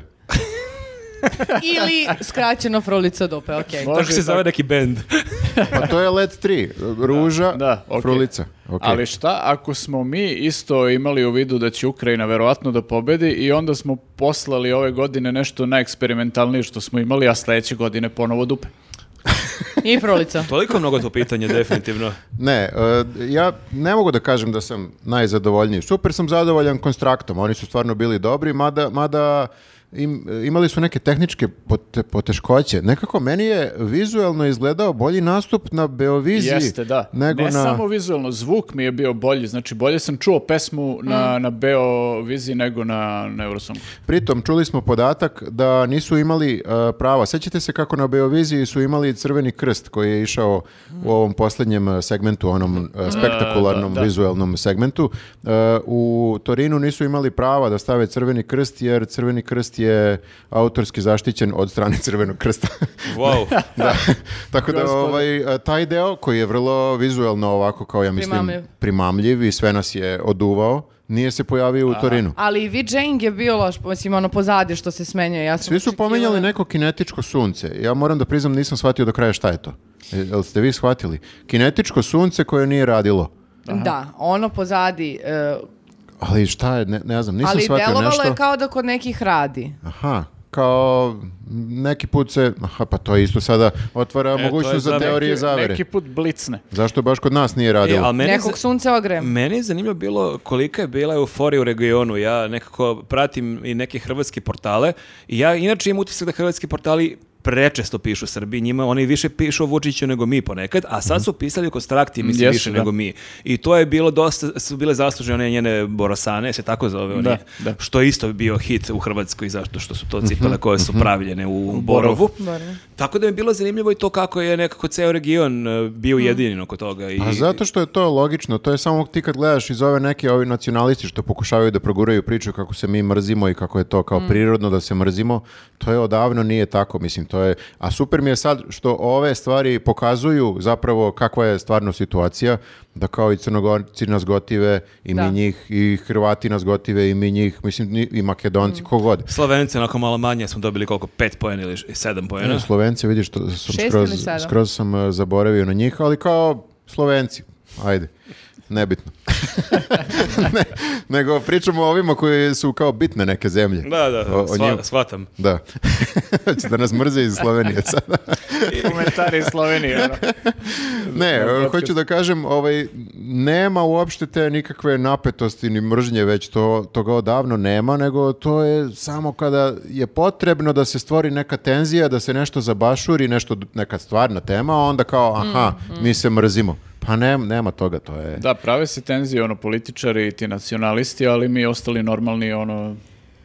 [SPEAKER 1] Ili skraćeno frulica dupe, okej.
[SPEAKER 3] Tako
[SPEAKER 4] Može
[SPEAKER 3] se
[SPEAKER 4] i
[SPEAKER 3] zove neki bend.
[SPEAKER 2] Pa to je led 3. Ruža,
[SPEAKER 4] Da, okej.
[SPEAKER 2] frulica. Okej.
[SPEAKER 4] Ali šta ako smo mi isto imali u vidu da će Ukrajina verovatno da pobedi i onda smo poslali ove godine nešto najeksperimentalnije što smo imali, a sledeće godine ponovo dupe.
[SPEAKER 1] I frulica.
[SPEAKER 3] Toliko mnogo to pitanje, definitivno.
[SPEAKER 2] Ne, e, ja ne mogu da kažem da sam najzadovoljniji. Super sam zadovoljan konstraktom, oni su stvarno bili dobri, mada, mada im, imali su neke tehničke pote- poteškoće. Nekako meni je vizuelno izgledao bolji nastup na Beoviziji
[SPEAKER 4] Jeste, da.
[SPEAKER 2] nego
[SPEAKER 4] ne
[SPEAKER 2] na...
[SPEAKER 4] samo vizualno, zvuk mi je bio bolji, znači bolje sam čuo pesmu na, na Beoviziji nego na, na Eurosongu.
[SPEAKER 2] Pritom čuli smo podatak da nisu imali e, prava. Sećate se kako na Beoviziji su imali Crveni krst koji je išao u ovom posljednjem e, segmentu, onom e, spektakularnom
[SPEAKER 4] Mm. Da, da.
[SPEAKER 2] vizuelnom segmentu. E, u Torinu nisu imali prava da stave Crveni krst jer Crveni krst je autorski zaštićen od strane <laughs> Crvenog krsta.
[SPEAKER 3] Wow.
[SPEAKER 2] da. Tako da ovaj, taj deo koji je vrlo vizuelno ovako kao ja mislim
[SPEAKER 1] Primamljiv.
[SPEAKER 2] primamljiv i sve nas je oduvao, nije se pojavio u Torinu.
[SPEAKER 1] Ali i Vijaying je bio loš, mislim, ono pozadi što se smenjuje. Ja sam
[SPEAKER 2] Svi su
[SPEAKER 1] očekivala-
[SPEAKER 2] pominjali neko kinetičko sunce. Ja moram da priznam nisam shvatio do kraja šta je to. E, Jel ste vi shvatili? Kinetičko sunce koje nije radilo.
[SPEAKER 1] Da, ono pozadi. e,
[SPEAKER 2] Ali šta je, ne, ne znam, nisam
[SPEAKER 1] ali
[SPEAKER 2] shvatio
[SPEAKER 1] delovalo
[SPEAKER 2] nešto.
[SPEAKER 1] je kao da kod nekih radi.
[SPEAKER 2] Aha, kao neki put se, aha, pa to je isto sada otvara
[SPEAKER 3] to je
[SPEAKER 2] mogućnost za
[SPEAKER 3] zavere.
[SPEAKER 2] teorije zavere.
[SPEAKER 4] Neki put <laughs> blicne.
[SPEAKER 2] Zašto baš kod nas nije
[SPEAKER 3] E,
[SPEAKER 2] radilo?
[SPEAKER 3] ali meni
[SPEAKER 1] Nekog
[SPEAKER 3] za-
[SPEAKER 1] sunca ogrem.
[SPEAKER 3] Meni je zanimljivo bilo kolika je bila euforija u regionu. Ja nekako pratim i neke hrvatske portale i ja inače imam utisak da hrvatski portali prečesto pišu Srbiji, njima oni više pišu o Vučiću nego mi ponekad, a sad su pisali o Konstrakti, mislim,
[SPEAKER 4] Mhm. Jesu,
[SPEAKER 3] više
[SPEAKER 4] da.
[SPEAKER 3] nego mi. I to je bilo dosta, su bile zaslužene one njene Borosane, se tako zove, one,
[SPEAKER 4] Da, da. Mhm,
[SPEAKER 3] što je isto bio hit u Hrvatskoj, zašto što su to cipele koje su pravljene u Borovu.
[SPEAKER 1] Borovu.
[SPEAKER 3] Tako da mi je bilo zanimljivo i to kako je nekako ceo region e, bio jedinjen oko toga.
[SPEAKER 4] Pa
[SPEAKER 3] I,
[SPEAKER 2] A Pa zato što je to logično, to je samo ti kad gledaš iz ove neke ovi nacionalisti što pokušavaju da proguraju priču kako se mi mrzimo i kako je to kao prirodno da se mrzimo, to je odavno nije tako, mislim, to je, a super mi je sad što ove stvari pokazuju zapravo kakva je stvarno situacija, da kao i Crnogorci nas gotive i
[SPEAKER 1] Da.
[SPEAKER 2] mi njih, i Hrvati nas gotive i mi njih, mislim, ni- i Makedonci, ko god.
[SPEAKER 3] Slovenci onako malo manje smo dobili koliko, pet poena ili š- sedam poena.
[SPEAKER 2] E, Slovenci, vidiš, to sam
[SPEAKER 1] Šest ili
[SPEAKER 2] skroz,
[SPEAKER 1] sedam?
[SPEAKER 2] skroz sam e, zaboravio na njih, ali kao Slovenci, ajde, nebitno.
[SPEAKER 1] <laughs>
[SPEAKER 2] Ne, nego pričamo o ovima koji su kao bitne neke zemlje.
[SPEAKER 3] Da, da,
[SPEAKER 2] O- o
[SPEAKER 3] sva-
[SPEAKER 2] njima-
[SPEAKER 3] shvatam.
[SPEAKER 2] Da. <laughs> Hoće da nas mrze iz Slovenije sada.
[SPEAKER 4] Komentari iz Slovenije. ono.
[SPEAKER 2] Ne, e, hoću da kažem, ovaj, nema uopšte te nikakve napetosti ni mržnje, već to, toga odavno nema, nego to je samo kada je potrebno da se stvori neka tenzija, da se nešto zabašuri, nešto, neka stvarna tema, a onda kao, aha, mi se mrzimo. Pa ne, nema toga, to je...
[SPEAKER 4] Da, prave se tenzije, ono, političari i ti nacionalisti, ali mi ostali normalni, ono,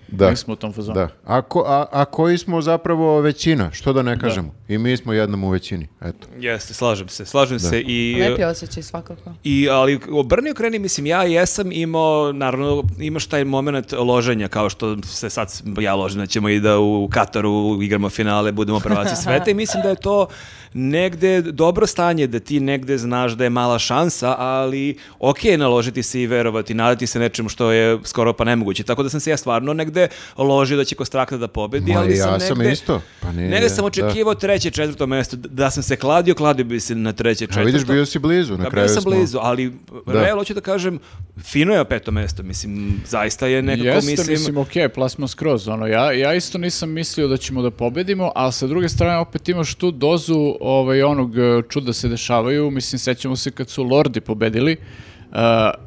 [SPEAKER 2] Da.
[SPEAKER 4] nismo u tom fazonu.
[SPEAKER 2] Da. A, ko- a, a koji smo zapravo većina, što da ne kažemo. I mi smo jednom u većini, eto.
[SPEAKER 3] Jeste, slažem se, slažem se i...
[SPEAKER 1] Lepi osjećaj svakako.
[SPEAKER 3] I, ali obrni okreni, mislim, ja jesam imao, naravno, imaš taj moment loženja, kao što se sad ja ložim, da ćemo i da u Kataru igramo finale, budemo prvaci sveta i mislim da je to negde dobro stanje, da ti negde znaš da je mala šansa, ali ok je naložiti se i verovati, nadati se nečemu što je skoro pa nemoguće. Tako da sam se ja stvarno negde ložio da će Kostrakta da pobedi,
[SPEAKER 2] Ma,
[SPEAKER 3] ali sam
[SPEAKER 2] ja
[SPEAKER 3] negde...
[SPEAKER 2] sam isto. Pa nije,
[SPEAKER 3] negde sam
[SPEAKER 2] da.
[SPEAKER 3] očekivao treće, četvrto mesto, da sam se kladio, kladio bi se na treće,
[SPEAKER 2] A
[SPEAKER 3] četvrto.
[SPEAKER 2] vidiš, bio si blizu, na
[SPEAKER 3] Da,
[SPEAKER 2] kraju
[SPEAKER 3] bio sam
[SPEAKER 2] smo-
[SPEAKER 3] blizu, ali
[SPEAKER 2] Da.
[SPEAKER 3] realno hoću da kažem, fino je peto mesto, mislim, zaista je nekako,
[SPEAKER 4] Jeste,
[SPEAKER 3] mislim,
[SPEAKER 4] okej, plasmo skroz, ono, ja, ja isto nisam mislio da ćemo da pobedimo, ali sa druge strane opet imaš tu dozu ovaj, onog e, čuda se dešavaju, mislim, sećamo se kad su Lordi pobedili, e,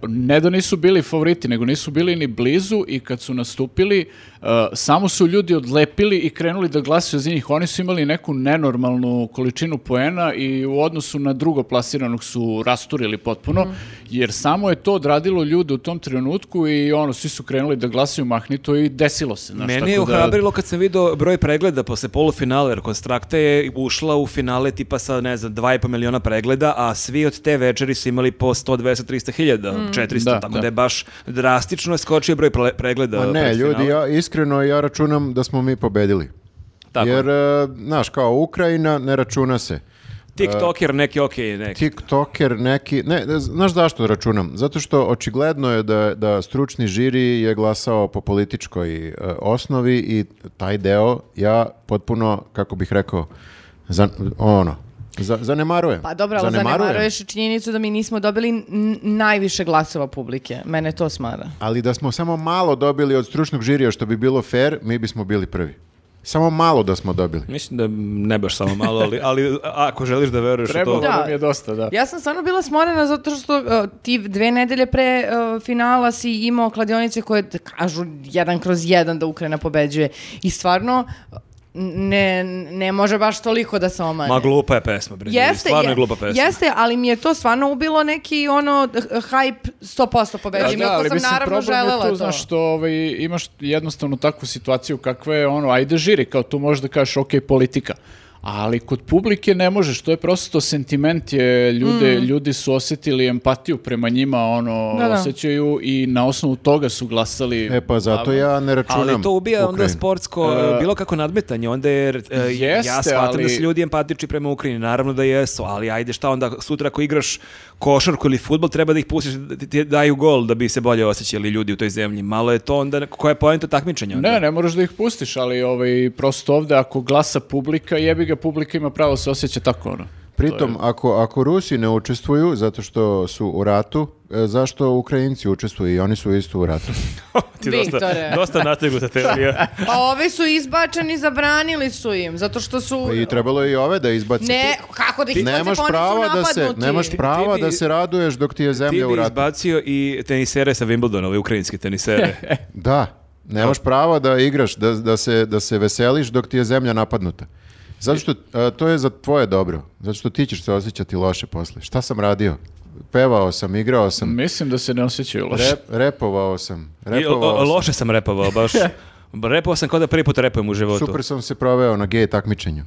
[SPEAKER 4] ne da nisu bili favoriti, nego nisu bili ni blizu i kad su nastupili, e, samo su ljudi odlepili i krenuli da glasaju za njih. Oni su imali neku nenormalnu količinu poena i u odnosu na drugo plasiranog su rasturili potpuno,
[SPEAKER 3] Mhm.
[SPEAKER 4] jer samo je to odradilo ljude u tom trenutku i ono, svi su krenuli da glasaju mahnito i desilo se.
[SPEAKER 2] ono,
[SPEAKER 4] Znaš,
[SPEAKER 3] Meni je
[SPEAKER 4] tako da-
[SPEAKER 3] ohrabrilo kad sam vidio broj pregleda posle polufinala, jer Konstrakta je ušla u finale tipa sa, ne znam, 2,5 miliona pregleda, a svi od te večeri su imali po 100, 200, 300 hiljada,
[SPEAKER 1] Mm.
[SPEAKER 3] 400,
[SPEAKER 4] Da,
[SPEAKER 3] tako da.
[SPEAKER 4] da.
[SPEAKER 3] je baš drastično skočio broj ple- pregleda.
[SPEAKER 2] Ma Pa ne,
[SPEAKER 3] pred
[SPEAKER 2] ljudi,
[SPEAKER 3] finale.
[SPEAKER 2] ja iskreno ja računam da smo mi pobedili.
[SPEAKER 3] Tako je.
[SPEAKER 2] Jer, e, znaš, kao Ukrajina ne računa se.
[SPEAKER 3] TikToker, neki okej, neki.
[SPEAKER 2] TikToker neki, ne, ne, znaš zašto računam? Zato što očigledno je da, da stručni žiri je glasao po političkoj e, osnovi i taj deo ja potpuno, kako bih rekao, za, ono, za, zanemarujem.
[SPEAKER 1] Pa dobro, ali
[SPEAKER 2] Zanemarujem.
[SPEAKER 1] zanemaruješ i činjenicu da mi nismo dobili n- najviše glasova publike. Mene to smara.
[SPEAKER 2] Ali da smo samo malo dobili od stručnog žirija što bi bilo fair, mi bismo bili prvi. Samo malo da smo dobili.
[SPEAKER 3] Mislim da ne baš samo malo, ali, ali ako želiš da veruješ u to...
[SPEAKER 4] Trebalo
[SPEAKER 1] Da.
[SPEAKER 4] nam je dosta, da.
[SPEAKER 1] Ja sam stvarno bila smorena zato što uh, ti dve nedelje pre uh, finala si imao kladionice koje t- kažu jedan kroz jedan da Ukrajina pobeđuje. I stvarno uh, ne, ne može baš toliko da se omane.
[SPEAKER 3] Ma glupa je pesma, bre. ljudi,
[SPEAKER 1] Jeste,
[SPEAKER 3] stvarno je
[SPEAKER 1] je-
[SPEAKER 3] glupa pesma.
[SPEAKER 1] Jeste, ali mi je to stvarno ubilo neki ono d- hype 100% pobeđuje. Da, sam naravno
[SPEAKER 4] problem je
[SPEAKER 1] želela
[SPEAKER 4] tu,
[SPEAKER 1] to.
[SPEAKER 4] Znaš, što ovaj, imaš jednostavno takvu situaciju kakva je, ono, ajde žiri, kao tu možeš da kažeš, ok, politika. Ali kod publike ne možeš, to je prosto sentiment je, ljude, ljudi su osjetili empatiju prema njima, ono,
[SPEAKER 1] Mm. Da, da.
[SPEAKER 4] osjećaju i na osnovu toga su glasali.
[SPEAKER 2] E pa zato ja ne računam.
[SPEAKER 3] Ali to ubija onda
[SPEAKER 2] Ukrajinu.
[SPEAKER 3] sportsko, e, bilo kako nadmetanje, onda jer e, ja
[SPEAKER 4] Jeste,
[SPEAKER 3] shvatam da
[SPEAKER 4] ali-
[SPEAKER 3] su ljudi empatični prema Ukrajini, naravno da jesu, ali ajde šta onda sutra ako igraš košarku ili futbol treba da ih pustiš da ti- ti daju gol da bi se bolje osjećali ljudi u toj zemlji. Malo je to onda, koja je poenta takmičenja onda?
[SPEAKER 4] Ne, ne moraš da ih pustiš, ali ovaj, prosto ovde ako glasa publika, jebi ga, publika ima pravo se osjeća tako, ono.
[SPEAKER 2] Pritom, ako, ako Rusi ne učestvuju zato što su u ratu, e, zašto Ukrajinci učestvuju i oni su isto u
[SPEAKER 3] <laughs>
[SPEAKER 2] ratu?
[SPEAKER 3] <laughs> Ti dosta-
[SPEAKER 1] Viktore.
[SPEAKER 3] Dosta
[SPEAKER 2] <laughs>
[SPEAKER 3] nategnuta teorija.
[SPEAKER 1] Pa ovi su izbačeni, zabranili su im, zato što su...
[SPEAKER 2] Pa I trebalo je i ove da izbaci.
[SPEAKER 1] Ne, kako da ih izbace,
[SPEAKER 2] nemaš
[SPEAKER 1] pa oni su
[SPEAKER 2] prava da se
[SPEAKER 1] napadnuti.
[SPEAKER 2] nemaš prava
[SPEAKER 3] ti bi-
[SPEAKER 2] da se raduješ dok ti je
[SPEAKER 3] Ti
[SPEAKER 2] zemlja u
[SPEAKER 3] bi
[SPEAKER 2] ratu.
[SPEAKER 3] izbacio i tenisere sa Wimbledona, ove ukrajinske
[SPEAKER 4] <laughs>
[SPEAKER 3] tenisere.
[SPEAKER 2] Da, nemaš prava da igraš, da, da, se, da se veseliš dok ti je zemlja napadnuta. Zato što e, to je za tvoje dobro. Zato što ti ćeš se osjećati loše posle. Šta sam radio? Pevao sam, igrao sam,
[SPEAKER 4] Mislim da se ne osjećaju loše.
[SPEAKER 2] rep- repovao sam,
[SPEAKER 3] I, o-
[SPEAKER 2] repovao
[SPEAKER 3] o-
[SPEAKER 2] sam.
[SPEAKER 3] loše sam repovao, baš. Repao sam kao da prvi put repujem u životu.
[SPEAKER 2] Super sam se proveo na gej takmičenju.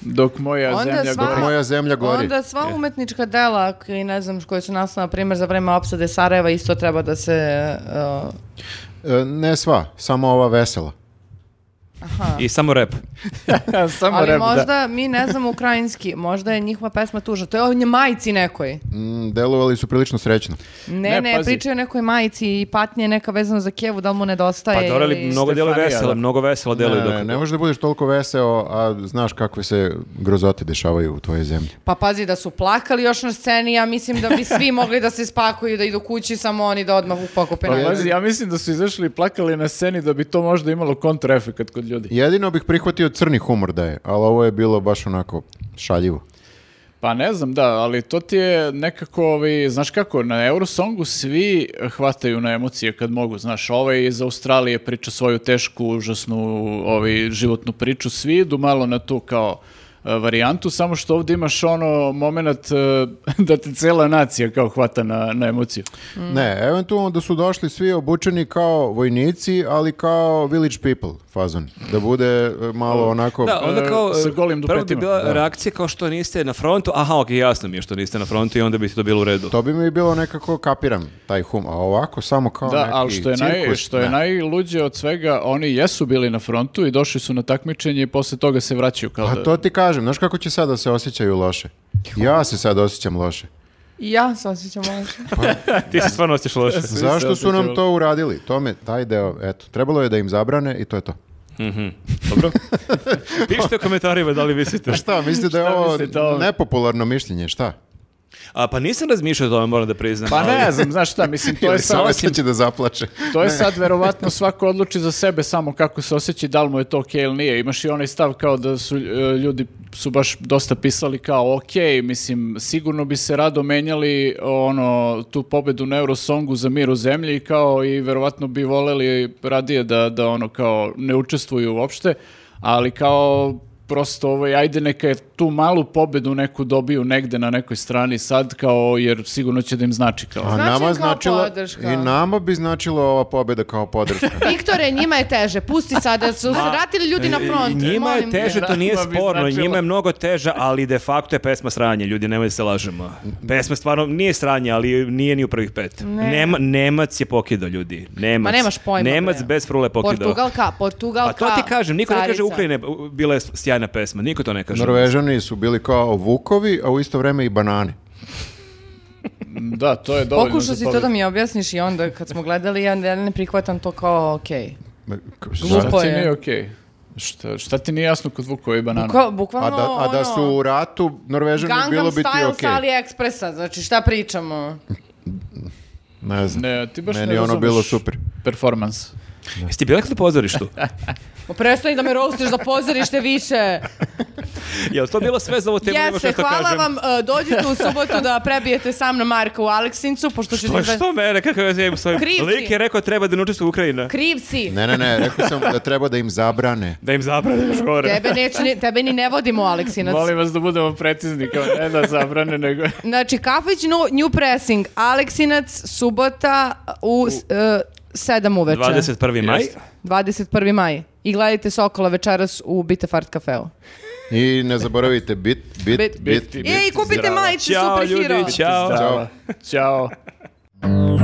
[SPEAKER 4] Dok moja
[SPEAKER 1] Onda
[SPEAKER 4] zemlja
[SPEAKER 1] sva-
[SPEAKER 4] gori.
[SPEAKER 2] Moja zemlja gori.
[SPEAKER 1] Onda sva umetnička dela i ne znam koje su nastala, na primjer, za vreme opsade Sarajeva isto treba da se... uh,
[SPEAKER 2] E, Ne sva, samo ova vesela.
[SPEAKER 3] I samo rep.
[SPEAKER 4] <laughs> Samo
[SPEAKER 1] ali
[SPEAKER 4] rep, da.
[SPEAKER 1] možda mi ne znamo ukrajinski, možda je njihova pesma tužna. To je o nje- majici nekoj.
[SPEAKER 2] Mm, delovali su prilično srećno.
[SPEAKER 1] Ne, ne,
[SPEAKER 4] Ne,
[SPEAKER 1] pričaju
[SPEAKER 4] pazi.
[SPEAKER 1] o nekoj majici i patnje neka vezano za Kijevu, da li mu
[SPEAKER 3] Pa
[SPEAKER 1] nedostaje.
[SPEAKER 3] dobro, ali
[SPEAKER 1] ili-
[SPEAKER 3] mnogo djelo je
[SPEAKER 4] Stefanija,
[SPEAKER 3] veselo,
[SPEAKER 4] da.
[SPEAKER 3] mnogo veselo djelo je
[SPEAKER 2] Ne,
[SPEAKER 3] dok...
[SPEAKER 2] ne, ne možeš da budeš toliko veseo, a znaš kakve se grozote dešavaju u tvojoj zemlji.
[SPEAKER 1] Pa pazi da su plakali još na sceni, ja mislim da bi svi mogli da se spakuju, da idu kući, samo oni da odmah upakupe.
[SPEAKER 4] Pa,
[SPEAKER 1] nazad.
[SPEAKER 4] pazi, ja mislim da su izašli i plakali na sceni da bi to možda imalo kontraefekat kod ljudi.
[SPEAKER 2] Jedino bih prihvatio crni humor da je, ali ovo je bilo baš onako šaljivo.
[SPEAKER 4] Pa ne znam, da, ali to ti je nekako, ovaj, znaš kako, na Eurosongu svi eh, hvataju na emocije kad mogu, znaš, ovaj iz Australije priča svoju tešku, užasnu ovaj, životnu priču, svi idu malo na tu kao eh, varijantu, samo što ovdje imaš ono moment eh, <laughs> da te cela nacija kao hvata na, na emociju.
[SPEAKER 2] Ne, eventualno da su došli svi obučeni kao vojnici, ali kao village people fazon. Da bude e, malo onako...
[SPEAKER 3] Da, onda
[SPEAKER 4] E,
[SPEAKER 3] kao,
[SPEAKER 4] sa
[SPEAKER 3] e,
[SPEAKER 4] golim
[SPEAKER 3] prvo bi
[SPEAKER 4] dupetima,
[SPEAKER 3] bila
[SPEAKER 4] da.
[SPEAKER 3] reakcija kao što niste na frontu, aha, ok, jasno mi je što niste na frontu i onda bi ti to bilo u redu.
[SPEAKER 2] To bi mi bilo nekako kapiram, taj humor. A ovako samo kao
[SPEAKER 4] Da,
[SPEAKER 2] neki
[SPEAKER 4] ali što je, naj,
[SPEAKER 2] cirkus,
[SPEAKER 4] što je
[SPEAKER 2] ne.
[SPEAKER 4] najluđe od svega, oni jesu bili na frontu i došli su na takmičenje i posle toga se vraćaju kao
[SPEAKER 2] Pa
[SPEAKER 4] da...
[SPEAKER 2] to ti kažem, znaš kako će sad da se osjećaju loše? Ja se sad osjećam loše.
[SPEAKER 1] I ja se osjećam loše.
[SPEAKER 3] <laughs> Ti se stvarno osjećaš loše.
[SPEAKER 4] Svi se
[SPEAKER 2] Zašto su nam
[SPEAKER 4] osjećaju-
[SPEAKER 2] to uradili? To me, taj deo, eto, trebalo je da im zabrane i to je to.
[SPEAKER 3] Dobro. Pišite u komentarima da li mislite.
[SPEAKER 2] <laughs> Šta, mislite da je
[SPEAKER 4] Šta
[SPEAKER 2] ovo
[SPEAKER 4] mislite o ovome?
[SPEAKER 2] nepopularno mišljenje, šta?
[SPEAKER 3] A pa nisam razmišljao o tome, moram da priznam.
[SPEAKER 4] Pa ne
[SPEAKER 3] ali-
[SPEAKER 4] znam, znaš šta,
[SPEAKER 2] <laughs>
[SPEAKER 4] mislim, to je
[SPEAKER 2] Ili
[SPEAKER 4] sad,
[SPEAKER 2] Saveta će da zaplače.
[SPEAKER 4] to je sad verovatno svako odluči za sebe samo kako se osjeća, da li mu je to okej ili nije. Imaš i onaj stav kao da su e, ljudi su baš dosta pisali kao okej, mislim, sigurno bi se rado menjali ono, tu pobedu na Eurosongu za mir u zemlji kao i verovatno bi voleli radije da, da ono kao ne učestvuju uopšte, ali kao prosto ovaj, ajde neka je tu malu pobedu neku dobiju negde na nekoj strani sad kao jer sigurno će da im znači kao.
[SPEAKER 2] A
[SPEAKER 1] Znači
[SPEAKER 2] nama
[SPEAKER 1] kao
[SPEAKER 2] značilo,
[SPEAKER 1] podrška.
[SPEAKER 2] i nama bi značilo ova pobjeda kao podrška.
[SPEAKER 1] Viktore, njima je teže, pusti sada, su se vratili ljudi na front.
[SPEAKER 3] E, Njima je
[SPEAKER 1] molim te.
[SPEAKER 3] teže, to nije
[SPEAKER 4] Nama bi
[SPEAKER 3] sporno,
[SPEAKER 4] značilo.
[SPEAKER 3] njima je mnogo teže, ali de facto je pesma sranje, ljudi, nemoj da se lažemo. Pesma stvarno nije sranje, ali nije ni u prvih pet. Nema, nemac je pokidao, ljudi. Nemac.
[SPEAKER 1] Ma Pa nemaš pojma.
[SPEAKER 3] Nemac
[SPEAKER 1] bre.
[SPEAKER 3] bez frule je pokidao.
[SPEAKER 1] Portugalka,
[SPEAKER 3] Pa
[SPEAKER 1] Portugalka.
[SPEAKER 3] to ti kažem, niko ne kaže
[SPEAKER 1] carica.
[SPEAKER 3] Ukrajine, u- bila je sjajna pesma, niko to ne kaže.
[SPEAKER 2] <laughs> Norvežani su bili kao vukovi, a u isto vreme i banane.
[SPEAKER 4] Da, to je dovoljno
[SPEAKER 1] Pokušao
[SPEAKER 4] za
[SPEAKER 1] si to
[SPEAKER 4] pobedu.
[SPEAKER 1] da mi objasniš i onda kad smo gledali, ja ne, ne prihvatam to kao okej.
[SPEAKER 2] Ma, k-
[SPEAKER 1] Glupo
[SPEAKER 2] šta?
[SPEAKER 4] Šta ti
[SPEAKER 1] je.
[SPEAKER 4] nije okej? Šta, šta ti nije jasno kod Vukova i banana?
[SPEAKER 1] Kao,
[SPEAKER 2] A
[SPEAKER 1] bukvalno
[SPEAKER 2] da, a da su u ratu Norvežani
[SPEAKER 1] ono,
[SPEAKER 2] bilo
[SPEAKER 1] Pa Gangnam
[SPEAKER 2] bi ti
[SPEAKER 1] Style
[SPEAKER 2] okej.
[SPEAKER 1] sa AliExpressa, znači šta
[SPEAKER 2] <laughs>
[SPEAKER 1] pričamo?
[SPEAKER 2] Ne znam.
[SPEAKER 4] Ne, ti baš
[SPEAKER 2] Meni
[SPEAKER 4] ne
[SPEAKER 2] je ono
[SPEAKER 4] razumeš
[SPEAKER 2] bilo super.
[SPEAKER 4] Performans.
[SPEAKER 3] Jeste bila kada <laughs> pozorištu?
[SPEAKER 1] Ma prestani da me rostiš za pozorište
[SPEAKER 3] <laughs>
[SPEAKER 1] više.
[SPEAKER 3] Jel to bilo sve za ovu temu? nema
[SPEAKER 1] Jeste,
[SPEAKER 3] što
[SPEAKER 1] hvala
[SPEAKER 3] kažem?
[SPEAKER 1] vam. e, Dođite u subotu da prebijete sa mnom Marka u Aleksincu, pošto ćete...
[SPEAKER 3] Pa
[SPEAKER 1] za-
[SPEAKER 3] što mene, kako ja imam svoj...
[SPEAKER 1] Kriv si.
[SPEAKER 3] Lik je rekao treba da ne učestvuju Ukrajina.
[SPEAKER 1] Kriv si.
[SPEAKER 2] Ne, ne, ne, rekao sam da treba da im zabrane.
[SPEAKER 3] Da im zabrane još gore.
[SPEAKER 1] Tebe, neću, ni- tebe ni ne vodimo, Aleksinac.
[SPEAKER 4] Molim vas da budemo precizni, kao ne da zabrane, nego...
[SPEAKER 1] Znači, Kafić nu- New Pressing, Aleksinac, subota u, s- e, 7 uveče.
[SPEAKER 3] 21. maj.
[SPEAKER 1] 21. maj. I gledajte Sokola večeras u Bitefart kafeu.
[SPEAKER 2] I ne zaboravite bit, bit, bit,
[SPEAKER 3] Bit.
[SPEAKER 2] bit.
[SPEAKER 1] Biti, biti
[SPEAKER 3] Ej, kupite
[SPEAKER 1] zdrava.
[SPEAKER 3] majice
[SPEAKER 4] Ćao
[SPEAKER 3] Superhero.
[SPEAKER 4] ljudi, ćao.
[SPEAKER 2] Ćao.
[SPEAKER 1] Ćao.